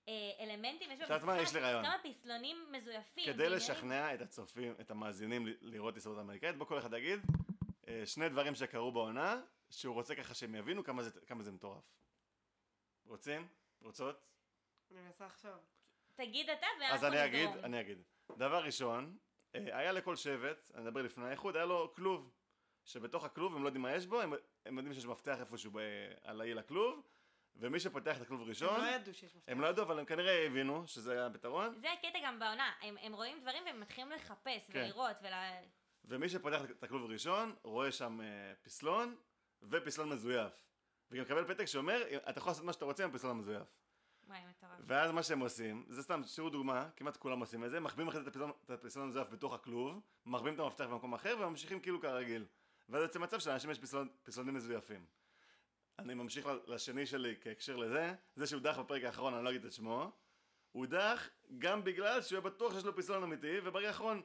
[SPEAKER 2] אה, אלמנטים יש
[SPEAKER 3] את יודעת מה? יש לי רעיון.
[SPEAKER 2] כמה פסלונים מזויפים.
[SPEAKER 3] כדי
[SPEAKER 2] ועניינים.
[SPEAKER 3] לשכנע את הצופים, את המאזינים ל- לראות הישרדות אמריקאית, בוא כל אחד יגיד אה, שני דברים שקרו בעונה, שהוא רוצה ככה שהם יבינו כמה זה- כמה זה מטורף. רוצים? רוצות?
[SPEAKER 1] אני מנסה לחשוב.
[SPEAKER 2] תגיד אתה
[SPEAKER 3] אז
[SPEAKER 2] ואנחנו
[SPEAKER 3] אני אגיד,
[SPEAKER 2] נזרום.
[SPEAKER 3] אני אגיד. דבר ראשון, אה, היה לכל שבט, אני מדבר לפני האיחוד, היה לו כלוב. שבתוך הכלוב הם לא יודעים מה יש בו, הם, הם יודעים שיש מפתח איפשהו ב, על האי לכלוב, ומי שפותח את הכלוב ראשון,
[SPEAKER 1] הם לא ידעו שיש מפתח.
[SPEAKER 3] הם לא ידעו, אבל הם כנראה הבינו שזה היה הפתרון,
[SPEAKER 2] זה הקטע גם בעונה, הם, הם רואים דברים והם מתחילים לחפש
[SPEAKER 3] כן.
[SPEAKER 2] ולראות ול...
[SPEAKER 3] ומי שפותח את הכלוב ראשון, רואה שם אה, פסלון, ופסלון מזויף. וגם מקבל פתק שאומר, אתה יכול לעשות מה שאתה רוצה עם הפסלון המזויף.
[SPEAKER 2] וואי, מטורף.
[SPEAKER 3] ואז מה שהם עושים, זה סתם, תשאירו דוגמה, כמעט כולם עושים את זה, מחביאים אחרי זה את הפסלון- את הפסלון המזויף בתוך הכלוב, מחביאים את המפתח במקום אחר וממשיכים כאילו כרגיל. ואז יוצא מצב שלאנשים יש פסלון, פסלונים מזויפים. אני ממשיך ל- לשני שלי כהקשר לזה, זה שהוא דח בפרק האחרון, אני לא אגיד את שמו, הוא דח גם בגלל שהוא היה בטוח שיש לו פסלון אמיתי, וברגע האחרון,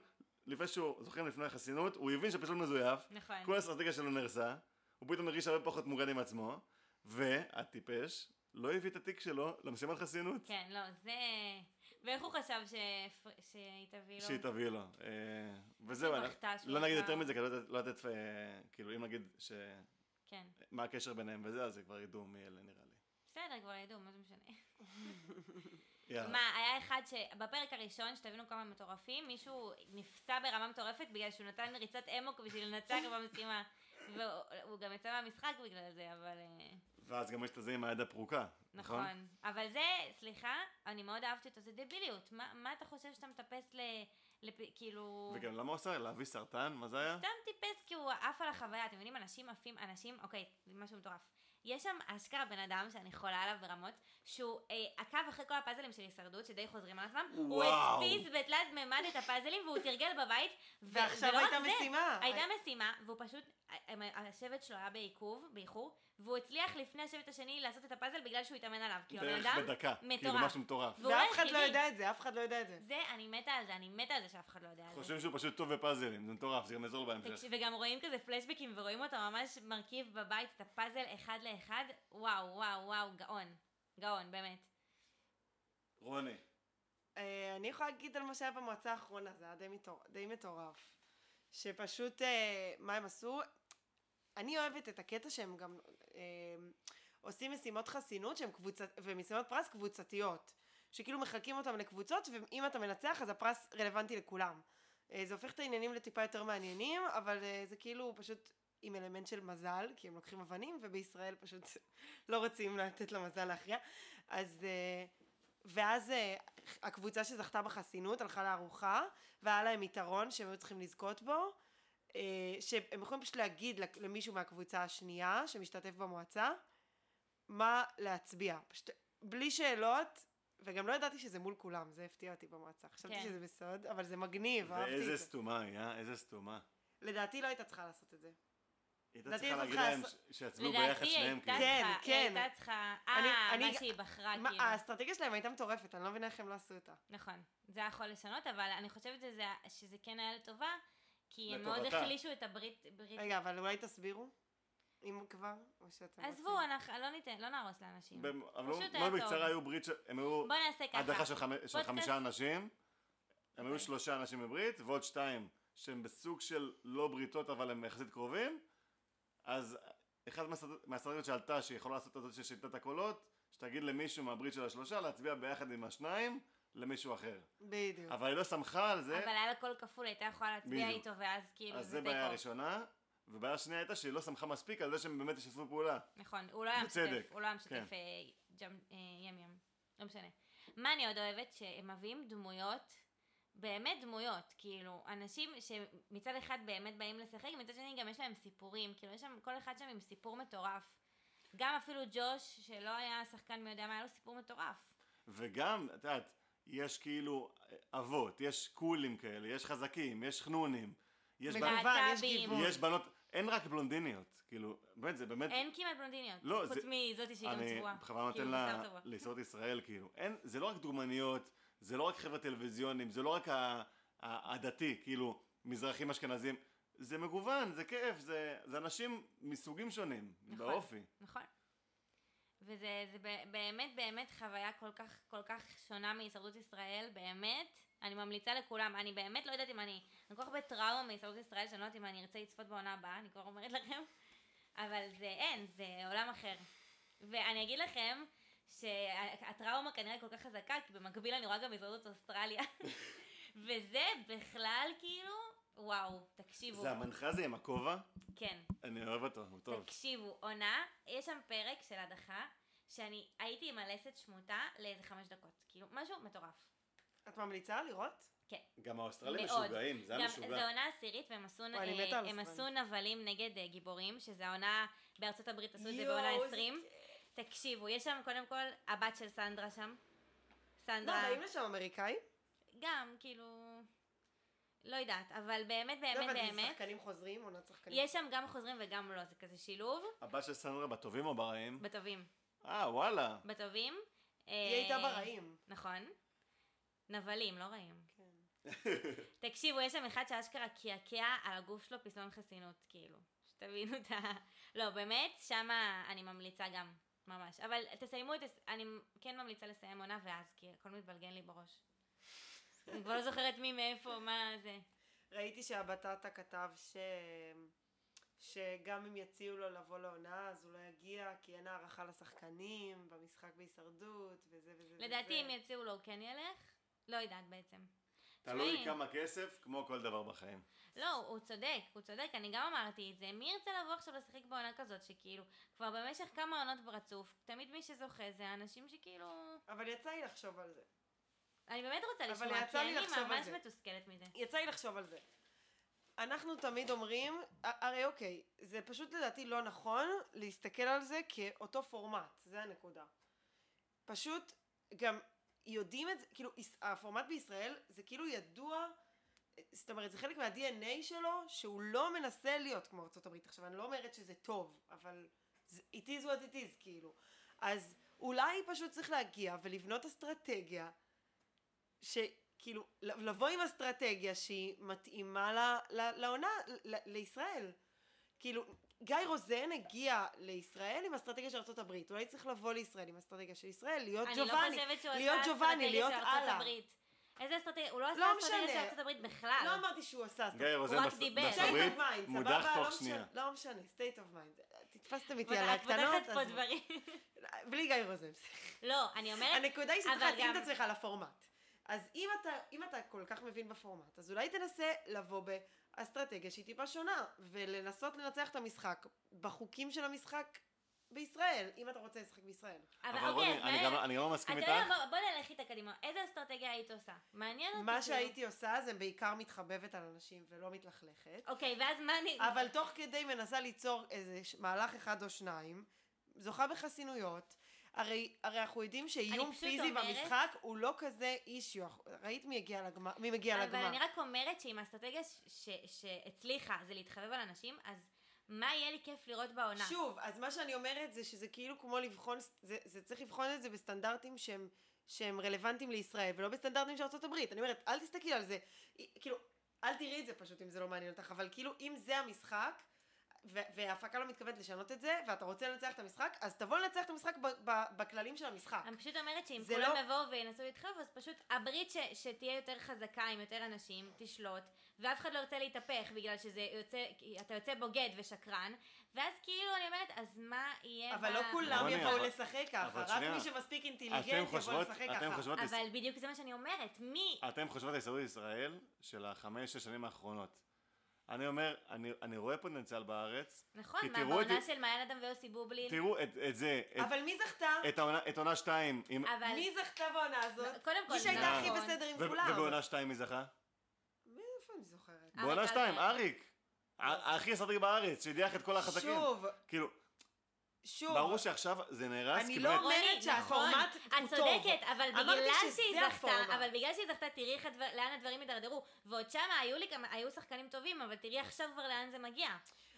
[SPEAKER 3] לפני שהוא, זוכרים לפני החסינות, הוא הבין שהפסלון מזויף,
[SPEAKER 2] נכון.
[SPEAKER 3] כל האסטרטגיה שלו נהרסה, הוא פתאום הרגיש הרבה פחות מוגן עם עצמו, והטיפש לא הביא את התיק שלו למשימת חסינות.
[SPEAKER 2] כן, לא, זה... ואיך הוא חשב ש... שהיא תביא לו?
[SPEAKER 3] שהיא תביא לו. אה, וזהו,
[SPEAKER 2] היא
[SPEAKER 3] אני-
[SPEAKER 2] בכתה כאילו? שהוא
[SPEAKER 3] לא נגיד
[SPEAKER 2] כבר-
[SPEAKER 3] יותר מזה, כי לא יודעת- לא לתת, אה, כאילו, אם נגיד ש...
[SPEAKER 2] כן.
[SPEAKER 3] מה הקשר ביניהם וזה, אז כבר ידעו מי אלה נראה לי.
[SPEAKER 2] בסדר, כבר ידעו, מה זה משנה.
[SPEAKER 3] יאללה.
[SPEAKER 2] מה, היה אחד שבפרק הראשון, שתבינו כמה מטורפים, מישהו נפצע ברמה מטורפת בגלל שהוא נתן ריצת אמוק בשביל לנצח במשימה. והוא גם יצא מהמשחק בגלל זה, אבל... אה,
[SPEAKER 3] ואז גם יש את זה עם היד הפרוקה, נכון?
[SPEAKER 2] נכון. אבל זה, סליחה, אני מאוד אהבתי אותו, זה דביליות. מה מה אתה חושב שאתה מטפס ל... לפ- כאילו...
[SPEAKER 3] וגם למה הוא עשה? להביא סרטן? מה זה היה?
[SPEAKER 2] סתם טיפס כי הוא עף על החוויה, אתם מבינים? אנשים עפים, אנשים, אוקיי, זה משהו מטורף. יש שם אשכרה בן אדם שאני חולה עליו ברמות, שהוא אה, עקב אחרי כל הפאזלים של הישרדות, שדי חוזרים על עצמם, הוא
[SPEAKER 3] וואו.
[SPEAKER 2] הדפיס בתלת מימד את הפאזלים והוא תרגל בבית, ו-
[SPEAKER 1] ועכשיו
[SPEAKER 2] ולא רק
[SPEAKER 1] הייתה
[SPEAKER 2] זה,
[SPEAKER 1] משימה.
[SPEAKER 2] הייתה משימה, והוא פשוט, הם- השבט שלו היה בעיכוב, באיחור, והוא הצליח לפני השבט השני לעשות את הפאזל בגלל שהוא התאמן עליו. כאילו, הבן
[SPEAKER 3] בערך
[SPEAKER 2] אדם,
[SPEAKER 3] בדקה. כאילו
[SPEAKER 2] מטורף.
[SPEAKER 3] משהו מטורף.
[SPEAKER 2] והוא
[SPEAKER 1] ואף אחד לא
[SPEAKER 2] היחידי.
[SPEAKER 1] יודע את זה, אף אחד לא יודע את זה.
[SPEAKER 2] זה, אני מתה על זה, אני מתה על זה שאף אחד לא יודע על זה.
[SPEAKER 3] חושבים שהוא פשוט טוב בפאזלים, זה מטורף, זה גם יעזור לו בהמשך.
[SPEAKER 2] תקשיב, וגם רואים כזה פלשבקים ורואים אותו ממש מרכיב בבית את הפאזל אחד לאחד, וואו, וואו, וואו, גאון. גאון, באמת.
[SPEAKER 3] רוני.
[SPEAKER 1] אה, אני יכולה להגיד על מה שהיה במועצה האחרונה, זה היה די, מטור... די מטורף. שפשוט, אה, מה הם עשו? אני אוהבת את הקטע שהם גם אה, עושים משימות חסינות שהם קבוצ... ומשימות פרס קבוצתיות. שכאילו מחלקים אותם לקבוצות, ואם אתה מנצח אז הפרס רלוונטי לכולם. אה, זה הופך את העניינים לטיפה יותר מעניינים, אבל אה, זה כאילו פשוט עם אלמנט של מזל, כי הם לוקחים אבנים, ובישראל פשוט לא רוצים לתת למזל להכריע. אז... אה, ואז אה, הקבוצה שזכתה בחסינות הלכה לארוחה, והיה להם יתרון שהם היו צריכים לזכות בו, אה, שהם יכולים פשוט להגיד לק- למישהו מהקבוצה השנייה שמשתתף במועצה, מה להצביע. פשוט בלי שאלות, וגם לא ידעתי שזה מול כולם, זה הפתיע אותי במועצה. חשבתי
[SPEAKER 2] כן.
[SPEAKER 1] שזה בסוד, אבל זה מגניב, אהבתי
[SPEAKER 3] ואיזה
[SPEAKER 1] את זה.
[SPEAKER 3] סתומה היה, איזה סתומה.
[SPEAKER 1] לדעתי לא הייתה צריכה לעשות את זה.
[SPEAKER 3] היא הייתה
[SPEAKER 1] לדעתי
[SPEAKER 3] צריכה
[SPEAKER 1] היא
[SPEAKER 3] להגיד
[SPEAKER 1] צריכה
[SPEAKER 3] להם
[SPEAKER 1] לעשות-
[SPEAKER 3] ש- שיצביעו ביחד שניהם,
[SPEAKER 2] הייתה
[SPEAKER 3] כאילו.
[SPEAKER 1] כן,
[SPEAKER 2] צריכה, היא
[SPEAKER 1] כן.
[SPEAKER 2] הייתה צריכה,
[SPEAKER 1] אני-
[SPEAKER 2] אה,
[SPEAKER 1] אני-
[SPEAKER 2] מה שהיא בחרה,
[SPEAKER 1] מה,
[SPEAKER 2] כאילו.
[SPEAKER 1] האסטרטגיה שלהם הייתה מטורפת, אני לא מבינה איך הם לא עשו אותה.
[SPEAKER 2] נכון, זה היה יכול לשנות, אבל אני חושבת שזה- שזה כן היה לטובה, כי הם מאוד
[SPEAKER 3] לטובתה.
[SPEAKER 2] החלישו את הברית... ברית-
[SPEAKER 1] רגע, אבל אולי תסבירו, אם כבר, או שאתם רוצים.
[SPEAKER 2] עזבו, אנחנו לא ניתן, לא נהרוס לאנשים.
[SPEAKER 3] במ- אבל
[SPEAKER 2] פשוט
[SPEAKER 3] מאוד
[SPEAKER 2] היה טוב.
[SPEAKER 3] בקצרה היו ברית, ש- הם היו
[SPEAKER 2] בוא נעשה ככה.
[SPEAKER 3] הדחה של חמ- של
[SPEAKER 2] פודקאסט. אוקיי.
[SPEAKER 3] חמישה אנשים, הם היו שלושה אנשים בברית, ועוד שתיים שהם בסוג של לא בריתות אבל הם יחסית קרובים, אז אחת מהסטרט- מהסטרטגיות שעלתה שיכולה לעשות את הזאת של שיטת הקולות, שתגיד למישהו מהברית של השלושה להצביע ביחד עם השניים למישהו אחר.
[SPEAKER 1] בדיוק.
[SPEAKER 3] אבל היא לא שמחה על זה,
[SPEAKER 2] אבל היה לה קול כפול, הייתה יכולה להצביע
[SPEAKER 3] בדיוק.
[SPEAKER 2] איתו, ואז כאילו
[SPEAKER 3] אז
[SPEAKER 2] זה
[SPEAKER 3] זה בעיה
[SPEAKER 2] תיקו.
[SPEAKER 3] ראשונה, ובעיה השנייה הייתה שהיא לא שמחה מספיק על זה שהם באמת ישתפו פעולה.
[SPEAKER 2] נכון, הוא לא היה
[SPEAKER 3] בצדק,
[SPEAKER 2] משתף, הוא לא היה
[SPEAKER 3] כן.
[SPEAKER 2] משתף אה, ג'ם- אה, ים ים, לא משנה. מה אני עוד אוהבת? שהם מביאים דמויות, באמת דמויות, כאילו, אנשים שמצד אחד באמת באים לשחק, מצד שני גם יש להם סיפורים, כאילו יש שם, כל אחד שם עם סיפור מטורף. גם אפילו ג'וש, שלא היה שחקן מי יודע מה, היה לו סיפור מטורף.
[SPEAKER 3] וגם, את יודעת, יש כאילו אבות, יש קולים כאלה, יש חזקים, יש חנונים, יש,
[SPEAKER 1] מגוון,
[SPEAKER 3] בנ...
[SPEAKER 1] יש
[SPEAKER 2] להט"בים.
[SPEAKER 1] גיוון.
[SPEAKER 3] יש בנות, אין רק בלונדיניות, כאילו, באמת, זה באמת,
[SPEAKER 2] אין כמעט בלונדיניות,
[SPEAKER 3] לא,
[SPEAKER 2] חוץ
[SPEAKER 3] זה-
[SPEAKER 2] מזאתי שהיא גם
[SPEAKER 3] אני
[SPEAKER 2] צבועה.
[SPEAKER 3] בכוונה נותן
[SPEAKER 2] כאילו,
[SPEAKER 3] לה
[SPEAKER 2] בשר צבוע.
[SPEAKER 3] ליסוד ישראל, כאילו, אין, זה לא רק דוגמניות, זה לא רק חבר'ה טלוויזיונים, זה לא רק ה- ה- הדתי, כאילו, מזרחים אשכנזים, זה מגוון, זה כיף, זה, זה אנשים מסוגים שונים,
[SPEAKER 2] נכון.
[SPEAKER 3] באופי.
[SPEAKER 2] נכון. וזה זה ב- באמת באמת חוויה כל כך, כל כך שונה מהישרדות ישראל, באמת. אני ממליצה לכולם, אני באמת לא יודעת אם אני, אני כל כך בטראומה מהישרדות ישראל, שאני לא יודעת אם אני ארצה לצפות בעונה הבאה, אני כבר אומרת לכם, אבל זה אין, זה עולם אחר. ואני אגיד לכם שהטראומה כנראה כל כך חזקה, כי במקביל אני רואה גם הישרדות אוסטרליה. וזה בכלל כאילו, וואו, תקשיבו,
[SPEAKER 3] זה המנחה הזה עם הכובע,
[SPEAKER 2] כן.
[SPEAKER 3] אני אוהב אותו, הוא טוב.
[SPEAKER 2] תקשיבו, עונה, יש שם פרק של הדחה, שאני הייתי עם הלסת שמוטה לאיזה חמש דקות. כאילו, משהו מטורף.
[SPEAKER 1] את ממליצה לראות?
[SPEAKER 3] גם האוסטרלים
[SPEAKER 2] מאוד.
[SPEAKER 3] משוגעים, זה היה
[SPEAKER 2] גם-
[SPEAKER 3] משוגע.
[SPEAKER 2] זו עונה עשירית, והם עשו,
[SPEAKER 1] וואי, אני
[SPEAKER 2] אה,
[SPEAKER 1] מתה על
[SPEAKER 2] הם עשו
[SPEAKER 1] אוסטרליה.
[SPEAKER 2] נבלים נגד אה, גיבורים, שזה העונה, בארצות הברית עשו את זה
[SPEAKER 1] יואו,
[SPEAKER 2] בעונה
[SPEAKER 1] איזה
[SPEAKER 2] 20. תקשיבו, יש שם קודם כל, הבת של סנדרה שם.
[SPEAKER 1] לא,
[SPEAKER 2] סנדרה,
[SPEAKER 1] באים לשם אמריקאים? לא
[SPEAKER 2] גם, כאילו, לא יודעת, אבל באמת,
[SPEAKER 1] לא,
[SPEAKER 2] באמת,
[SPEAKER 1] אבל זה
[SPEAKER 2] באמת,
[SPEAKER 1] שחקנים חוזרים, עונת שחקנים.
[SPEAKER 2] יש שם גם חוזרים וגם לא, זה כזה שילוב,
[SPEAKER 3] הבת של סנדרה בטובים או ברעים?
[SPEAKER 2] בטובים,
[SPEAKER 3] אה, וואלה.
[SPEAKER 2] בטובים.
[SPEAKER 1] היא הייתה
[SPEAKER 2] אה,
[SPEAKER 1] ברעים.
[SPEAKER 2] נכון. נבלים, לא רעים.
[SPEAKER 1] כן.
[SPEAKER 2] תקשיבו, יש שם אחד שאשכרה קעקע על הגוף שלו פסלון חסינות, כאילו. שתבינו את ה... לא, באמת, שמה אני ממליצה גם, ממש. אבל תסיימו את... הס- אני כן ממליצה לסיים עונה ואז, כי הכל מתבלגן לי בראש. אני כבר לא זוכרת מי מאיפה, מה זה.
[SPEAKER 1] ראיתי שהבטטה כתב ש... שגם אם יציעו לו לבוא לעונה, אז הוא לא יגיע, כי אין הערכה לשחקנים, במשחק בהישרדות, וזה וזה וזה.
[SPEAKER 2] לדעתי, אם יציעו לו, הוא כן ילך? לא יודעת בעצם.
[SPEAKER 3] תלוי
[SPEAKER 2] תשמעי.
[SPEAKER 3] כמה כסף, כמו כל דבר בחיים.
[SPEAKER 2] לא, הוא צודק, הוא צודק, אני גם אמרתי את זה. מי ירצה לבוא עכשיו לשחק בעונה כזאת, שכאילו, כבר במשך כמה עונות ברצוף, תמיד מי שזוכה זה האנשים שכאילו...
[SPEAKER 1] אבל יצא לי לחשוב על זה.
[SPEAKER 2] אני באמת רוצה
[SPEAKER 1] אבל
[SPEAKER 2] לשמוע,
[SPEAKER 1] יצא
[SPEAKER 2] כי
[SPEAKER 1] לי
[SPEAKER 2] אני
[SPEAKER 1] לחשוב על
[SPEAKER 2] ממש
[SPEAKER 1] זה.
[SPEAKER 2] מתוסכלת מזה.
[SPEAKER 1] יצא לי לחשוב על זה. אנחנו תמיד אומרים, ה- הרי אוקיי, זה פשוט לדעתי לא נכון להסתכל על זה כאותו פורמט, זה הנקודה. פשוט גם יודעים את זה, כאילו יש- הפורמט בישראל זה כאילו ידוע, זאת אומרת זה חלק מה-DNA שלו שהוא לא מנסה להיות כמו ארצות הברית. עכשיו אני לא אומרת שזה טוב, אבל זה- it is what it is כאילו. אז אולי פשוט צריך להגיע ולבנות אסטרטגיה שכאילו, לבוא עם אסטרטגיה שהיא מתאימה ל, ל, לעונה, ל, לישראל. כאילו, גיא רוזן הגיע לישראל עם אסטרטגיה של ארה"ב, אולי צריך לבוא לישראל עם אסטרטגיה של ישראל, להיות
[SPEAKER 2] אני לא
[SPEAKER 1] ג'ובאני.
[SPEAKER 2] חושבת שהוא
[SPEAKER 1] להיות
[SPEAKER 2] עשה
[SPEAKER 1] ג'ובאני,
[SPEAKER 2] אסטרטגיה
[SPEAKER 1] להיות
[SPEAKER 2] של
[SPEAKER 1] אהלן.
[SPEAKER 2] ארצות הברית. איזה אסטרטגיה? הוא לא עשה
[SPEAKER 1] לא
[SPEAKER 2] אסטרטגיה של
[SPEAKER 1] משנה.
[SPEAKER 2] ארצות הברית בכלל.
[SPEAKER 1] לא אמרתי שהוא עשה
[SPEAKER 3] גיא
[SPEAKER 1] אסטרטגיה.
[SPEAKER 3] רוזן
[SPEAKER 2] רק
[SPEAKER 3] בס-
[SPEAKER 2] דיבר.
[SPEAKER 1] state
[SPEAKER 3] בארצות
[SPEAKER 1] of
[SPEAKER 3] הברית,
[SPEAKER 1] mind,
[SPEAKER 3] מודח
[SPEAKER 1] סבבה, לא
[SPEAKER 3] תוך
[SPEAKER 1] משנה,
[SPEAKER 3] שנייה.
[SPEAKER 1] לא משנה, state of mind. תתפסתם
[SPEAKER 2] את
[SPEAKER 1] איתי על הקטנות,
[SPEAKER 2] פותחת פה
[SPEAKER 1] אז-
[SPEAKER 2] דברים.
[SPEAKER 1] בלי גיא רוזן.
[SPEAKER 2] לא, אני אומרת,
[SPEAKER 1] הנקודה היא שצריך
[SPEAKER 2] אבל
[SPEAKER 1] להתאים את
[SPEAKER 2] גם-
[SPEAKER 1] עצמך לפורמט. אז אם אתה, אם אתה כל כך מבין בפורמט, אז אולי תנסה לבוא באסטרטגיה שהיא טיפה שונה, ולנסות לנצח את המשחק בחוקים של המשחק בישראל, אם אתה רוצה לשחק בישראל.
[SPEAKER 3] אבל
[SPEAKER 2] אבל
[SPEAKER 3] רוני,
[SPEAKER 2] אוקיי, אז
[SPEAKER 3] אני גם-
[SPEAKER 2] מעניין.
[SPEAKER 3] אני גם לא
[SPEAKER 2] אתה
[SPEAKER 3] מסכים
[SPEAKER 2] יודע,
[SPEAKER 3] איתך.
[SPEAKER 2] בוא- בוא נלך איתה קדימה. איזה אסטרטגיה היית עושה? מעניין אותי.
[SPEAKER 1] מה
[SPEAKER 2] כאילו.
[SPEAKER 1] שהייתי עושה זה בעיקר מתחבבת על אנשים ולא מתלכלכת,
[SPEAKER 2] אוקיי, ואז מה אני...
[SPEAKER 1] אבל תוך כדי מנסה ליצור איזה ש- מהלך אחד או שניים, זוכה בחסינויות. הרי, הרי אנחנו יודעים שאיום
[SPEAKER 2] פשוט
[SPEAKER 1] פיזי
[SPEAKER 2] אומרת-
[SPEAKER 1] במשחק הוא לא כזה אישיו. ראית מי הגיע לגמר? מי מגיע לגמר?
[SPEAKER 2] אבל אני רק אומרת שאם האסטרטגיה ש- ש- שהצליחה זה להתחבב על אנשים, אז מה יהיה לי כיף לראות בעונה?
[SPEAKER 1] שוב, אז מה שאני אומרת זה שזה כאילו כמו לבחון, זה, זה צריך לבחון את זה בסטנדרטים שהם, שהם רלוונטיים לישראל, ולא בסטנדרטים של ארה"ב. אני אומרת, אל תסתכלי על זה, אי- כאילו, אל תראי את זה פשוט אם זה לא מעניין אותך, אבל כאילו, אם זה המשחק, ו- וההפקה לא מתכוונת לשנות את זה, ואתה רוצה לנצח את המשחק, אז תבוא לנצח את המשחק ב- ב- בכללים של המשחק.
[SPEAKER 2] אני פשוט אומרת שאם
[SPEAKER 1] זה
[SPEAKER 2] כולם
[SPEAKER 1] לא-
[SPEAKER 2] יבואו וינסו לדחוף, אז פשוט הברית ש- שתהיה יותר חזקה עם יותר אנשים, תשלוט, ואף אחד לא ירצה להתהפך בגלל שזה יוצא, כי אתה יוצא בוגד ושקרן, ואז כאילו אני אומרת, אז מה יהיה
[SPEAKER 1] אבל לא
[SPEAKER 2] ב-
[SPEAKER 1] כולם
[SPEAKER 3] רוני,
[SPEAKER 1] יבואו
[SPEAKER 3] אבל-
[SPEAKER 1] לשחק ככה,
[SPEAKER 3] אבל
[SPEAKER 1] רק
[SPEAKER 3] שנייה.
[SPEAKER 1] מי שמספיק
[SPEAKER 3] אתם
[SPEAKER 1] אינטליגנט יבוא
[SPEAKER 3] חושבות,
[SPEAKER 1] כן לשחק
[SPEAKER 3] אתם
[SPEAKER 1] ככה.
[SPEAKER 3] חושבות,
[SPEAKER 2] אבל בדיוק זה מה שאני אומרת, מי?
[SPEAKER 3] אתם חושבות על הסתדרות ישראל של החמש, שש שנים האחרונות. אני אומר, אני, אני רואה פוטנציאל בארץ,
[SPEAKER 2] נכון,
[SPEAKER 3] כי
[SPEAKER 2] מה,
[SPEAKER 3] תראו את-
[SPEAKER 2] בעונה של מעיין אדם ויוסי בובליל?
[SPEAKER 3] תראו את, את זה, את,
[SPEAKER 1] אבל מי זכתה?
[SPEAKER 3] את העונה- את עונה שתיים, עם,
[SPEAKER 2] אבל...
[SPEAKER 1] מי זכתה בעונה הזאת?
[SPEAKER 2] קודם כל,
[SPEAKER 1] מי שהייתה הכי
[SPEAKER 2] נכון.
[SPEAKER 1] בסדר עם
[SPEAKER 3] ו-
[SPEAKER 1] כולם.
[SPEAKER 3] ובעונה שתיים מי זכה?
[SPEAKER 1] מאיפה אני זוכרת?
[SPEAKER 2] אריק
[SPEAKER 3] בעונה שתיים,
[SPEAKER 2] אלתר.
[SPEAKER 3] אריק. ה- הכי אסטרטגי בארץ, שהדיח את כל החזקים.
[SPEAKER 1] שוב,
[SPEAKER 3] כאילו,
[SPEAKER 1] שוב.
[SPEAKER 3] ברור כאילו, שעכשיו זה נהרס,
[SPEAKER 1] אני
[SPEAKER 3] כי
[SPEAKER 1] לא
[SPEAKER 3] באמת-
[SPEAKER 1] אומרת
[SPEAKER 2] רוני,
[SPEAKER 1] שהפורמט
[SPEAKER 2] נכון.
[SPEAKER 1] הוא
[SPEAKER 2] את
[SPEAKER 1] טוב.
[SPEAKER 2] צודקת, אבל
[SPEAKER 1] אמרתי
[SPEAKER 2] בגלל
[SPEAKER 1] שזה
[SPEAKER 2] שהיא זכתה,
[SPEAKER 1] הפורמט.
[SPEAKER 2] אבל בגלל שהיא זכתה, תראי איך הדבר- לאן הדברים הידרדרו. ועוד שמה היו לי כמה, היו שחקנים טובים, אבל תראי עכשיו כבר לאן זה מגיע.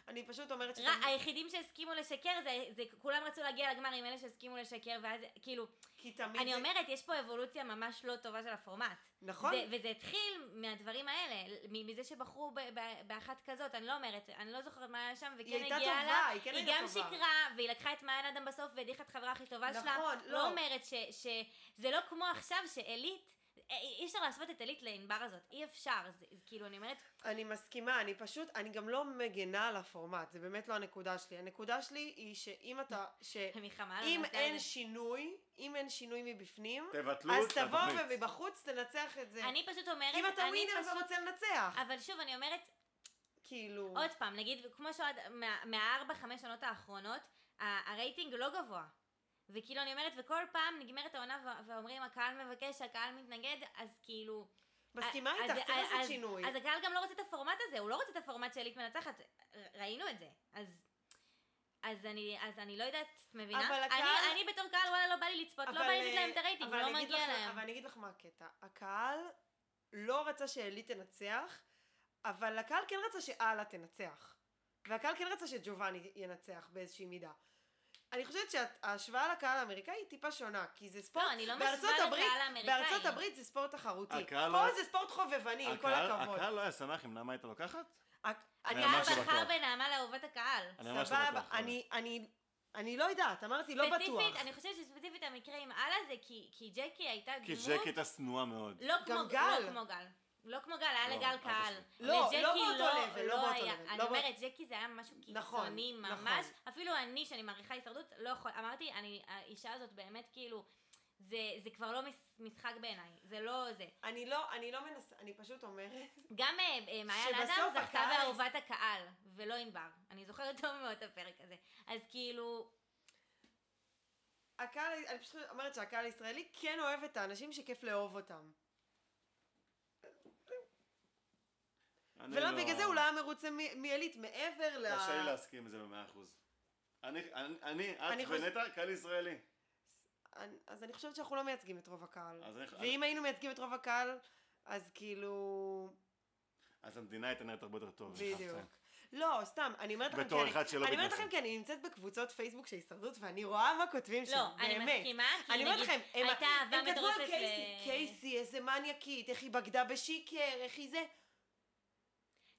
[SPEAKER 1] אני פשוט אומרת
[SPEAKER 2] ר-
[SPEAKER 1] שתמיד-
[SPEAKER 2] היחידים שהסכימו לשקר, זה, זה כולם רצו להגיע לגמר עם אלה שהסכימו לשקר, ואז כאילו,
[SPEAKER 1] כי תמיד
[SPEAKER 2] אני
[SPEAKER 1] זה-
[SPEAKER 2] אומרת, יש פה אבולוציה ממש לא טובה של הפורמט.
[SPEAKER 1] נכון.
[SPEAKER 2] זה, וזה התחיל מהדברים האלה, מ- מזה שבחרו ב- ב- באחת כזאת, אני לא אומרת, אני לא זוכרת מה היה שם, וכן
[SPEAKER 1] היא הייתה
[SPEAKER 2] הגיעה לה.
[SPEAKER 1] טובה, היא כן
[SPEAKER 2] היא
[SPEAKER 1] הייתה
[SPEAKER 2] גם
[SPEAKER 1] טובה.
[SPEAKER 2] שיקרה, והיא לקחה את מעיין אדם בסוף והדיחה את חברה הכי טובה שלה.
[SPEAKER 1] נכון,
[SPEAKER 2] לא
[SPEAKER 1] לא.
[SPEAKER 2] אומרת ש... ש- זה לא כמו עכשיו שעילית, אי- אי אפשר להשוות את עילית לענבר הזאת, אי אפשר. זה, זה כאילו, אני אומרת,
[SPEAKER 1] אני מסכימה, אני פשוט, אני גם לא מגנה על הפורמט, זה באמת לא הנקודה שלי. הנקודה שלי היא שאם אתה, שאם
[SPEAKER 2] מלחמה על הנושא
[SPEAKER 1] אין
[SPEAKER 2] הזה.
[SPEAKER 1] שינוי, אם אין שינוי מבפנים,
[SPEAKER 3] תבטלו
[SPEAKER 1] אז
[SPEAKER 3] את
[SPEAKER 1] תבוא
[SPEAKER 3] התוכנית.
[SPEAKER 1] ומבחוץ תנצח את זה.
[SPEAKER 2] אני פשוט אומרת,
[SPEAKER 1] אם אתה
[SPEAKER 2] אני
[SPEAKER 1] ווינר
[SPEAKER 2] פשוט-
[SPEAKER 1] ורוצה לנצח,
[SPEAKER 2] אבל שוב, אני אומרת,
[SPEAKER 1] כאילו...
[SPEAKER 2] עוד פעם, נגיד, כמו שעוד, מה- מהארבע, חמש שנות האחרונות, ה- הרייטינג לא גבוה. וכאילו, אני אומרת, וכל פעם נגמרת העונה ו- ואומרים, הקהל מבקש, הקהל מתנגד, אז כאילו...
[SPEAKER 1] מסכימה
[SPEAKER 2] אז-
[SPEAKER 1] איתך, צריך
[SPEAKER 2] אז-
[SPEAKER 1] לעשות
[SPEAKER 2] אז-
[SPEAKER 1] שינוי.
[SPEAKER 2] אז הקהל גם לא רוצה את הפורמט הזה, הוא לא רוצה את הפורמט של עילית מנצחת, ר- ראינו את זה. אז... אז אני, אז אני לא יודעת, את מבינה?
[SPEAKER 1] אבל הקהל-
[SPEAKER 2] אני, אני בתור קהל וואלה לא בא לי לצפות, לא בא לי לתת
[SPEAKER 1] אה,
[SPEAKER 2] להם את הרייטינג,
[SPEAKER 1] אבל
[SPEAKER 2] לא
[SPEAKER 1] אני אגיד
[SPEAKER 2] מגיע
[SPEAKER 1] לך-
[SPEAKER 2] להם.
[SPEAKER 1] אבל אני אגיד לך מה הקטע. הקהל לא רצה שעלי תנצח, אבל הקהל כן רצה שאללה תנצח. והקהל כן רצה שג'ובאני ינצח באיזושהי מידה. אני חושבת שההשוואה לקהל האמריקאי היא טיפה שונה, כי זה ספורט...
[SPEAKER 2] לא, אני לא
[SPEAKER 1] בארצות
[SPEAKER 2] משווה לקהל
[SPEAKER 1] הברית-
[SPEAKER 2] האמריקאי.
[SPEAKER 1] בארצות הברית זה ספורט תחרותי.
[SPEAKER 3] הקהל
[SPEAKER 1] פה
[SPEAKER 3] לא-
[SPEAKER 1] זה ספורט חובבני, עם כל
[SPEAKER 3] הקהל-
[SPEAKER 1] הכבוד.
[SPEAKER 3] הקהל לא היה שמח אם נעמה הייתה לוקחת?
[SPEAKER 1] הק- אני
[SPEAKER 3] ממש
[SPEAKER 2] הקהל
[SPEAKER 3] לא
[SPEAKER 2] בחר
[SPEAKER 3] בטוח.
[SPEAKER 2] בנעמה לאהובת הקהל.
[SPEAKER 3] אני ממש לא
[SPEAKER 1] סבבה,
[SPEAKER 3] בטוח.
[SPEAKER 1] אני- אני- אני לא יודעת, אמרתי לא
[SPEAKER 2] ספציפית,
[SPEAKER 1] בטוח.
[SPEAKER 2] אני חושבת שספציפית המקרה עם אללה זה כי, כי ג'קי הייתה
[SPEAKER 3] כי
[SPEAKER 2] דמות...
[SPEAKER 3] ג'קי הייתה שנואה מאוד.
[SPEAKER 2] לא כמו,
[SPEAKER 1] גם גל.
[SPEAKER 2] לא כמו גל. לא כמו גל, היה
[SPEAKER 3] לא,
[SPEAKER 2] לגל
[SPEAKER 3] אל
[SPEAKER 2] קהל.
[SPEAKER 3] תשווה.
[SPEAKER 1] לא,
[SPEAKER 2] לג'קי
[SPEAKER 1] לא באותו level, לא באותו
[SPEAKER 2] היה.
[SPEAKER 1] level,
[SPEAKER 2] אני
[SPEAKER 1] לא בא-
[SPEAKER 2] אומרת, ג'קי זה היה משהו
[SPEAKER 1] נכון,
[SPEAKER 2] קיצוני
[SPEAKER 1] נכון.
[SPEAKER 2] ממש. אפילו אני, שאני מעריכה הישרדות, לא יכול... אמרתי, אני, האישה הזאת באמת כאילו... זה, זה כבר לא מש- משחק בעיניי, זה לא זה.
[SPEAKER 1] אני לא, אני לא מנסה, אני פשוט אומרת...
[SPEAKER 2] גם אה, אה, מעיין
[SPEAKER 1] שבסוף
[SPEAKER 2] אדם זכתה
[SPEAKER 1] הקהל-
[SPEAKER 2] באהובת הקהל, ולא ענבר. אני זוכרת טוב מאוד את הפרק הזה. אז כאילו,
[SPEAKER 1] הקהל, אני פשוט אומרת שהקהל הישראלי כן אוהב את האנשים שכיף לאהוב אותם.
[SPEAKER 3] אני
[SPEAKER 1] ולא
[SPEAKER 3] לא-
[SPEAKER 1] בגלל זה הוא לא היה מרוצה מ- מעילית מעבר ל...
[SPEAKER 3] קשה לי להסכים עם זה במאה אחוז. אני, אני, אני,
[SPEAKER 1] אני
[SPEAKER 3] את
[SPEAKER 1] חושב-
[SPEAKER 3] ונטע, קהל ישראלי.
[SPEAKER 1] אני- אז אני חושבת שאנחנו לא מייצגים את רוב הקהל.
[SPEAKER 3] אז איך-
[SPEAKER 1] ואם היינו מייצגים את רוב הקהל, אז כאילו...
[SPEAKER 3] אז המדינה הייתה נראית הרבה יותר טוב.
[SPEAKER 1] בדיוק. לא, סתם, אני אומרת לכם,
[SPEAKER 3] בתור
[SPEAKER 1] כי
[SPEAKER 3] אחד שלא
[SPEAKER 1] אני אומרת
[SPEAKER 3] מתנחם.
[SPEAKER 1] לכם כי אני נמצאת בקבוצות פייסבוק של הישרדות, ואני רואה מה כותבים שם,
[SPEAKER 2] לא,
[SPEAKER 1] כן, באמת.
[SPEAKER 2] אני מסכימה, כי
[SPEAKER 1] אני אומרת
[SPEAKER 2] נגיד,
[SPEAKER 1] לכם, הם,
[SPEAKER 2] הייתה אהבה
[SPEAKER 1] הם כתבו על
[SPEAKER 2] מטורפת
[SPEAKER 1] קייסי,
[SPEAKER 2] ל-
[SPEAKER 1] קייסי, איזה מניאקית, איך היא בגדה בשיקר, איך היא זה.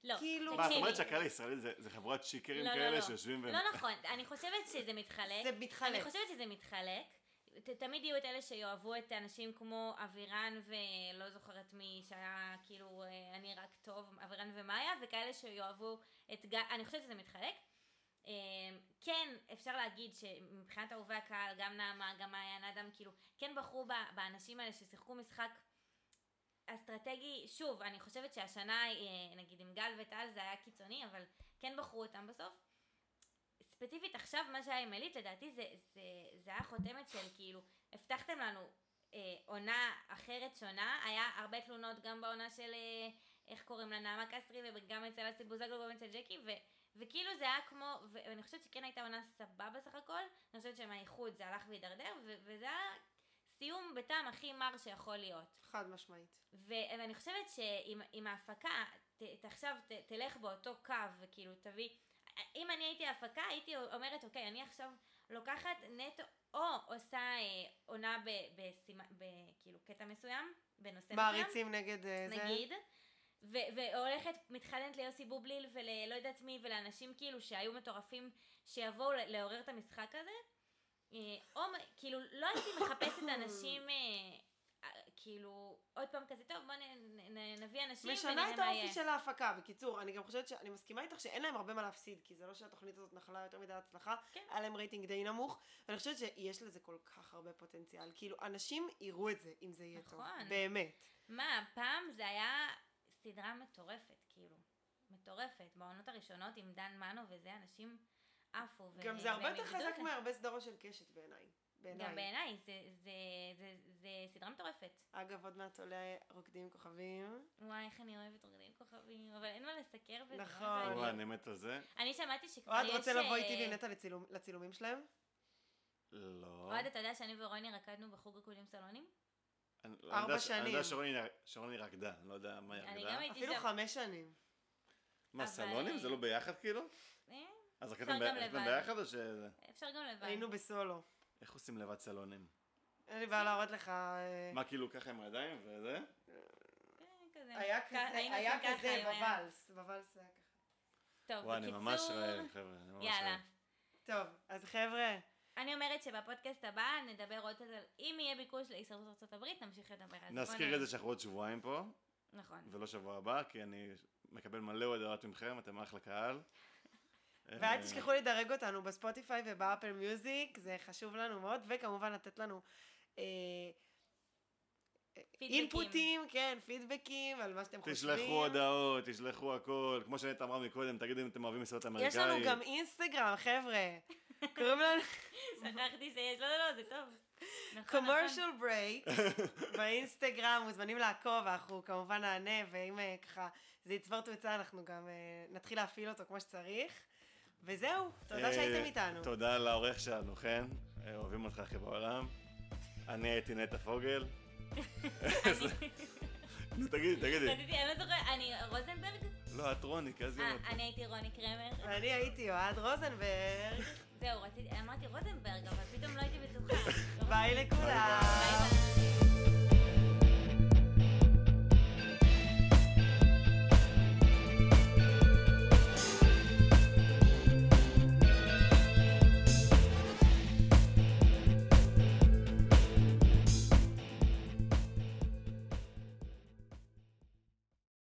[SPEAKER 2] לא.
[SPEAKER 1] כאילו-
[SPEAKER 3] מה, את
[SPEAKER 2] תקשיבי.
[SPEAKER 3] אומרת שהקהל הישראלי זה, זה חבורת שיקרים
[SPEAKER 2] לא, לא,
[SPEAKER 3] כאלה
[SPEAKER 2] לא.
[SPEAKER 3] שיושבים והם...
[SPEAKER 2] לא נכון, אני חושבת שזה מתחלק.
[SPEAKER 1] זה מתחלק.
[SPEAKER 2] אני חושבת שזה מתחלק. ת, תמיד יהיו את אלה שיאהבו את האנשים כמו אבירן ולא זוכרת מי שהיה כאילו אה, אני רק טוב, אבירן ומאיה, וכאלה שיאהבו את גל, אני חושבת שזה מתחלק. אה, כן, אפשר להגיד שמבחינת אהובי הקהל, גם נעמה, גם מעיין אדם, כאילו, כן בחרו ב- באנשים האלה ששיחקו משחק אסטרטגי, שוב, אני חושבת שהשנה, אה, נגיד עם גל וטל זה היה קיצוני, אבל כן בחרו אותם בסוף. ספציפית עכשיו, מה שהיה עם עילית, לדעתי זה, זה, זה היה חותמת של כאילו, הבטחתם לנו אה, עונה אחרת שונה, היה הרבה תלונות גם בעונה של, אה, איך קוראים לה, נעמה קסרי, וגם אצל אסי בוזגלו וגם אצל ג'קי, ו, וכאילו זה היה כמו, ו- ואני חושבת שכן הייתה עונה סבבה סך הכל, אני חושבת שמהאיחוד זה הלך והידרדר, ו- וזה היה סיום בטעם הכי מר שיכול להיות.
[SPEAKER 1] חד משמעית.
[SPEAKER 2] ו- ואני חושבת שאם אם ההפקה, ת, ת, עכשיו ת, תלך באותו קו, וכאילו תביא, אם אני הייתי ההפקה, הייתי אומרת, אוקיי, אני עכשיו לוקחת נטו, או עושה אה, עונה ב, בסימ, ב, כאילו קטע מסוים, בנושא מסוים,
[SPEAKER 1] מעריצים נגד אה, זה.
[SPEAKER 2] נגיד, ו- והולכת, מתחננת ליוסי בובליל וללא יודעת מי ולאנשים כאילו שהיו מטורפים שיבואו ל- לעורר את המשחק הזה. אה, או מ- כאילו לא הייתי מחפשת אנשים אה, אה, כאילו עוד פעם כזה טוב בוא נ- נ- נ- נביא אנשים
[SPEAKER 1] משנה
[SPEAKER 2] ונראה
[SPEAKER 1] את
[SPEAKER 2] מה יהיה.
[SPEAKER 1] האופי של ההפקה, בקיצור, אני גם חושבת שאני מסכימה איתך שאין להם הרבה מה להפסיד, כי זה לא שהתוכנית הזאת נחלה יותר מדי הצלחה,
[SPEAKER 2] כן.
[SPEAKER 1] היה להם רייטינג די נמוך, ואני חושבת שיש לזה כל כך הרבה פוטנציאל, כאילו, אנשים יראו את זה, אם זה יהיה טוב,
[SPEAKER 2] נכון.
[SPEAKER 1] באמת.
[SPEAKER 2] מה, פעם זה היה סדרה מטורפת, כאילו. מטורפת. בעונות הראשונות עם דן מנו וזה, אנשים עפו. ו-
[SPEAKER 1] גם זה הרבה
[SPEAKER 2] והם
[SPEAKER 1] יותר
[SPEAKER 2] איבדו
[SPEAKER 1] חזק
[SPEAKER 2] את ה-
[SPEAKER 1] מהרבה סדרות של קשת בעיניי.
[SPEAKER 2] גם
[SPEAKER 1] בעיניי.
[SPEAKER 2] בעיניי, זה, זה, זה, זה סדרה מטורפת.
[SPEAKER 1] אגב, עוד מעט עולה רוקדים עם כוכבים.
[SPEAKER 2] וואי, איך אני אוהבת רוקדים כוכבים, אבל אין מה לסקר בזה.
[SPEAKER 1] נכון.
[SPEAKER 2] אבל-
[SPEAKER 3] וואי, אני מת על זה.
[SPEAKER 2] אני שמעתי שכבר
[SPEAKER 1] אוהד
[SPEAKER 2] יש...
[SPEAKER 1] רוצה לבוא איתי
[SPEAKER 2] אה,
[SPEAKER 1] ונטע לצילום- לצילומים שלהם?
[SPEAKER 3] לא.
[SPEAKER 2] אוהד, אתה יודע שאני ורוני רקדנו בחוג ריקודים סלונים?
[SPEAKER 3] אני- אני
[SPEAKER 1] ארבע
[SPEAKER 3] יודע ש- אני
[SPEAKER 1] שנים.
[SPEAKER 3] יודע שרוני שרוני רקדה, אני לא יודע מה היא
[SPEAKER 2] אני גם
[SPEAKER 3] רקדה.
[SPEAKER 2] הייתי
[SPEAKER 1] אפילו
[SPEAKER 2] שם.
[SPEAKER 1] חמש שנים.
[SPEAKER 3] מה,
[SPEAKER 2] אבל-
[SPEAKER 3] סלונים? זה לא ביחד כאילו?
[SPEAKER 2] אה,
[SPEAKER 3] אז
[SPEAKER 2] אפשר
[SPEAKER 3] רקדתם ב-
[SPEAKER 2] גם
[SPEAKER 3] רקדתם
[SPEAKER 2] לבד.
[SPEAKER 3] ביחד או שזה...
[SPEAKER 2] אפשר גם לבד.
[SPEAKER 1] היינו בסולו.
[SPEAKER 3] איך עושים לבד סלונים?
[SPEAKER 1] אין לי בעיה להראות לך... אה,
[SPEAKER 3] מה, כאילו ככה עם הידיים וזה?
[SPEAKER 2] כן, כזה.
[SPEAKER 1] היה
[SPEAKER 2] כ-
[SPEAKER 1] כזה,
[SPEAKER 2] היינו
[SPEAKER 1] היה
[SPEAKER 2] עושים ככה,
[SPEAKER 1] כזה
[SPEAKER 2] אם היה-
[SPEAKER 1] בוואלס. בוואלס היה ככה.
[SPEAKER 2] טוב,
[SPEAKER 3] וואי, אני ממש
[SPEAKER 2] בקיצור,
[SPEAKER 3] רעב, חבר'ה. אני ממש
[SPEAKER 2] יאללה.
[SPEAKER 3] רעב.
[SPEAKER 1] טוב, אז חבר'ה,
[SPEAKER 2] אני אומרת שבפודקאסט הבא נדבר עוד קצת על... אם יהיה ביקוש להישרדות ארצות הברית, נמשיך לדבר על זה. בוא
[SPEAKER 3] נזכיר
[SPEAKER 2] נראה.
[SPEAKER 3] את זה שאנחנו עוד שבועיים פה,
[SPEAKER 2] נכון.
[SPEAKER 3] ולא שבוע הבא, כי אני מקבל מלא הודעות מכם, אתם אחלה קהל. אה.
[SPEAKER 1] ואל תשכחו לדרג אותנו בספוטיפיי ובאפל מיוזיק, זה חשוב לנו מאוד, וכמובן לתת לנו אה,
[SPEAKER 2] פידבקים.
[SPEAKER 1] אינפוטים, כן, פידבקים על מה שאתם חושבים.
[SPEAKER 3] תשלחו הודעות, תשלחו הכל. כמו שנטע אמרה מקודם, תגידו אם אתם אוהבים מסעדות אמריקאית.
[SPEAKER 1] יש לנו גם אינסטגרם, חבר'ה. קוראים לנו
[SPEAKER 2] שכחתי שיש... לא, לא, לא, זה טוב. נכון, נכון.
[SPEAKER 1] commercial break באינסטגרם, מוזמנים לעקוב, אנחנו כמובן נענה, ואם אה, ככה זה יצבור תאוצה, אנחנו גם אה, נתחיל להפעיל אותו כמו שצריך. וזהו, תודה
[SPEAKER 3] אה,
[SPEAKER 1] שהייתם איתנו.
[SPEAKER 3] תודה לעורך שלנו, חן. אה, אוהבים אותך הכי בעולם. אני הייתי נטע פוגל. נו, תגידי, תגידי.
[SPEAKER 2] רציתי, אני לא זוכרת, אני רוזנברג?
[SPEAKER 3] לא, את רוני, כי אז יום
[SPEAKER 2] אה, אני הייתי רוני קרמר.
[SPEAKER 1] ואני הייתי אוהד רוזנברג,
[SPEAKER 2] זהו, רציתי, אמרתי רוזנברג, אבל פתאום לא הייתי בטוחה.
[SPEAKER 1] ביי
[SPEAKER 3] ביי
[SPEAKER 1] לכולם.
[SPEAKER 2] ביי ביי.